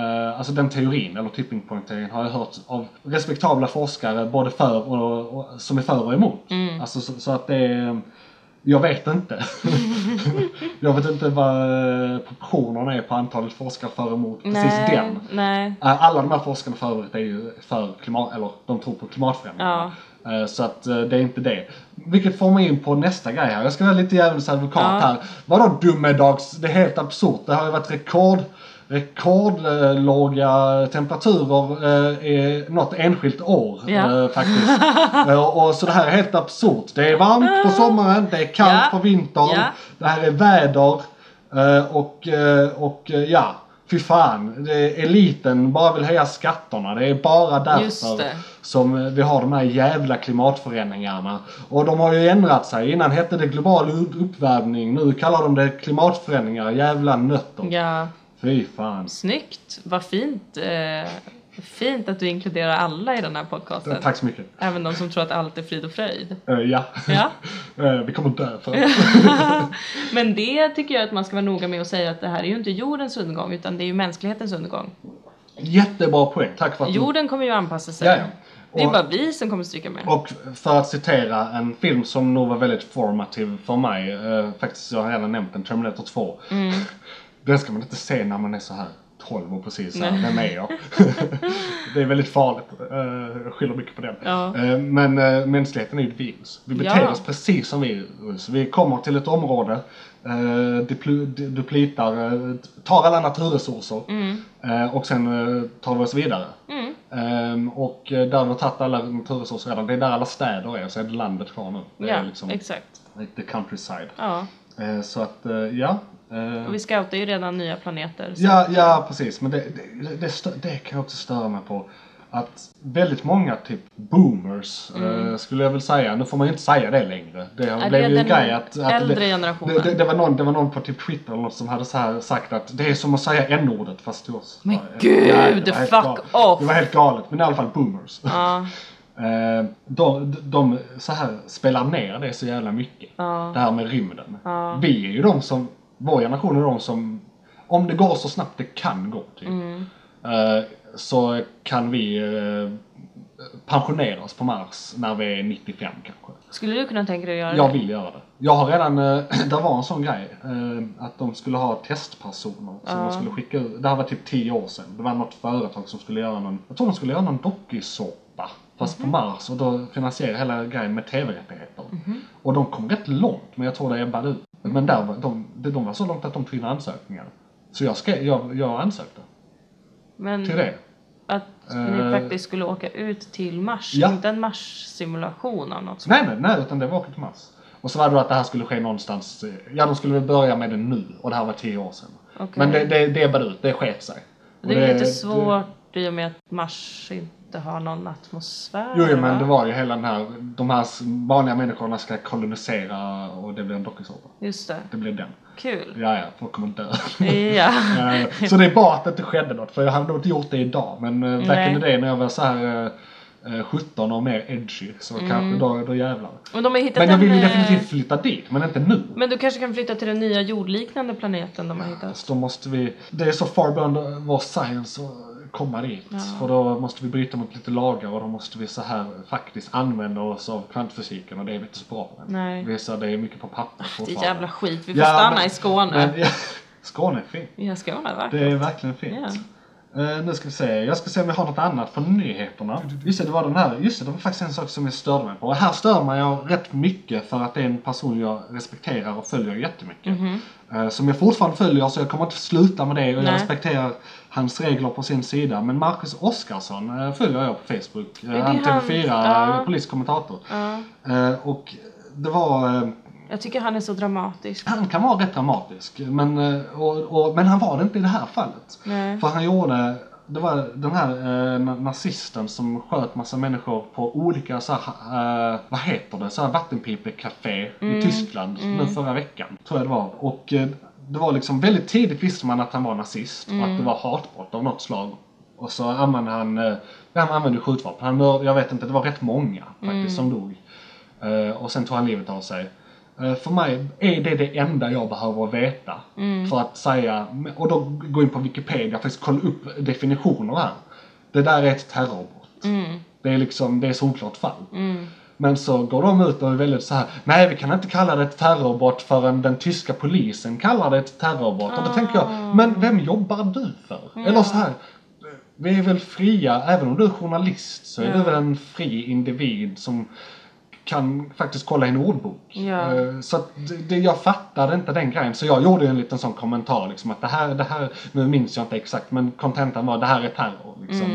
Speaker 3: Eh, alltså den teorin, eller tipping point-teorin, har jag hört av respektabla forskare både för och, och som är för och emot. Alltså så, så att det är... Jag vet inte. jag vet inte vad eh, proportionerna är på antalet forskare för och emot precis
Speaker 2: nej,
Speaker 3: den.
Speaker 2: Nej.
Speaker 3: Eh, Alla de här forskarna för övrigt är ju för klimat, eller de tror på klimatförändringarna. Eh, Så att eh, det är inte det. Vilket får mig in på nästa grej här. Jag ska vara lite djävulens advokat
Speaker 2: Ja.
Speaker 3: här. Vadå dummedags? Det är helt absurt. Det har ju varit rekord rekordlåga temperaturer eh, i något enskilt år
Speaker 2: Ja.
Speaker 3: eh, faktiskt.
Speaker 2: <laughs>
Speaker 3: Eh, och så det här är helt absurt. Det är varmt på sommaren, det är kallt
Speaker 2: Ja.
Speaker 3: på vintern.
Speaker 2: Ja.
Speaker 3: Det här är väder eh, och, eh, och eh, ja, fy fan. Det är eliten bara vill höja skatterna. Det är bara
Speaker 2: Just
Speaker 3: därför
Speaker 2: det.
Speaker 3: som eh, vi har de här jävla klimatförändringarna. Och de har ju ändrat sig. Innan hette det global u- uppvärmning. Nu kallar de det klimatförändringar. Jävla nötter.
Speaker 2: Ja,
Speaker 3: Fy fan.
Speaker 2: snyggt. Vad fint. Eh, fint att du inkluderar alla i den här podcasten.
Speaker 3: Tack så mycket.
Speaker 2: Även de som tror att allt är frid
Speaker 3: <laughs>
Speaker 2: och fröjd.
Speaker 3: Eh, ja.
Speaker 2: Ja.
Speaker 3: Eh, vi kommer dö för det.
Speaker 2: Men det tycker jag att man ska vara noga med att säga att det här är ju inte jordens undergång utan det är ju mänsklighetens undergång.
Speaker 3: Mm. Jättebra poäng. Tack för att du
Speaker 2: Jorden kommer ju anpassa sig.
Speaker 3: Ja, ja.
Speaker 2: Det är
Speaker 3: Och-
Speaker 2: bara vi som kommer stryka med.
Speaker 3: Och för att citera en film som nog var väldigt formativ för mig, eh, faktiskt jag har redan nämnt den, Terminator 2. <laughs> Den ska man inte se när man är så här 12 och precis så här, vem är jag? det är väldigt farligt, eh, jag skyller mycket på den.
Speaker 2: Ja.
Speaker 3: Eh, men eh, mänskligheten är ju ett virus. Vi beter
Speaker 2: Ja.
Speaker 3: oss precis som virus. Vi kommer till ett område, eh, depl- de- duplitar, eh, tar alla naturresurser
Speaker 2: Mm.
Speaker 3: eh, och sen eh, tar vi oss vidare. Ehm, och eh, där vi har tagit alla naturresurser redan, det är där alla städer är, så är det landet kvar nu. Det
Speaker 2: Ja,
Speaker 3: är liksom
Speaker 2: exakt.
Speaker 3: the countryside.
Speaker 2: Ja.
Speaker 3: Eh, så att, eh, ja. eh,
Speaker 2: Och vi scoutar ju redan nya planeter. Så.
Speaker 3: ja. Ja, precis. Men det, det, det, stö- det kan jag också störa mig på. Att väldigt många typ boomers, eh, skulle jag väl säga, nu får man ju inte säga det längre. Det har
Speaker 2: Mm. det är
Speaker 3: blev ju en
Speaker 2: den
Speaker 3: grej att... att
Speaker 2: äldre
Speaker 3: det,
Speaker 2: generationen.
Speaker 3: Det, det, det, var någon, det var någon på typ Twitter eller något som hade så här sagt att det är som att säga n-ordet fast till oss. Men
Speaker 2: gud,
Speaker 3: det var helt
Speaker 2: fuck
Speaker 3: galet.
Speaker 2: off.
Speaker 3: Det var helt galet, men i alla fall boomers.
Speaker 2: Ja.
Speaker 3: <laughs> Eh, de, de så här, spelar ner det så jävla mycket.
Speaker 2: Ja.
Speaker 3: Det här med rymden. Vi är ju de som, vår generation är de som, om det går så snabbt det kan gå typ.
Speaker 2: Mm.
Speaker 3: Eh, så kan vi eh, pensionera oss på Mars när vi är 95 kanske.
Speaker 2: Skulle du kunna tänka dig att göra
Speaker 3: Jag
Speaker 2: det?
Speaker 3: vill göra det. Jag har redan, eh, <clears throat> det var en sån grej, eh, att de skulle ha testpersoner som de skulle skicka ut. Det här var typ 10 år sedan. Det var något företag som skulle göra någon, jag tror de skulle göra någon dokusåpa. Fast på Mars och då finansiera hela grejen med tv-rättigheter. Och de kom rätt långt men jag tror det ebbade ut. Men där var, de, de de var så långt att de tog in ansökningar. Så jag, skrev, jag, jag ansökte
Speaker 2: Men
Speaker 3: till det.
Speaker 2: att ni
Speaker 3: Eh.
Speaker 2: faktiskt skulle åka ut till Mars.
Speaker 3: Ja.
Speaker 2: Inte en Mars-simulation av något slag.
Speaker 3: Nej, nej, nej, utan det var åka till Mars. Och så var det då att det här skulle ske någonstans, eh, ja de skulle väl börja med det nu och det här var 10 år sedan.
Speaker 2: Okej.
Speaker 3: Men det, det, det är bara ut, det sket sig. Och
Speaker 2: Det är ju lite svårt bort i och med att Mars inte har någon atmosfär.
Speaker 3: Jo, jo, men
Speaker 2: va?
Speaker 3: det var ju hela den här, de här s- vanliga människorna ska kolonisera och det blir en dokusåpa.
Speaker 2: Just det.
Speaker 3: Det blir den.
Speaker 2: Kul.
Speaker 3: Ja, ja, folk kommer dö. <laughs>
Speaker 2: Ja.
Speaker 3: Eh, så det är bra att det inte skedde något, för jag hade nog inte gjort det idag. Men eh, back in
Speaker 2: Nej.
Speaker 3: the day när jag var så här eh, eh, 17 och mer edgy, så kanske då, då jävlar.
Speaker 2: Men de har hittat
Speaker 3: Men jag
Speaker 2: en,
Speaker 3: vill ju
Speaker 2: eh,
Speaker 3: definitivt flytta dit, men inte nu.
Speaker 2: Men du kanske kan flytta till den nya jordliknande planeten de har hittat?
Speaker 3: Så Alltså, då måste vi, det är så far beyond vår science att komma dit. För då måste vi bryta mot lite lagar och då måste vi så här faktiskt använda oss av kvantfysiken och det är vi inte så bra på än.
Speaker 2: Nej.
Speaker 3: Vi är så, det är mycket på papper
Speaker 2: Det
Speaker 3: fortfarande.
Speaker 2: är jävla skit. Vi får
Speaker 3: Ja,
Speaker 2: stanna
Speaker 3: men-
Speaker 2: i Skåne.
Speaker 3: Men, <laughs> ja, Skåne är fint.
Speaker 2: Ja, Skåne, va?
Speaker 3: Det är verkligen fint.
Speaker 2: Ja.
Speaker 3: Eh, nu ska vi se, jag ska se om jag har något annat från nyheterna. Just det, det var den här, just det, det var faktiskt en sak som jag störde mig på. Och här stör man jag rätt mycket för att det är en person jag respekterar och följer jättemycket. Eh, som jag fortfarande följer så jag kommer inte sluta med det och jag
Speaker 2: Mhm. Nej.
Speaker 3: respekterar hans regler på sin sida. Men Marcus Oskarsson eh, följer jag på Facebook. Eh,
Speaker 2: det
Speaker 3: han
Speaker 2: han?
Speaker 3: TV4
Speaker 2: Ja.
Speaker 3: eh, poliskommentator.
Speaker 2: Ja.
Speaker 3: Eh, och det var eh,
Speaker 2: Jag tycker han är så dramatisk.
Speaker 3: han kan vara rätt dramatisk, men, eh, och, och, men han var det inte i det här fallet.
Speaker 2: Nej.
Speaker 3: För han gjorde, det var den här eh, na- nazisten som sköt massa människor på olika så här, eh, vad heter det, så här vattenpipecafé i Tyskland nu förra veckan. Tror jag det var. Och eh, det var liksom väldigt tidigt visste man att han var nazist och att det var hatbrott av något slag. Och så använde han, eh, ja, han använde skjutvapen. Han, mör- jag vet inte, det var rätt många faktiskt som dog. Eh, och sen tog han livet av sig. Eh, för mig är det det enda jag behöver veta. För att säga, och då gå in på Wikipedia och faktiskt kolla upp definitioner här. Det där är ett terrorbrott. Det är liksom, det är ett solklart fall. Men så går de ut och är väldigt så här. nej vi kan inte kalla det ett terrorbrott förrän den tyska polisen kallar det ett terrorbrott. Och då tänker jag, men vem jobbar du för? Eller så här, vi är väl fria, även om du är journalist så är du väl en fri individ som kan faktiskt kolla i en ordbok.
Speaker 2: Ja.
Speaker 3: Eh, Så att det, det, jag fattade inte den grejen. Så jag gjorde ju en liten sån kommentar liksom att det här, det här, nu minns jag inte exakt men kontentan var det här är terror liksom.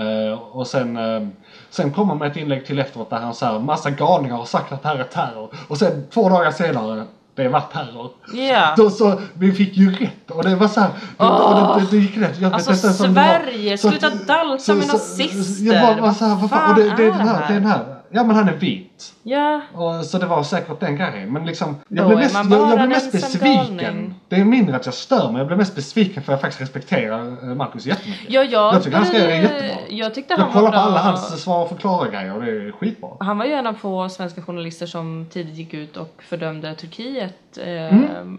Speaker 3: Eh, och sen, eh, sen kom han med ett inlägg till efteråt där han så här, massa galningar har sagt att det här är terror. Och sen två dagar senare, det var terror.
Speaker 2: Ja.
Speaker 3: Då så, vi fick ju rätt och det var så här, och det, det, det gick rätt. Jag
Speaker 2: Alltså,
Speaker 3: inte ens om det var-
Speaker 2: Sverige,
Speaker 3: så att-
Speaker 2: sluta dalta med nazister.
Speaker 3: Jag var, var så här, vad fan, och det, det är
Speaker 2: Vad
Speaker 3: den här,
Speaker 2: fan
Speaker 3: det är den här. Ja men han är vit.
Speaker 2: Ja.
Speaker 3: Och, så det var säkert den grejen. Men liksom, jag
Speaker 2: Då
Speaker 3: blev
Speaker 2: är
Speaker 3: mest,
Speaker 2: man
Speaker 3: jag,
Speaker 2: bara
Speaker 3: jag blev
Speaker 2: en
Speaker 3: mest
Speaker 2: ensam
Speaker 3: besviken.
Speaker 2: galning.
Speaker 3: Det är mindre att jag stör mig, jag blev mest besviken för jag faktiskt respekterar eh, Marcus jättemycket.
Speaker 2: Ja, jag,
Speaker 3: jag tycker han skrev det
Speaker 2: eh,
Speaker 3: jättebra.
Speaker 2: Jag tyckte han
Speaker 3: Jag kollar
Speaker 2: var
Speaker 3: på
Speaker 2: bra.
Speaker 3: alla hans svar och förklara grejer och det är skitbra.
Speaker 2: Han var ju en av få svenska journalister som tidigt gick ut och fördömde Turkiet. eh,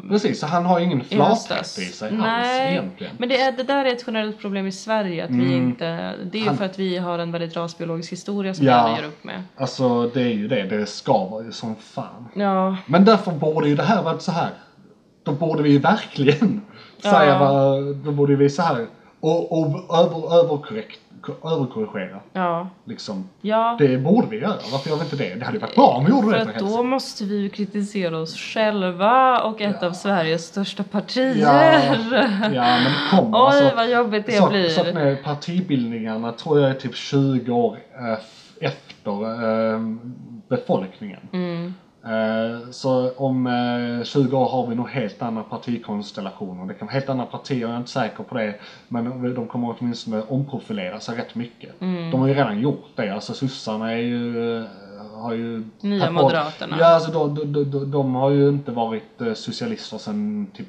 Speaker 3: Precis, så han har ingen
Speaker 2: i
Speaker 3: flathet
Speaker 2: höstas.
Speaker 3: Mm. i sig alls
Speaker 2: Nej,
Speaker 3: egentligen. Mm.
Speaker 2: men det, är, det där är ett generellt problem i Sverige. Att vi inte, det är ju
Speaker 3: Han-
Speaker 2: för att vi har en väldigt rasbiologisk historia som
Speaker 3: Ja.
Speaker 2: vi alla gör upp med.
Speaker 3: Alltså det är ju det, det skaver ju som fan.
Speaker 2: Ja,
Speaker 3: Men därför borde ju det här varit så här. Då borde vi ju verkligen <laughs> säga vad, då borde vi så här och, och över, överkorrekt, överkorrigera.
Speaker 2: ja,
Speaker 3: Liksom.
Speaker 2: ja.
Speaker 3: Det borde vi göra, varför gör vi inte det? Det hade ju varit bra om vi gjorde
Speaker 2: För
Speaker 3: det
Speaker 2: att
Speaker 3: helsike.
Speaker 2: då måste vi ju kritisera oss själva och ett av Sveriges största partier.
Speaker 3: Ja, ja, men det kommer
Speaker 2: Oj,
Speaker 3: alltså.
Speaker 2: vad jobbigt det
Speaker 3: så,
Speaker 2: blir.
Speaker 3: Så att med partibildningarna tror jag är typ 20 år eh, f- efter eh, befolkningen. Eh, så om eh, 20 år har vi nog helt andra partikonstellationer. Det kan vara helt andra partier, jag är inte säker på det. Men de kommer åtminstone omprofilera sig rätt mycket.
Speaker 2: Mm.
Speaker 3: De har ju redan gjort det. Alltså sossarna är ju, eh, har ju...
Speaker 2: Nya
Speaker 3: tagit bort-
Speaker 2: Moderaterna.
Speaker 3: Ja, alltså de, de, de, de, de har ju inte varit eh, socialister sedan typ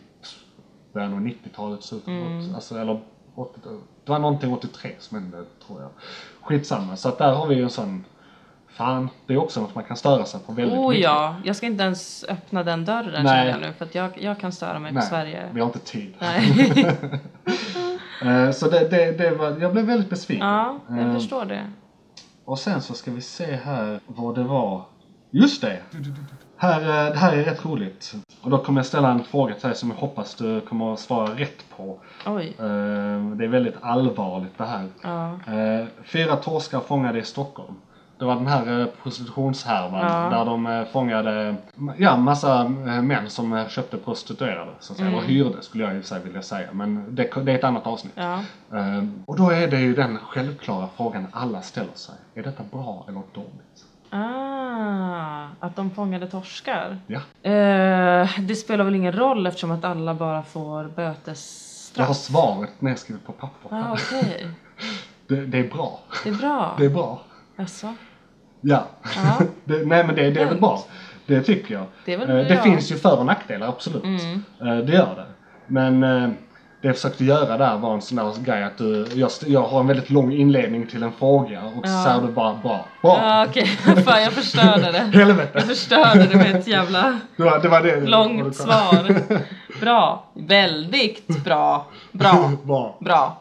Speaker 3: början av 90-talet, slutet mm. alltså, eller 80, Det var någonting 83 som hände, tror jag. Skitsamma, så att där har vi ju en sån... Fan, det är också något man kan störa sig på väldigt
Speaker 2: <laughs> Oh
Speaker 3: mycket.
Speaker 2: ja, jag ska inte ens öppna den dörren
Speaker 3: Nej.
Speaker 2: känner jag nu för att jag, jag kan störa mig
Speaker 3: Nej, Mm.
Speaker 2: på Sverige.
Speaker 3: vi har inte tid.
Speaker 2: Nej.
Speaker 3: <laughs> Eh, så det, det, det var, jag blev väldigt besviken.
Speaker 2: ja, jag
Speaker 3: Eh,
Speaker 2: förstår det.
Speaker 3: Och sen så ska vi se här vad det var. Just det! Här, eh, det här är rätt roligt. Och då kommer jag ställa en fråga till dig som jag hoppas du kommer att svara rätt på.
Speaker 2: Oj.
Speaker 3: Eh, Det är väldigt allvarligt det här.
Speaker 2: Ja.
Speaker 3: Eh, Fyra torskar fångade i Stockholm. Det var den här eh, prostitutionshärvan
Speaker 2: Ja.
Speaker 3: där de eh, fångade ja, massa eh, män som eh, köpte prostituerade. Så att säga. Eller hyrde skulle jag i och för sig vilja säga. Men det, det är ett annat avsnitt.
Speaker 2: Mm. Ja.
Speaker 3: Eh, Och då är det ju den självklara frågan alla ställer sig. Är detta bra eller dåligt?
Speaker 2: Ah, att de fångade torskar.
Speaker 3: Ja.
Speaker 2: Eh, det spelar väl ingen roll eftersom att alla bara får
Speaker 3: Jag har
Speaker 2: bötesstraff.
Speaker 3: svaret nedskrivet på papper.
Speaker 2: Ah, okej.
Speaker 3: Det, det är bra.
Speaker 2: Det är bra.
Speaker 3: Det är bra.
Speaker 2: Jaså?
Speaker 3: Ja.
Speaker 2: Ja.
Speaker 3: <laughs> det, nej men det, det är väl
Speaker 2: Lugnt.
Speaker 3: bra. Det tycker jag.
Speaker 2: Det är väl
Speaker 3: Eh, det
Speaker 2: bra. Mm.
Speaker 3: finns ju för och nackdelar, absolut. Eh, Det gör det. Men eh, det jag försökte göra där var en sån där grej att du, jag, st- jag har en väldigt lång inledning till en fråga och så säger du bara bra. Bra!
Speaker 2: Ja, Ah, okej. <laughs> Fan, jag förstörde det.
Speaker 3: Helvete!
Speaker 2: Jag förstörde det med ett jävla
Speaker 3: Det var det. Var det
Speaker 2: långt svar.
Speaker 3: <laughs>
Speaker 2: Bra. Väldigt bra. Bra.
Speaker 3: <laughs> Bra.
Speaker 2: Bra.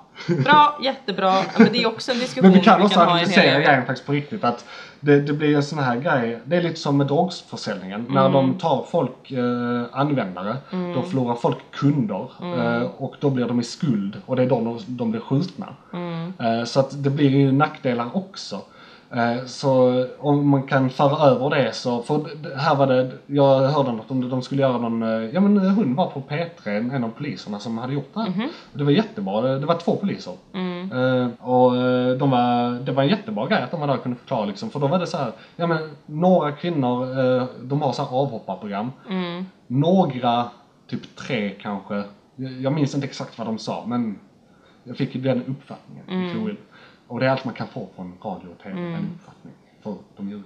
Speaker 2: Bra, jättebra. Ja, Men det är också en diskussion
Speaker 3: Men vi kan också
Speaker 2: ha en hel
Speaker 3: analysera
Speaker 2: del.
Speaker 3: grejen faktiskt på riktigt. Att det, det blir en sån här grej. Det är lite som med drogförsäljningen.
Speaker 2: Mm.
Speaker 3: När de tar folk, eh, användare, då förlorar folk kunder.
Speaker 2: Mm.
Speaker 3: Eh, och då blir de i skuld. Och det är då de, de blir skjutna.
Speaker 2: Mm.
Speaker 3: Eh, så att det blir ju nackdelar också. Eh, Så om man kan föra över det så, för d- här var det, jag hörde något om det, de skulle göra någon, eh, ja men hon var på P3, en- en av poliserna som hade gjort det här. Och det var jättebra, det det var två poliser. Eh, Och eh, de var, det var en jättebra grej att de var där och kunde förklara liksom, för då var det så här, ja men några kvinnor, eh, de har så här avhopparprogram. Några, typ tre kanske, jag jag minns inte exakt vad de sa men jag fick ju den uppfattningen i teorin. Och det är allt man kan få från radio och tv, en uppfattning. För de ljuger.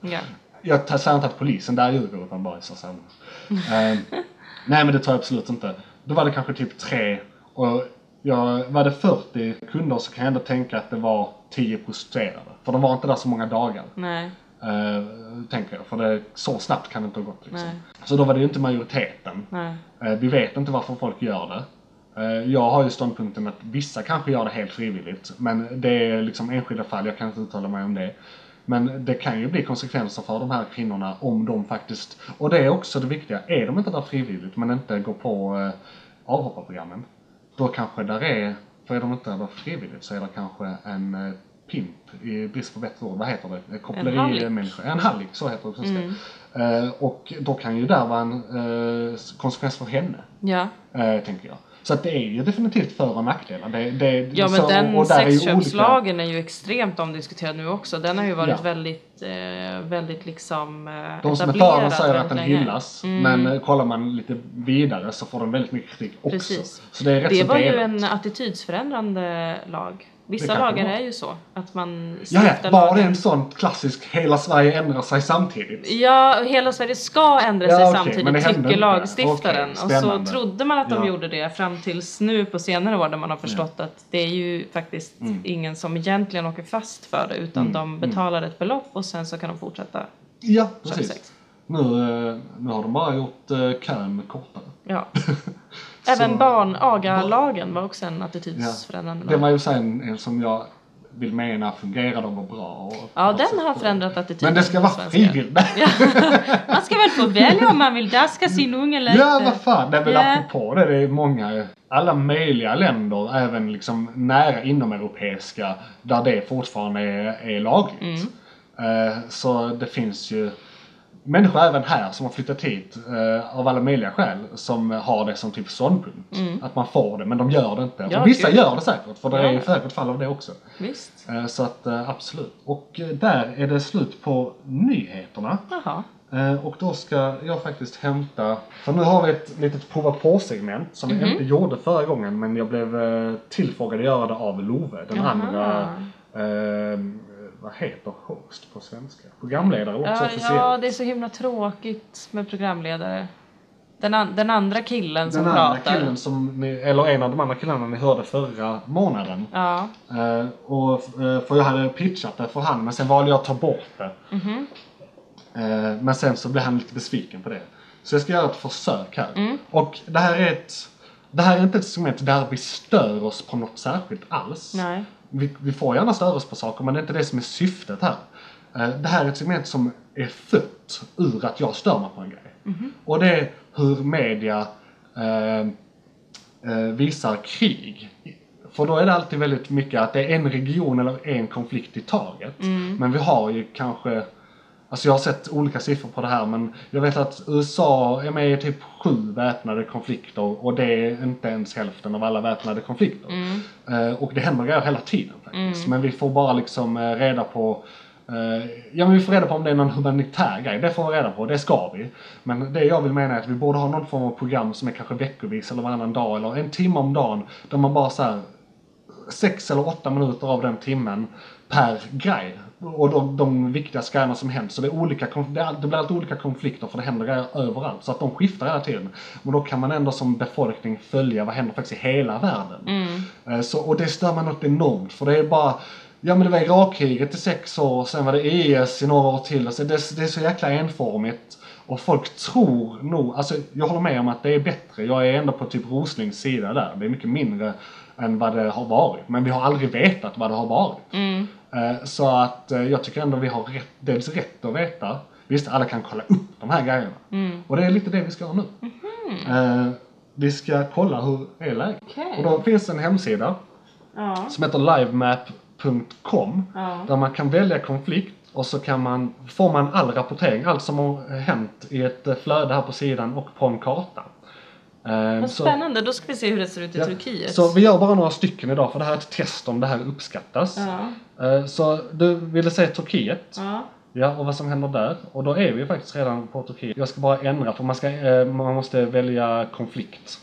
Speaker 3: <laughs>
Speaker 2: Ja.
Speaker 3: jag tar- säger inte att polisen där ljuger utan bara i så sammanhang. Ehm, nej men det tror jag absolut inte. Då var det kanske typ tre och jag, var det 40 kunder så kan jag ändå tänka att det var 10 prostituerade. För de var inte där så många dagar.
Speaker 2: Nej.
Speaker 3: eh, tänker jag. För det, så snabbt kan det inte ha gått liksom.
Speaker 2: Nej.
Speaker 3: Så då var det ju inte majoriteten.
Speaker 2: Nej.
Speaker 3: Eh, Vi vet inte varför folk gör det. Eh, Jag har ju ståndpunkten att vissa kanske gör det helt frivilligt, men det är liksom enskilda fall, jag kan inte uttala mig om det. Men det kan ju bli konsekvenser för de här kvinnorna om de faktiskt, och det är också det viktiga, är de inte där frivilligt men inte går på eh, avhopparprogrammen, då kanske där är, för är de inte där frivilligt så är det kanske en eh, pimp, i brist på bättre ord, vad heter det? Eh, Koppleri,
Speaker 2: hallick.
Speaker 3: eh, människa. En hallick, så heter det precis det.
Speaker 2: Mm.
Speaker 3: Eh, Och då kan ju där vara en eh, konsekvens för henne
Speaker 2: Ja.
Speaker 3: eh, tänker jag. Så att det är ju definitivt för och nackdelar. Det, det,
Speaker 2: Ja men
Speaker 3: så,
Speaker 2: den
Speaker 3: och där är ju olika-
Speaker 2: sexköpslagen är ju extremt omdiskuterad nu också. Den har ju varit
Speaker 3: Ja.
Speaker 2: väldigt, eh, väldigt liksom eh,
Speaker 3: De som är för den
Speaker 2: etablerad
Speaker 3: säger att
Speaker 2: väldigt
Speaker 3: den
Speaker 2: länge. Mm.
Speaker 3: hyllas, men eh, kollar man lite vidare så får den väldigt mycket kritik också.
Speaker 2: Precis.
Speaker 3: Så det är rätt
Speaker 2: Det
Speaker 3: så
Speaker 2: var ju
Speaker 3: delat.
Speaker 2: en attitydsförändrande lag.
Speaker 3: Det
Speaker 2: Vissa
Speaker 3: kanske
Speaker 2: lagar
Speaker 3: var.
Speaker 2: är ju så. Att man
Speaker 3: Ja, ja,
Speaker 2: stiftar
Speaker 3: var det
Speaker 2: lagar.
Speaker 3: en sån klassisk hela Sverige ändrar sig samtidigt?
Speaker 2: Ja, hela Sverige ska ändra
Speaker 3: Ja,
Speaker 2: sig
Speaker 3: okej, men det
Speaker 2: samtidigt,
Speaker 3: hände
Speaker 2: tycker
Speaker 3: inte.
Speaker 2: lagstiftaren.
Speaker 3: Okej,
Speaker 2: och så
Speaker 3: spännande.
Speaker 2: trodde man att de
Speaker 3: Ja.
Speaker 2: gjorde det fram tills nu på senare år där man har förstått att det är ju faktiskt
Speaker 3: Mm.
Speaker 2: ingen som egentligen åker fast för det utan de betalar ett belopp och sen så kan de fortsätta.
Speaker 3: Ja,
Speaker 2: sex.
Speaker 3: precis. Nu, eh, nu har de bara gjort eh, kön kortare. <laughs>
Speaker 2: Ja.
Speaker 3: Så-
Speaker 2: Även barnagalagen var också en attitydsförändrande
Speaker 3: Det
Speaker 2: lag.
Speaker 3: var ju sen en som jag vill mena fungerade och var bra. Och
Speaker 2: Ja, den har förändrat attityden.
Speaker 3: Men det ska
Speaker 2: hos
Speaker 3: vara
Speaker 2: svenskar.
Speaker 3: frivilligt.
Speaker 2: Man ska väl få välja om man vill daska sin unge eller
Speaker 3: <laughs> Ja,
Speaker 2: inte.
Speaker 3: vad fan. Nej, men
Speaker 2: Ja.
Speaker 3: apropå det, det är många, alla möjliga länder, även liksom nära inomeuropeiska, där det fortfarande är, är lagligt.
Speaker 2: Mm.
Speaker 3: Eh, så det finns ju människor även här som har flyttat hit eh, av alla möjliga skäl som har det som typ ståndpunkt. Att man får det, men de gör det inte.
Speaker 2: Mm. Ja,
Speaker 3: och vissa
Speaker 2: gud.
Speaker 3: gör det säkert, för det är
Speaker 2: Ja.
Speaker 3: ju säkert fall av det också.
Speaker 2: Visst.
Speaker 3: Eh, så att eh, absolut. Och eh, där är det slut på nyheterna.
Speaker 2: Jaha.
Speaker 3: Eh, Och då ska jag faktiskt hämta, för nu har vi ett litet prova på-segment som
Speaker 2: Mhm.
Speaker 3: jag inte gjorde förra gången men jag blev eh, tillfrågad att göra det av Love, den andra, eh, vad heter host på svenska? Programledare också
Speaker 2: Ja,
Speaker 3: officiellt.
Speaker 2: ja, det är så himla tråkigt med programledare. Den, an- den andra killen som
Speaker 3: den andra
Speaker 2: pratar.
Speaker 3: killen som ni, eller en av de andra killarna ni hörde förra månaden.
Speaker 2: Ja,
Speaker 3: Eh, och, eh, för jag hade pitchat det för han men sen valde jag att ta bort det. Eh, men sen så blev han lite besviken på det. Så jag ska göra ett försök här. Och det här är ett det här är inte ett segment där vi stör oss på något särskilt alls.
Speaker 2: Nej.
Speaker 3: Vi, vi får gärna störa oss på saker men det är inte det som är syftet här. Eh, Det här är ett segment som är fött ur att jag stör mig på en grej. Och det är hur media eh, eh, visar krig. För då är det alltid väldigt mycket att det är en region eller en konflikt i taget. Men vi har ju kanske, alltså jag har sett olika siffror på det här men jag vet att USA är med i typ sju väpnade konflikter och det är inte ens hälften av alla väpnade konflikter. Eh, och det händer grejer hela tiden faktiskt. Men vi får bara liksom eh, reda på eh, Ja men vi får reda på om det är någon humanitär grej, det får vi reda på, det ska vi. Men det jag vill mena är att vi borde ha någon form av program som är kanske veckovis eller varannan dag eller en timme om dagen där man bara så här sex eller åtta minuter av den timmen per grej. Och de, de viktigaste grejerna som händer. Så det, är olika, konf- det, är, all- det blir alltid olika konflikter för det händer grejer överallt. Så att de skiftar hela tiden. Men då kan man ändå som befolkning följa vad händer faktiskt i hela världen. Eh, Så, och det stör man något enormt för det är bara Ja men det var Irakkriget i sex år, och sen var det IS i några år till. Alltså, det, det är så jäkla enformigt. Och folk tror nog, alltså jag håller med om att det är bättre. Jag är ändå på typ Roslings sida där. Det är mycket mindre än vad det har varit. Men vi har aldrig vetat vad det har varit. Eh, Så att eh, jag tycker ändå vi har rätt, dels rätt att veta. Visst, alla kan kolla upp de här grejerna. Och det är lite det vi ska göra nu. Eh, Vi ska kolla hur är läget.
Speaker 2: Okej.
Speaker 3: Och då finns en hemsida
Speaker 2: Ja.
Speaker 3: som heter livemap.com
Speaker 2: Ja.
Speaker 3: där man kan välja konflikt och så kan man, får man all rapportering, allt som har hänt i ett eh, flöde här på sidan och på en karta. Ehm,
Speaker 2: Vad
Speaker 3: så-
Speaker 2: spännande, då ska vi se hur det ser ut i
Speaker 3: ja,
Speaker 2: Turkiet.
Speaker 3: Så vi gör bara några stycken idag för det här är ett test om det här uppskattas.
Speaker 2: Ja.
Speaker 3: Eh, Så du ville säga Turkiet?
Speaker 2: Ja.
Speaker 3: Ja, och vad som händer där. Och då är vi faktiskt redan på Turkiet. Jag ska bara ändra för man, ska, eh, man måste välja konflikt.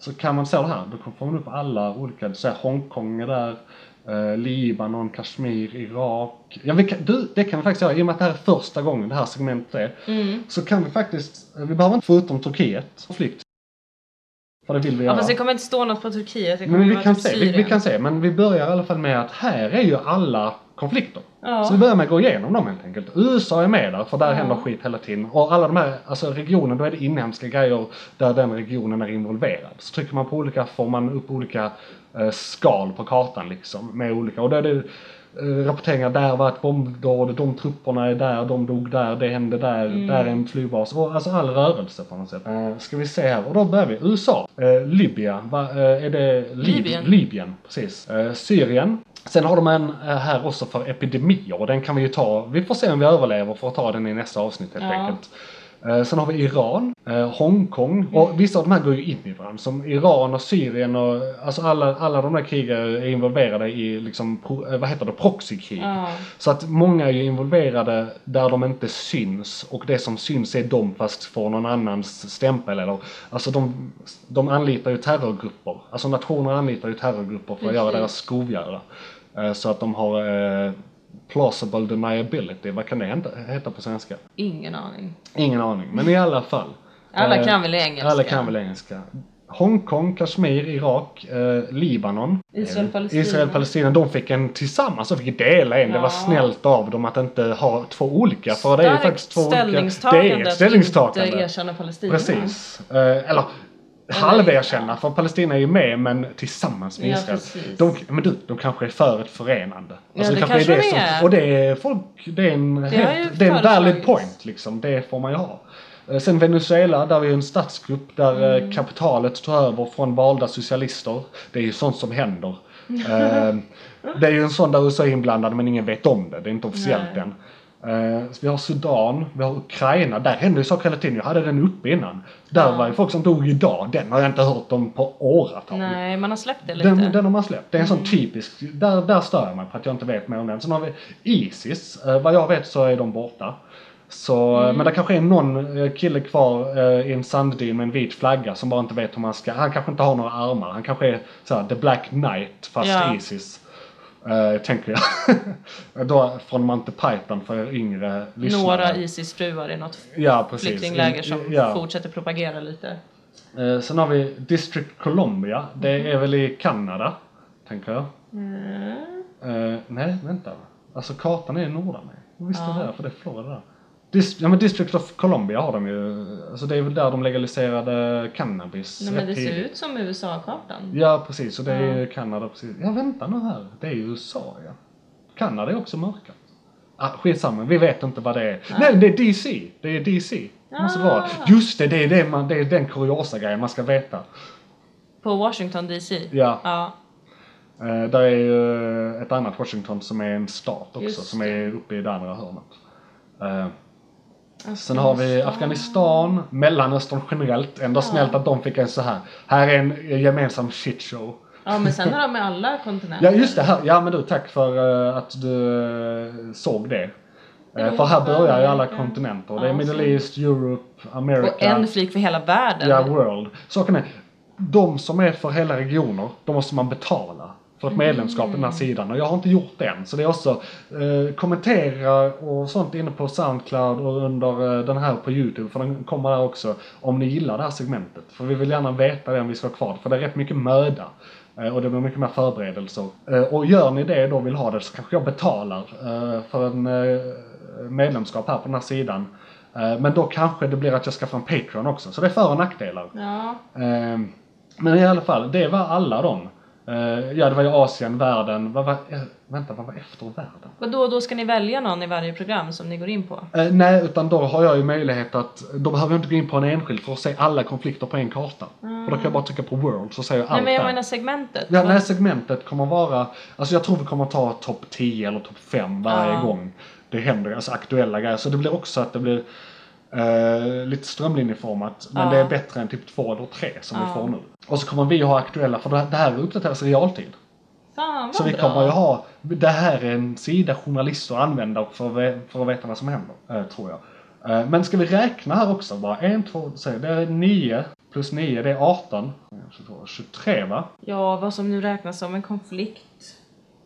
Speaker 3: Så kan man se det här, då får man upp alla olika. Så här, Hongkong är där, eh, Libanon, Kashmir, Irak. Ja, vi kan, du, det kan vi faktiskt göra. I och med att det här är första gången det här segmentet är.
Speaker 2: Mm.
Speaker 3: Så kan vi faktiskt, vi behöver inte få utom Turkiet, konflikt. För det vill vi göra.
Speaker 2: Ja, fast det kommer inte stå något på Turkiet. Det kommer
Speaker 3: Men vi
Speaker 2: vara
Speaker 3: kan,
Speaker 2: typ
Speaker 3: se, vi, vi
Speaker 2: Syrien.
Speaker 3: kan se, men vi börjar i alla fall med att här är ju alla konflikter.
Speaker 2: Ja.
Speaker 3: Så vi börjar med att gå igenom dem helt enkelt. USA är med där, för där händer skit hela tiden. Och alla de här alltså, regionerna, då är det inhemska grejer där den regionen är involverad. Så trycker man på olika får man upp olika eh, skal på kartan liksom. Med olika, och då är det eh, rapporteringar där var ett bombdåd, de trupperna är där, de dog där, det hände där,
Speaker 2: Mm.
Speaker 3: där är en flygbas. Och, alltså all rörelse på något sätt. Eh, ska vi se här, och då börjar vi. USA, eh, Libya, va, eh, är det Lib-
Speaker 2: Libyen.
Speaker 3: Libyen, precis. Eh, Syrien. Sen har de en eh, här också för epidemier och den kan vi ju ta. Vi får se om vi överlever för att ta den i nästa avsnitt helt
Speaker 2: Ja.
Speaker 3: enkelt. Eh, Sen har vi Iran, eh, Hongkong
Speaker 2: Mm.
Speaker 3: och vissa av de här går ju in i varandra. Som Iran och Syrien och alltså alla, alla de där krigen är involverade i liksom, pro, eh, vad heter det, proxykrig.
Speaker 2: Ja.
Speaker 3: Så att många är ju involverade där de inte syns och det som syns är de fast får någon annans stämpel eller alltså de, de anlitar ju terrorgrupper. Alltså nationer anlitar ju terrorgrupper för att göra
Speaker 2: Precis.
Speaker 3: deras skovgöra. Eh, Så att de har eh, plausible deniability, vad kan det hända- heta på svenska?
Speaker 2: Ingen aning.
Speaker 3: Ingen aning, men i alla fall.
Speaker 2: Alla
Speaker 3: Eh,
Speaker 2: kan väl engelska?
Speaker 3: Alla kan väl engelska. Hongkong, Kashmir, Irak, eh, Libanon.
Speaker 2: Israel,
Speaker 3: Eh,
Speaker 2: Palestina.
Speaker 3: Israel, Palestina. De fick en tillsammans, de fick dela en. Det
Speaker 2: Ja.
Speaker 3: var snällt av dem att inte ha två olika. För det är ju faktiskt två olika.
Speaker 2: ställningstagande
Speaker 3: Det är ett
Speaker 2: att inte
Speaker 3: ställningstagande.
Speaker 2: erkänna Palestina.
Speaker 3: Precis. Eh, eller halverkänna, för Palestina är ju med men tillsammans med
Speaker 2: Ja,
Speaker 3: Israel.
Speaker 2: precis.
Speaker 3: De, men du, de kanske är för ett förenande.
Speaker 2: Ja, det kanske
Speaker 3: är det
Speaker 2: de är.
Speaker 3: Som, och det är folk, det är en,
Speaker 2: Det har ju
Speaker 3: helt, det är en valid
Speaker 2: föreslagits.
Speaker 3: point liksom. Det får man ju ha. Eh, Sen Venezuela, där är ju en statskupp där eh, kapitalet tar över från valda socialister. Det är ju sånt som händer. Eh, det är ju en sån där USA är inblandad men ingen vet om det. Det är inte officiellt
Speaker 2: Nej.
Speaker 3: än. Eh, så vi har Sudan, vi har Ukraina. Där hände ju saker hela tiden. Jag hade den uppe innan. Där var ju folk som dog idag. Den har jag inte hört om på åratal.
Speaker 2: Nej, man har släppt det lite. Mm.
Speaker 3: Den, den har man släppt. Det är en sån typisk, där, där stör jag mig på att jag inte vet mer om den. Sen har vi Isis. Eh, vad jag vet så är de borta. Så, eh,
Speaker 2: Mm.
Speaker 3: Men det kanske är någon eh, kille kvar eh, i en sanddyn med en vit flagga som bara inte vet hur man ska, han kanske inte har några armar. Han kanske är såhär, the black knight fast
Speaker 2: Ja.
Speaker 3: Isis. Eh, tänker jag. <laughs> Då från Monty Python för er yngre lyssnare.
Speaker 2: Några Isis-fruar i något
Speaker 3: ja, precis.
Speaker 2: flyktingläger som
Speaker 3: Ja.
Speaker 2: fortsätter propagera lite.
Speaker 3: Eh, sen har vi District Columbia. Det är väl i Kanada, tänker jag. Eh, nej, vänta. Alltså kartan är i Nordamerika. Jag visste det, för det är Florida där. Dis- ja, men District of Columbia har de ju. Alltså det är väl där de legaliserade cannabis.
Speaker 2: Nej, men
Speaker 3: rätt
Speaker 2: det ser
Speaker 3: tidigt.
Speaker 2: ut som USA-kartan.
Speaker 3: Ja, precis. Och det är ju Kanada precis. Ja, vänta nu här. Det är ju USA, ja. Kanada är också mörka. Ah, skitsamma, vi vet inte vad det är. Nej, Ah. det är DC. Det är DC. Måste det vara. Just det, det är, det, man, det är den kuriosa grejen man ska veta.
Speaker 2: På Washington DC.
Speaker 3: Ja.
Speaker 2: ja.
Speaker 3: Eh, där är ju eh, ett annat Washington som är en stat också,
Speaker 2: Just
Speaker 3: som är uppe i det andra hörnet. Eh, sen
Speaker 2: Afghanistan.
Speaker 3: har vi Afghanistan, Mellanöstern generellt. Ändå snällt att de fick en så här. Här är en eh, gemensam shitshow.
Speaker 2: Ja, men sen har de med alla kontinenter.
Speaker 3: Ja just det, här. ja men du tack för eh, att du eh, såg det. Eh, för här börjar ju alla kontinenter. Det är Middle East, Europe, America.
Speaker 2: Och en flik för hela världen.
Speaker 3: Ja, world. Saken är, de som är för hela regioner, de måste man betala. för ett medlemskap i den här sidan och jag har inte gjort det än. Så det är också eh, kommentera och sånt inne på Soundcloud och under eh, den här på Youtube för den kommer där också. Om ni gillar det här segmentet. För vi vill gärna veta vem vi ska ha kvar för det är rätt mycket möda. eh, Och det blir mycket mer förberedelser. Eh, Och gör ni det då vill ha det så kanske jag betalar eh, för en eh, medlemskap här på den här sidan. Eh, Men då kanske det blir att jag skaffar en Patreon också. Så det är för och nackdelar.
Speaker 2: Ja.
Speaker 3: Eh, Men i alla fall, det var alla de. Eh, Ja, det var ju Asien, världen, vad var, eh, vänta, vad var efter världen?
Speaker 2: Vadå, då ska ni välja någon i varje program som ni går in på?
Speaker 3: Eh, nej, utan då har jag ju möjlighet att, då behöver jag inte gå in på en enskild för att se alla konflikter på en karta. Och då kan jag bara trycka på world så ser jag
Speaker 2: Mm. Nej
Speaker 3: allt
Speaker 2: men jag
Speaker 3: där.
Speaker 2: menar segmentet.
Speaker 3: Ja, det här segmentet kommer vara, alltså jag tror vi kommer ta topp 10 eller topp 5 varje
Speaker 2: Ja.
Speaker 3: gång det händer, alltså aktuella grejer. Så det blir också att det blir eh, lite strömlinjeformat, men
Speaker 2: Ja.
Speaker 3: det är bättre än typ 2 eller 3 som vi får nu. Och så kommer vi ha aktuella, för det det här uppdateras i realtid.
Speaker 2: Fan vad
Speaker 3: Så vi
Speaker 2: bra.
Speaker 3: kommer ju ha, det här är en sida journalister använder för, att ve- för att veta vad som händer, eh, tror jag. Eh, Men ska vi räkna här också? Bara en, två, tre, det är 9 plus 9, det är 18. 23 va?
Speaker 2: Ja, vad som nu räknas som en konflikt.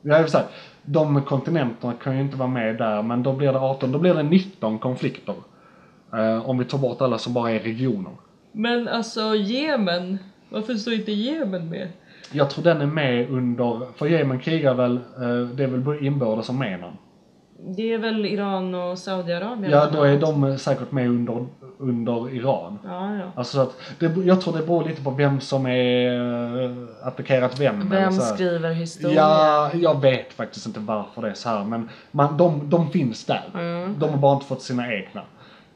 Speaker 3: Ja, Jag vill säga, de kontinenterna kan ju inte vara med där, men då blir det 18, då blir det 19 konflikter. Eh, om vi tar bort alla som bara är regioner.
Speaker 2: Men alltså Jemen, varför står inte Jemen med?
Speaker 3: Jag tror den är med under, för Jemen krigar väl, eh, det är väl både inbördes Armenien.
Speaker 2: Det är väl Iran och Saudiarabien?
Speaker 3: Ja, då är de säkert med under, under Iran.
Speaker 2: Ja, ja.
Speaker 3: Alltså så att, det, jag tror det beror lite på vem som är eh, attackerat vem. eller
Speaker 2: Vem
Speaker 3: så här.
Speaker 2: skriver historia?
Speaker 3: Ja, jag vet faktiskt inte varför det är så här men man, de, de finns där.
Speaker 2: Mm.
Speaker 3: De har bara inte fått sina egna.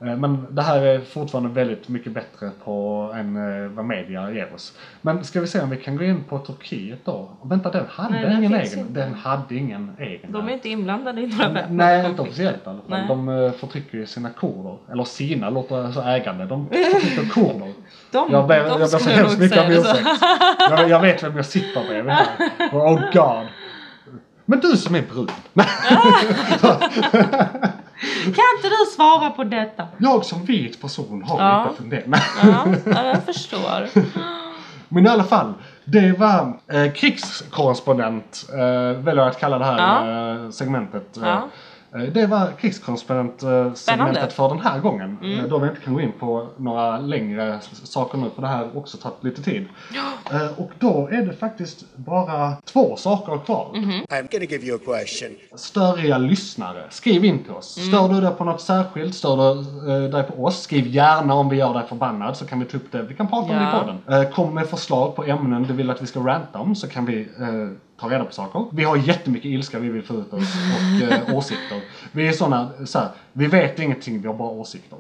Speaker 3: Eh, Men det här är fortfarande väldigt mycket bättre på än eh, vad media ger oss. Men ska vi se om vi kan gå in på Turkiet då? Vänta, den hade
Speaker 2: Nej, den
Speaker 3: ingen
Speaker 2: finns
Speaker 3: egen.
Speaker 2: inte.
Speaker 3: Den hade ingen egen.
Speaker 2: De är inte inblandade i några väpnade
Speaker 3: Nej, inte
Speaker 2: konflikter.
Speaker 3: officiellt i alla fall.
Speaker 2: Nej.
Speaker 3: De eh, förtrycker ju sina kurder. Eller sina, låter så ägande. De förtrycker kurder.
Speaker 2: De,
Speaker 3: Jag ber,
Speaker 2: de
Speaker 3: jag ber så
Speaker 2: skulle
Speaker 3: hemskt
Speaker 2: nog
Speaker 3: mycket
Speaker 2: säga
Speaker 3: om
Speaker 2: det så.
Speaker 3: ursäkt. Jag, jag vet vem jag sitter bredvid här.
Speaker 2: <laughs>
Speaker 3: Oh god. Men du som är brun. Nej,
Speaker 2: Kan inte du svara på detta?
Speaker 3: Jag som vit person har
Speaker 2: Ja.
Speaker 3: inte funderat. Nej.
Speaker 2: Ja, ja, jag förstår.
Speaker 3: <laughs> Men i alla fall. Det var eh, krigskorrespondent, eh, väljer jag att kalla det här eh, segmentet. eh,
Speaker 2: Ja.
Speaker 3: eh, Det var krigskorrespondent eh, segmentet
Speaker 2: Spännande. Mm.
Speaker 3: för den här gången. Eh, Då vi inte kan gå in på några längre s- saker nu för det här har också tagit lite tid. Eh, Och då är det faktiskt bara två saker kvar.
Speaker 2: Mhm.
Speaker 5: I'm gonna give you a question.
Speaker 3: störiga lyssnare. Skriv in till oss. Stör du dig på något särskilt? Stör du eh, dig på oss? Skriv gärna om vi gör dig förbannad så kan vi ta upp det. Vi kan prata
Speaker 2: Ja.
Speaker 3: om det i podden. Eh, kom med förslag på ämnen du vill att vi ska ranta om så kan vi eh, ta reda på saker. Vi har jättemycket ilska vi vill få ut oss och eh, åsikter. Vi är sådana, så här, vi vet ingenting, vi har bara åsikter.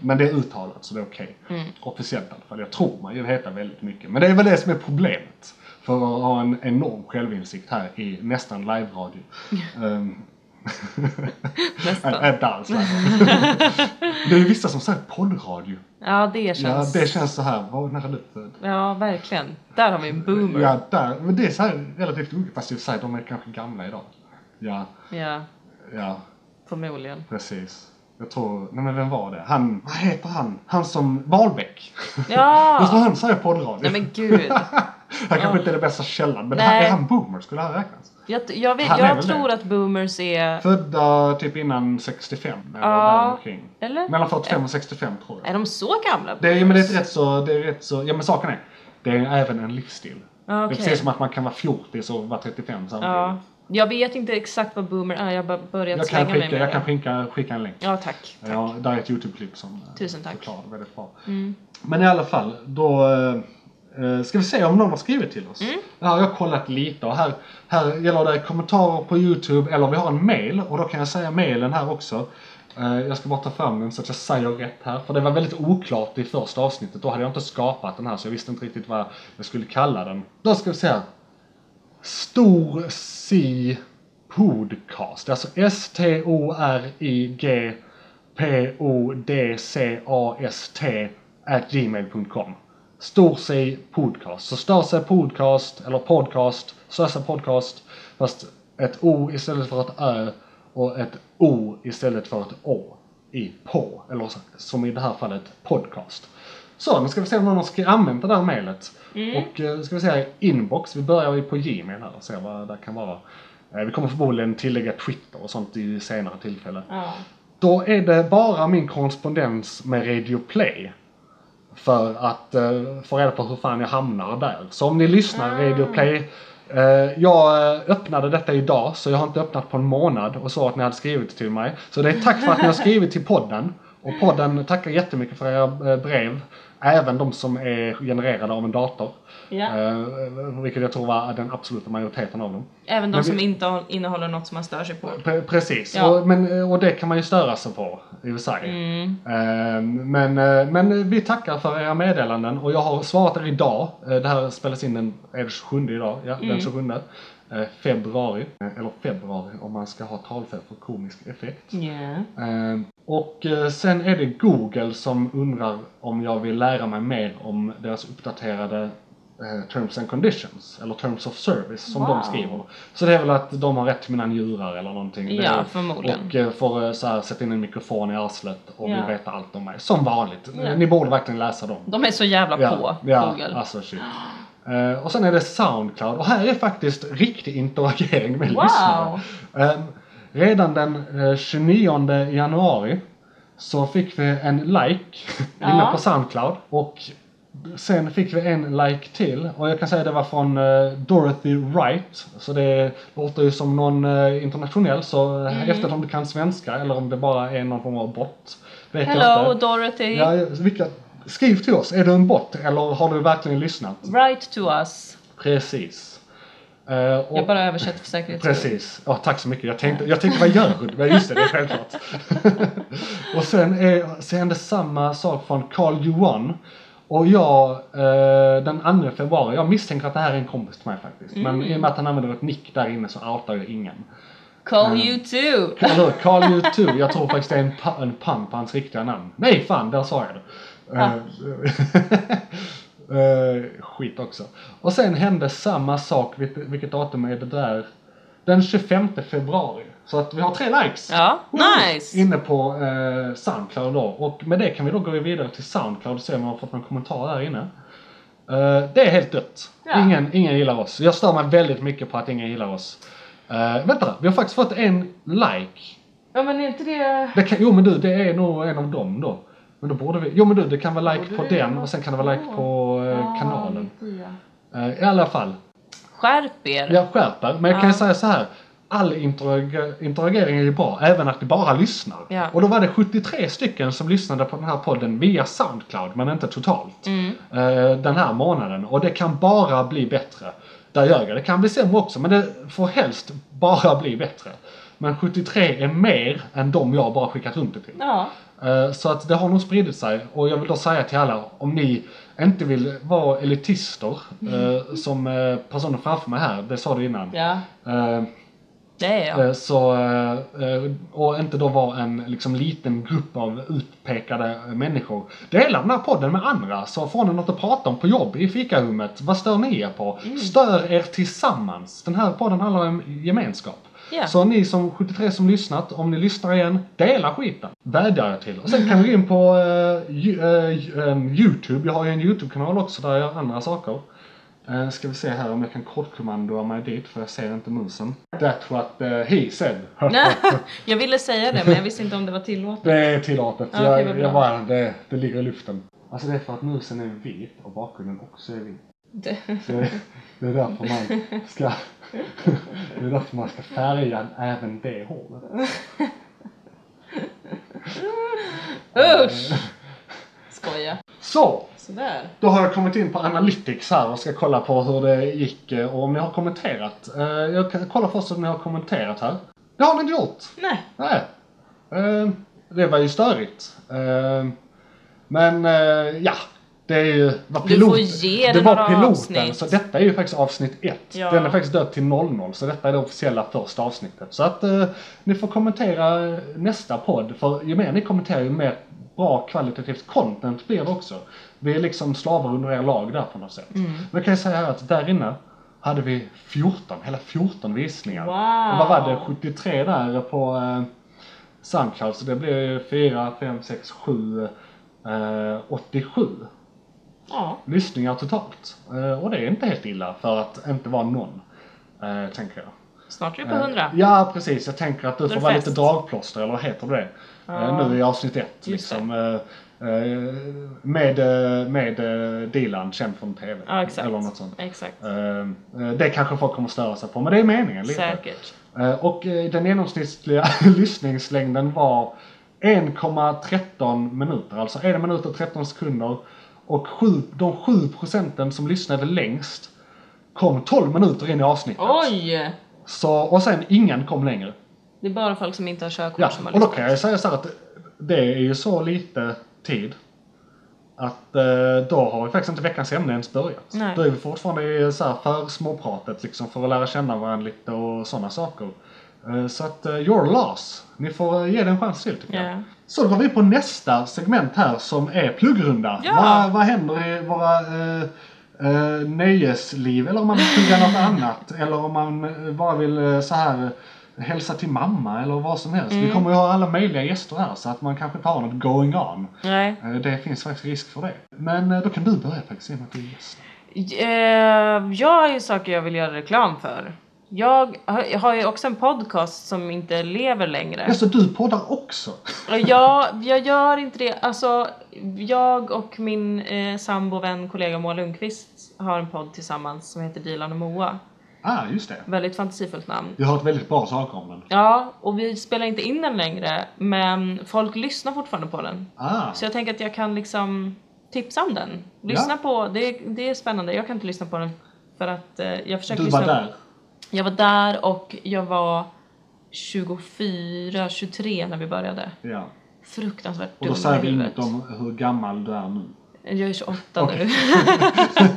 Speaker 3: Men det är uttalat så det är okej. Officiellt i alla fall. Jag tror man ju heter väldigt mycket. Men det är väl det som är problemet. För att ha en enorm självinsikt här i nästan live-radio. Ehm,
Speaker 2: Nästan.
Speaker 3: Nej, Inte alls.
Speaker 2: <laughs>
Speaker 3: nej. det är vissa som säger poddradio.
Speaker 2: Ja, det
Speaker 3: Ja,
Speaker 2: känns...
Speaker 3: det känns så här, vad nära död.
Speaker 2: Ja, verkligen. Där har vi en boomer.
Speaker 3: Ja, där. Men det är så här relativt ungt, fast jag säger, de är kanske gamla idag. Ja,
Speaker 2: Ja,
Speaker 3: ja,
Speaker 2: förmodligen.
Speaker 3: precis. Jag tror, nej men vem var det? Han, vad heter han? Han som, Wahlbeck. <laughs> Vad
Speaker 2: Ja!
Speaker 3: han säger poddradio.
Speaker 2: Nej men gud.
Speaker 3: <laughs> Han kanske inte är den bästa källan, men här,
Speaker 2: Nej.
Speaker 3: är han boomer? Skulle han räknas?
Speaker 2: Jag, jag, vet,
Speaker 3: Han är
Speaker 2: jag
Speaker 3: väl
Speaker 2: tror
Speaker 3: det.
Speaker 2: att boomers är...
Speaker 3: Födda typ innan 65, eller
Speaker 2: Ja,
Speaker 3: däromkring.
Speaker 2: eller?
Speaker 3: Mellan 45 och 65 tror jag.
Speaker 2: Är de så gamla?
Speaker 3: Det är, men det är rätt så, det är rätt så, ja men saken är, det är även en livsstil.
Speaker 2: Ja,
Speaker 3: Det är
Speaker 2: Ah, okej.
Speaker 3: precis som att man kan vara 40 och vara 35 samtidigt.
Speaker 2: Ja. Jag vet inte exakt vad boomer är, jag har bara
Speaker 3: jag
Speaker 2: börjat
Speaker 3: kan,
Speaker 2: slänga mig
Speaker 3: skicka,
Speaker 2: med
Speaker 3: jag kan
Speaker 2: det.
Speaker 3: skicka, skicka en länk.
Speaker 2: Ja, tack. tack.
Speaker 3: Ja, där är ett YouTube-klipp som eh,
Speaker 2: Tusen tack. Mm.
Speaker 3: förklarar det väldigt bra. Men i alla fall, då eh, eh, ska vi se om någon har skrivit till
Speaker 2: Mm.
Speaker 3: oss. Här har jag kollat lite och här, här gäller det kommentarer på YouTube eller vi har en mail och då kan jag säga mailen här också. Eh, Jag ska bara ta fram den så att jag säger rätt här. För det var väldigt oklart i första avsnittet. Då hade jag inte skapat den här så jag visste inte riktigt vad jag skulle kalla den. Då ska vi se här. Stor Si Podcast. Alltså S-T-O-R-I-G P-O-D-C-A-S-T at gmail.com. Stor sig podcast. Så stör sig podcast, eller podcast, stör sig podcast, fast ett O istället för ett Ö och ett O istället för ett Å i på, eller så- som i det här fallet podcast. Så, nu ska vi se om någon har använt det där mejlet. Och eh, ska vi se, inbox. Vi börjar ju på Gmail här och ser vad det kan vara. Eh, Vi kommer förmodligen tillägga Twitter och sånt i senare tillfälle.
Speaker 2: Ja.
Speaker 3: Då är det bara min korrespondens med Radio Play. För att eh, få reda på hur fan jag hamnar där. Så om ni lyssnar Radio Play. Eh, jag eh, öppnade detta idag så jag har inte öppnat på en månad och så att ni hade skrivit till mig. Så det är tack för att ni har skrivit till podden. Och podden tackar jättemycket för era eh, brev. Även de som är genererade av en dator.
Speaker 2: Ja.
Speaker 3: Eh, vilket jag tror var den absoluta majoriteten av dem.
Speaker 2: Även de
Speaker 3: men vi-
Speaker 2: som inte har- innehåller något som man stör sig på.
Speaker 3: Pre- Precis,
Speaker 2: Ja.
Speaker 3: och, men, och det kan man ju störa sig på i och för sig. Ehm, men, eh, men vi tackar för era meddelanden och jag har svarat er idag. Eh, Det här spelas in den, är det 27 idag, ja, den 27 eh, februari. Eh, Eller februari om man ska ha talfel för komisk effekt.
Speaker 2: Yeah.
Speaker 3: Ehm, och eh, sen är det Google som undrar om jag vill lära mig mer om deras uppdaterade eh, Terms and Conditions, eller Terms of Service som
Speaker 2: Wow.
Speaker 3: de skriver. Så det är väl att de har rätt till mina njurar eller någonting. Det-
Speaker 2: Ja, förmodligen.
Speaker 3: Och eh, får eh, så här, sätta in en mikrofon i arslet och
Speaker 2: Ja.
Speaker 3: vill veta allt om mig. Som vanligt.
Speaker 2: Ja.
Speaker 3: Ni borde verkligen läsa dem.
Speaker 2: De är så jävla
Speaker 3: Ja,
Speaker 2: på
Speaker 3: ja,
Speaker 2: Google.
Speaker 3: alltså shit. Eh, och sen är det Soundcloud och här är faktiskt riktig interagering med
Speaker 2: Wow.
Speaker 3: lyssnare. Ehm, redan den eh, 29 januari så fick vi en like <laughs> inne
Speaker 2: Ja.
Speaker 3: på Soundcloud och sen fick vi en like till och jag kan säga det var från eh, Dorothy Wright så det låter ju som någon eh, internationell så eh,
Speaker 2: Mm.
Speaker 3: eftersom du kan svenska eller om det bara är någon form av bot. vet jag
Speaker 2: Hello
Speaker 3: inte.
Speaker 2: Dorothy!
Speaker 3: Ja, ja, vilka... Skriv till oss, är du en bot eller har du verkligen lyssnat?
Speaker 2: Write to us.
Speaker 3: Precis. Eh, och...
Speaker 2: Jag bara översätter för säkerhets skull.
Speaker 3: Precis, ja, tack så mycket. Jag tänkte, jag tänkte vad gör du? Men just det, det är självklart. <laughs> och sen, är, sen hände samma sak från Carl Johan. Och jag, eh, den 2 februari, jag misstänker att det här är en kompis till mig faktiskt. Men i och med att han använder ett nick där inne så outar jag ingen.
Speaker 2: Call you too!
Speaker 3: Eller hur? Carl U2. Jag tror faktiskt det är en, pa- en pun på hans riktiga namn. Nej, fan, där sa jag det. Eh, <laughs> eh, skit också. Och sen hände samma sak, vil- vilket datum är det där? Den 25 februari. Så att vi har tre likes.
Speaker 2: Ja,
Speaker 3: Woo!
Speaker 2: nice.
Speaker 3: Inne på eh, Soundcloud då. Och med det kan vi då gå vidare till Soundcloud och se om vi har fått någon kommentar där inne. Eh, det är helt dött.
Speaker 2: Ja.
Speaker 3: Ingen, ingen gillar oss. Jag stör mig väldigt mycket på att ingen gillar oss. Eh, vänta, vi har faktiskt fått en like
Speaker 2: Ja men är inte det...
Speaker 3: det kan, jo men du, det är nog en av dem då. Men då borde vi... Jo men du, det kan vara like på
Speaker 2: Borde det
Speaker 3: den
Speaker 2: vara
Speaker 3: och sen kan det vara like
Speaker 2: så?
Speaker 3: på eh,
Speaker 2: Ja,
Speaker 3: kanalen.
Speaker 2: ja.
Speaker 3: Eh, I alla fall,
Speaker 2: Skärp er!
Speaker 3: jag skärper. Men jag kan
Speaker 2: Ja.
Speaker 3: säga så här. All interag interagering är ju bra, även att ni bara lyssnar.
Speaker 2: Ja.
Speaker 3: Och då var det 73 stycken som lyssnade på den här podden via Soundcloud, men inte totalt.
Speaker 2: Mm.
Speaker 3: eh, den här månaden. Och det kan bara bli bättre. Där gör jag. Det kan bli sämre också, men det får helst bara bli bättre. Men 73 är mer än de jag bara skickat runt det till.
Speaker 2: Ja.
Speaker 3: Eh, Så att det har nog spridit sig och jag vill då säga till alla om ni inte vill vara elitister eh, som eh, personen framför mig här, det sa du innan.
Speaker 2: ja,
Speaker 3: Eh,
Speaker 2: det är jag.
Speaker 3: eh, Så, eh, eh, och inte då vara en liksom, liten grupp av utpekade eh, människor. Dela den här podden med andra så får ni något att prata om på jobb i fikarummet. Vad stör ni er på? Stör er tillsammans. Den här podden handlar om gemenskap.
Speaker 2: Ja.
Speaker 3: Så ni som 73 som lyssnat, om ni lyssnar igen, dela skiten. Vädjar jag till. Och sen kan vi gå in på eh, ju- eh, ju- ehm, Youtube. Jag har ju en Youtube-kanal också där jag gör andra saker. Uh, ska vi se här om jag kan kortkommandoa mig dit för jag ser inte musen. That's what eh, he said.
Speaker 2: Nej,
Speaker 3: Eh.
Speaker 2: <laughs> jag ville säga det men jag visste inte om det var
Speaker 3: <laughs>
Speaker 2: tillåtet.
Speaker 3: det är tillåtet.
Speaker 2: Ja, okej,
Speaker 3: jag, jag
Speaker 2: vad bra.
Speaker 3: bara, det, det ligger i luften. Alltså det är för att musen är vit och bakgrunden också är vit.
Speaker 2: Det-
Speaker 3: Så det, det är därför man ska <laughs> Det är därför man ska färga även det håret.
Speaker 2: Usch! Skoja.
Speaker 3: Så!
Speaker 2: Sådär.
Speaker 3: Då har jag kommit in på Analytics här och ska kolla på hur det gick eh, och om ni har kommenterat. Eh, Jag kan kolla först om ni har kommenterat här. Det har ni inte gjort!
Speaker 2: Nej.
Speaker 3: Nej. Eh, Det var ju störigt. Eh, Men eh, ja, det är ju... Var
Speaker 2: Du får ge
Speaker 3: det
Speaker 2: det
Speaker 3: var
Speaker 2: några
Speaker 3: piloten,
Speaker 2: avsnitt.
Speaker 3: så detta är ju faktiskt avsnitt 1.
Speaker 2: Ja.
Speaker 3: Den är faktiskt döpt till 00, så detta är det officiella första avsnittet. Så att eh, ni får kommentera eh, nästa podd, för ju mer ni kommenterar ju mer bra kvalitativt content blir det också. Vi är liksom slavar under er lag där på något sätt.
Speaker 2: Mm.
Speaker 3: Men jag kan ju säga här att där inne hade vi 14, hela 14 visningar.
Speaker 2: Wow.
Speaker 3: Och vad var det, 73 där på eh, Soundcloud, så det blir ju 4, 5, 6, 7, eh, 87.
Speaker 2: Ja.
Speaker 3: lyssningar totalt. Eh, Och det är inte helt illa för att inte vara någon, eh, tänker jag.
Speaker 2: Snart är vi på
Speaker 3: Eh,
Speaker 2: 100.
Speaker 3: Ja, precis. Jag tänker att du
Speaker 2: är
Speaker 3: får vara
Speaker 2: fest.
Speaker 3: lite dragplåster, eller vad heter det? Eh, Nu i avsnitt ett,
Speaker 2: Just
Speaker 3: liksom. eh, eh, Med, eh, med eh, Dilan, känd från TV.
Speaker 2: Ja, exakt.
Speaker 3: Eller något sånt.
Speaker 2: Exakt.
Speaker 3: Eh, eh, Det kanske folk kommer störa sig på, men det är meningen lite.
Speaker 2: Säkert.
Speaker 3: Eh, Och eh, den genomsnittliga <laughs> lyssningslängden var 1,13 minuter, alltså 1 minut och 13 sekunder. Och sju, de 7 procenten som lyssnade längst kom 12 minuter in i avsnittet.
Speaker 2: Oj!
Speaker 3: Så, och sen ingen kom längre.
Speaker 2: Det är bara folk som inte har körkort
Speaker 3: Ja,
Speaker 2: som har
Speaker 3: och då
Speaker 2: lyssnat.
Speaker 3: kan jag säga så här att det är ju så lite tid att eh, då har vi faktiskt inte veckans ämne ens börjat.
Speaker 2: Nej.
Speaker 3: Då är vi fortfarande i så här för småpratet liksom för att lära känna varandra lite och sådana saker. Eh, så att eh, your loss. Ni får eh, ge den en chans till tycker
Speaker 2: Ja.
Speaker 3: jag. Så då går vi på nästa segment här som är pluggrunda.
Speaker 2: Ja.
Speaker 3: Vad, vad händer i våra eh, eh, nöjesliv eller om man vill plugga något annat eller om man eh, bara vill eh, så här eh, hälsa till mamma eller vad som helst.
Speaker 2: Mm.
Speaker 3: Vi kommer ju ha alla möjliga gäster här så att man kanske inte har något going on.
Speaker 2: Nej.
Speaker 3: Eh, Det finns faktiskt risk för det. Men eh, då kan du börja faktiskt i och med att du är gäst.
Speaker 2: Eh, jag har ju saker jag vill göra reklam för. Jag har- jag har ju också en podcast som inte lever längre.
Speaker 3: Alltså du poddar också? <laughs>
Speaker 2: Jag, jag gör inte det. Alltså, jag och min eh, sambo, vän, kollega Moa Lundqvist har en podd tillsammans som heter Dilan och Moa.
Speaker 3: ah, just det.
Speaker 2: Väldigt fantasifullt namn.
Speaker 3: Jag har hört väldigt bra saker om den.
Speaker 2: Ja, och vi spelar inte in den längre, men folk lyssnar fortfarande på den.
Speaker 3: Ah,
Speaker 2: Så jag tänker att jag kan liksom tipsa om den. Lyssna
Speaker 3: Ja.
Speaker 2: på, det, det är spännande. Jag kan inte lyssna på den för att eh, jag försöker
Speaker 3: du
Speaker 2: lyssna.
Speaker 3: var där.
Speaker 2: Jag var där och jag var 24, 23 när vi började.
Speaker 3: Ja.
Speaker 2: Fruktansvärt
Speaker 3: Och då
Speaker 2: dum i
Speaker 3: säger vi
Speaker 2: huvudet.
Speaker 3: inget om hur gammal du är nu.
Speaker 2: Jag är 28 nu. <laughs>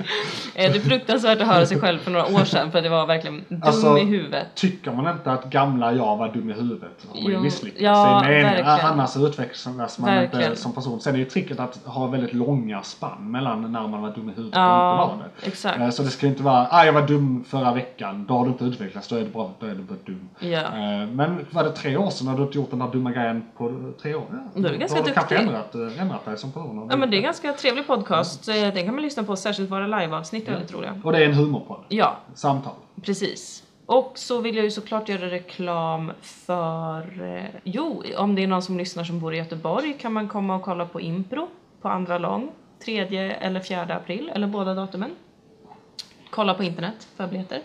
Speaker 2: Eh, det är fruktansvärt att höra sig själv för några år sedan för det var verkligen dum
Speaker 3: Alltså,
Speaker 2: i huvudet.
Speaker 3: Tycker man inte att gamla jag var dum i huvudet har man ju
Speaker 2: Jo,
Speaker 3: misslyckats.
Speaker 2: ja,
Speaker 3: Det är meningen.
Speaker 2: verkligen.
Speaker 3: Annars utvecklas man
Speaker 2: Verkligen.
Speaker 3: inte som person. Sen är ju tricket att ha väldigt långa spann mellan när man var dum i huvudet
Speaker 2: Ja,
Speaker 3: och inte var det.
Speaker 2: exakt.
Speaker 3: Eh, Så det ska ju inte vara ah, jag var dum förra veckan, då har du inte utvecklats, då är du bara, då är du bara dum.
Speaker 2: Ja.
Speaker 3: Eh, Men var det tre år sedan när du inte gjort den där dumma grejen på tre år? Ja.
Speaker 2: Du är ganska
Speaker 3: då har du kanske
Speaker 2: duktig.
Speaker 3: ändrat, eh, ändrat dig som person.
Speaker 2: Ja men det är en ganska trevlig podcast. Eh, Den kan man lyssna på, särskilt våra liveavsnitt är väldigt roliga.
Speaker 3: Och det är en humorpodd.
Speaker 2: Ja,
Speaker 3: Samtal.
Speaker 2: Precis. Och så vill jag ju såklart göra reklam för... Eh, jo, om det är någon som lyssnar som bor i Göteborg kan man komma och kolla på Impro på Andra Lång, 3 eller 4 april, eller båda datumen. Kolla på internet för biljetter.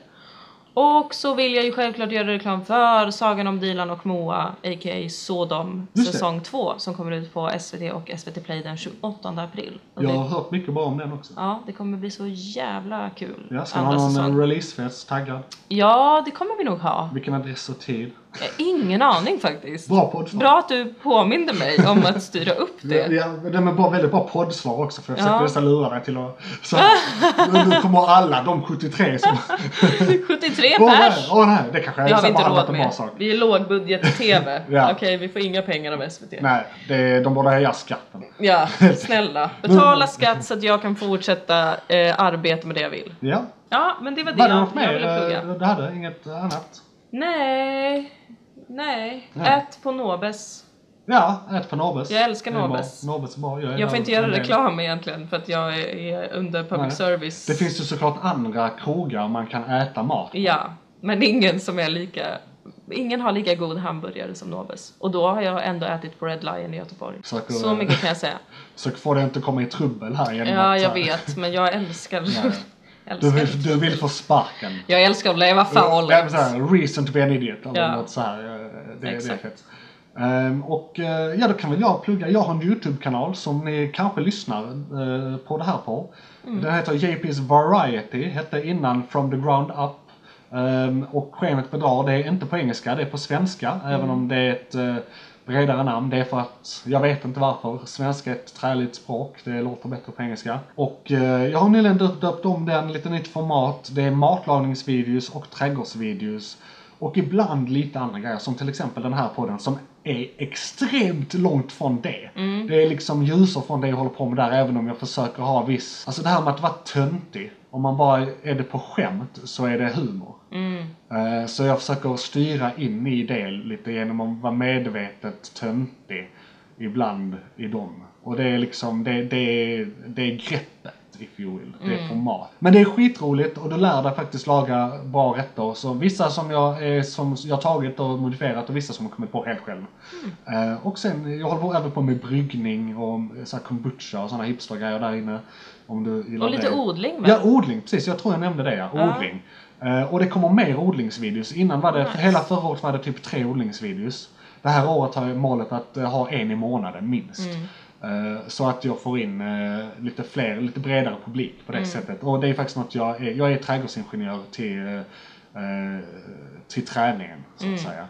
Speaker 2: Och så vill jag ju självklart göra reklam för Sagan om Dilan och Moa, a.k.a. Sodom,
Speaker 3: Just det.
Speaker 2: säsong 2 som kommer ut på SVT och SVT Play den 28 april. Och
Speaker 3: Jag
Speaker 2: det,
Speaker 3: har hört mycket bra om den också.
Speaker 2: ja, det kommer bli så jävla kul.
Speaker 3: Ja, ska man ha någon eh, releasefest taggad?
Speaker 2: Ja, det kommer vi nog ha.
Speaker 3: Vilken adress och tid?
Speaker 2: Eh, Ingen aning faktiskt.
Speaker 3: Bra poddslag.
Speaker 2: Bra att du påminde mig om att styra upp
Speaker 3: Ja,
Speaker 2: det.
Speaker 3: ja, de är bara väldigt bra poddsvar också för jag
Speaker 2: Ja.
Speaker 3: försökte nästan lura dig till att... Så, här, nu kommer alla de 73
Speaker 2: <laughs>
Speaker 3: som...
Speaker 2: 73
Speaker 3: Åh nej,
Speaker 2: pers!
Speaker 3: åh nej, det kanske
Speaker 2: Det har vi
Speaker 3: så
Speaker 2: inte
Speaker 3: bara varit en
Speaker 2: råd
Speaker 3: bra
Speaker 2: med.
Speaker 3: sak.
Speaker 2: Vi är lågbudget-tv.
Speaker 3: <laughs> Ja.
Speaker 2: Okej, vi får inga pengar av SVT.
Speaker 3: Nej, det, de borde höja skatten. <laughs>
Speaker 2: Ja, snälla. Betala skatt så att jag kan fortsätta eh, arbeta med det jag vill.
Speaker 3: Ja.
Speaker 2: Ja, men det var det
Speaker 3: Var det
Speaker 2: jag,
Speaker 3: något
Speaker 2: jag
Speaker 3: mer
Speaker 2: ville plugga.
Speaker 3: eh, du hade? Inget annat?
Speaker 2: Nej, nej.
Speaker 3: Nej.
Speaker 2: Ät på Nobes.
Speaker 3: Ja, ät på Nobes.
Speaker 2: Jag älskar
Speaker 3: Det är bra.
Speaker 2: Nobes.
Speaker 3: Nobes är bra. är
Speaker 2: Jag får
Speaker 3: där
Speaker 2: inte göra
Speaker 3: en del.
Speaker 2: reklam egentligen för att jag är- är under public
Speaker 3: Nej.
Speaker 2: service.
Speaker 3: Det finns ju såklart andra krogar man kan äta mat på.
Speaker 2: Ja, men det är ingen som är lika... Ingen har lika god hamburgare som Nobes. Och då har jag ändå ätit på Red Lion i Göteborg.
Speaker 3: Försöker-
Speaker 2: Så mycket kan
Speaker 3: <laughs>
Speaker 2: jag säga.
Speaker 3: Så får du inte komma i trubbel här genom
Speaker 2: Ja,
Speaker 3: att,
Speaker 2: jag
Speaker 3: eh,
Speaker 2: vet, men jag älskar... <laughs>
Speaker 3: Du
Speaker 2: älskar.
Speaker 3: vill, du vill få sparken.
Speaker 2: Jag älskar att leva
Speaker 3: Ja, men
Speaker 2: farligt.
Speaker 3: så här, reason to be an idiot eller
Speaker 2: Ja.
Speaker 3: något så här. eh, Det, det är
Speaker 2: Exakt.
Speaker 3: fett. Ehm, och eh, ja, då kan väl jag plugga. Jag har en YouTube-kanal som ni kanske lyssnar eh, på det här på. Den heter JP's Variety, hette innan From the Ground Up. Ehm, och Skenet bedrar, det är inte på engelska, det är på svenska. Även om det är ett eh, bredare namn. Det är för att, jag vet inte varför, svenska är ett träligt språk. Det låter bättre på engelska. Och eh, jag har nyligen döpt, döpt om den, lite nytt format. Det är matlagningsvideos och trädgårdsvideos. Och ibland lite andra grejer, som till exempel den här podden som är extremt långt från det. Det är liksom ljusår från det jag håller på med där, även om jag försöker ha viss... Alltså det här med att vara töntig. Om man bara är det på skämt så är det humor. Eh, Så jag försöker styra in i det lite genom att vara medvetet töntig ibland i dem. Och det är liksom, det, det, är- det är greppet i if you will. Det
Speaker 2: Mm.
Speaker 3: är format. Men det är skitroligt och du lär dig faktiskt laga bra rätter. Så vissa som jag, eh, som jag tagit och modifierat och vissa som jag kommit på helt själv. Eh, och sen, jag håller på, även på med bryggning och eh, så här kombucha och sådana hipstergrejer där inne. Om du gillar
Speaker 2: Och lite
Speaker 3: det.
Speaker 2: odling med.
Speaker 3: Ja, odling. Precis, jag tror jag nämnde det ja. Odling. Eh, och det kommer mer odlingsvideos. Innan var det, hela förra året var det typ tre odlingsvideos. Det här året har jag målet att eh, ha en i månaden minst. Eh, Så att jag får in eh, lite fler, lite bredare publik på det sättet. Och det är faktiskt något jag är, jag är trädgårdsingenjör till, eh, eh, till träningen så att säga.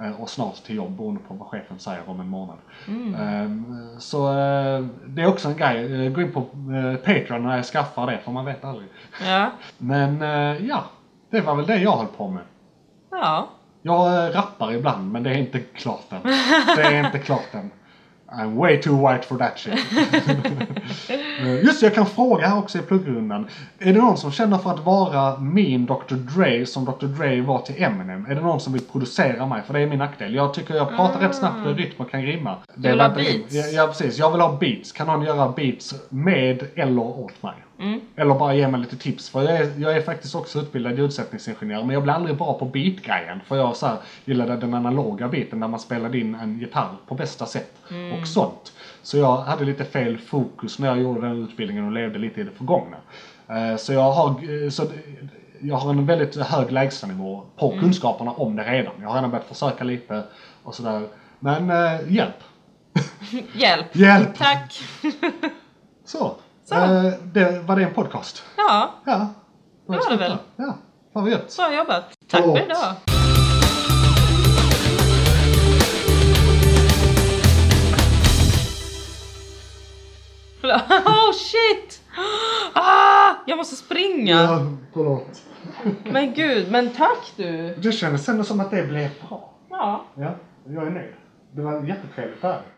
Speaker 3: Eh, Och snart till jobb beroende på vad chefen säger om en månad. Eh, Så eh, det är också en grej. Eh, Gå in på eh, Patreon när jag skaffar det för man vet aldrig.
Speaker 2: ja.
Speaker 3: Men eh, ja, det var väl det jag höll på med.
Speaker 2: ja.
Speaker 3: Jag eh, rappar ibland men det är inte klart än. Det är inte klart än. I'm way too white for
Speaker 2: <laughs>
Speaker 3: that shit. Eh, Just det, jag kan fråga här också i pluggrundan. Är det någon som känner för att vara min Dr. Dre som Dr. Dre var till Eminem? Är det någon som vill producera mig? För det är min nackdel. Jag tycker jag pratar rätt snabbt och rytm och kan rimma. Det
Speaker 2: Mm. vill ha
Speaker 3: var inte rim.
Speaker 2: beats?
Speaker 3: Ja, ja, precis. Jag vill ha beats. Kan någon göra beats med eller åt mig? Eller bara ge mig lite tips. För jag är, jag är faktiskt också utbildad ljudsättningsingenjör men jag blir aldrig bra på beatgrejen. För jag så här, gillade den analoga biten där man spelade in en gitarr på bästa sätt. Och sånt. Så jag hade lite fel fokus när jag gjorde den utbildningen och levde lite i det förgångna. Eh, Så jag har, eh, så d- jag har en väldigt hög lägstanivå på kunskaperna om det redan. Jag har redan börjat försöka lite och sådär. Men eh, hjälp!
Speaker 2: Hjälp.
Speaker 3: Hjälp!
Speaker 2: Tack. <laughs>
Speaker 3: Så. Eh, det, var det en podcast?
Speaker 2: Ja,
Speaker 3: Ja. Då
Speaker 2: Det var det väl.
Speaker 3: Ja. Fan vad gött.
Speaker 2: bra jobbat. Tack
Speaker 3: Åh.
Speaker 2: för idag. Förlåt. <laughs> Oh shit! <gasps> Ah, jag måste springa.
Speaker 3: förlåt.
Speaker 2: Men gud, men tack du.
Speaker 3: Det kändes ändå som att det blev bra.
Speaker 2: Ja.
Speaker 3: Ja, jag är nöjd. Det var jättetrevligt det här.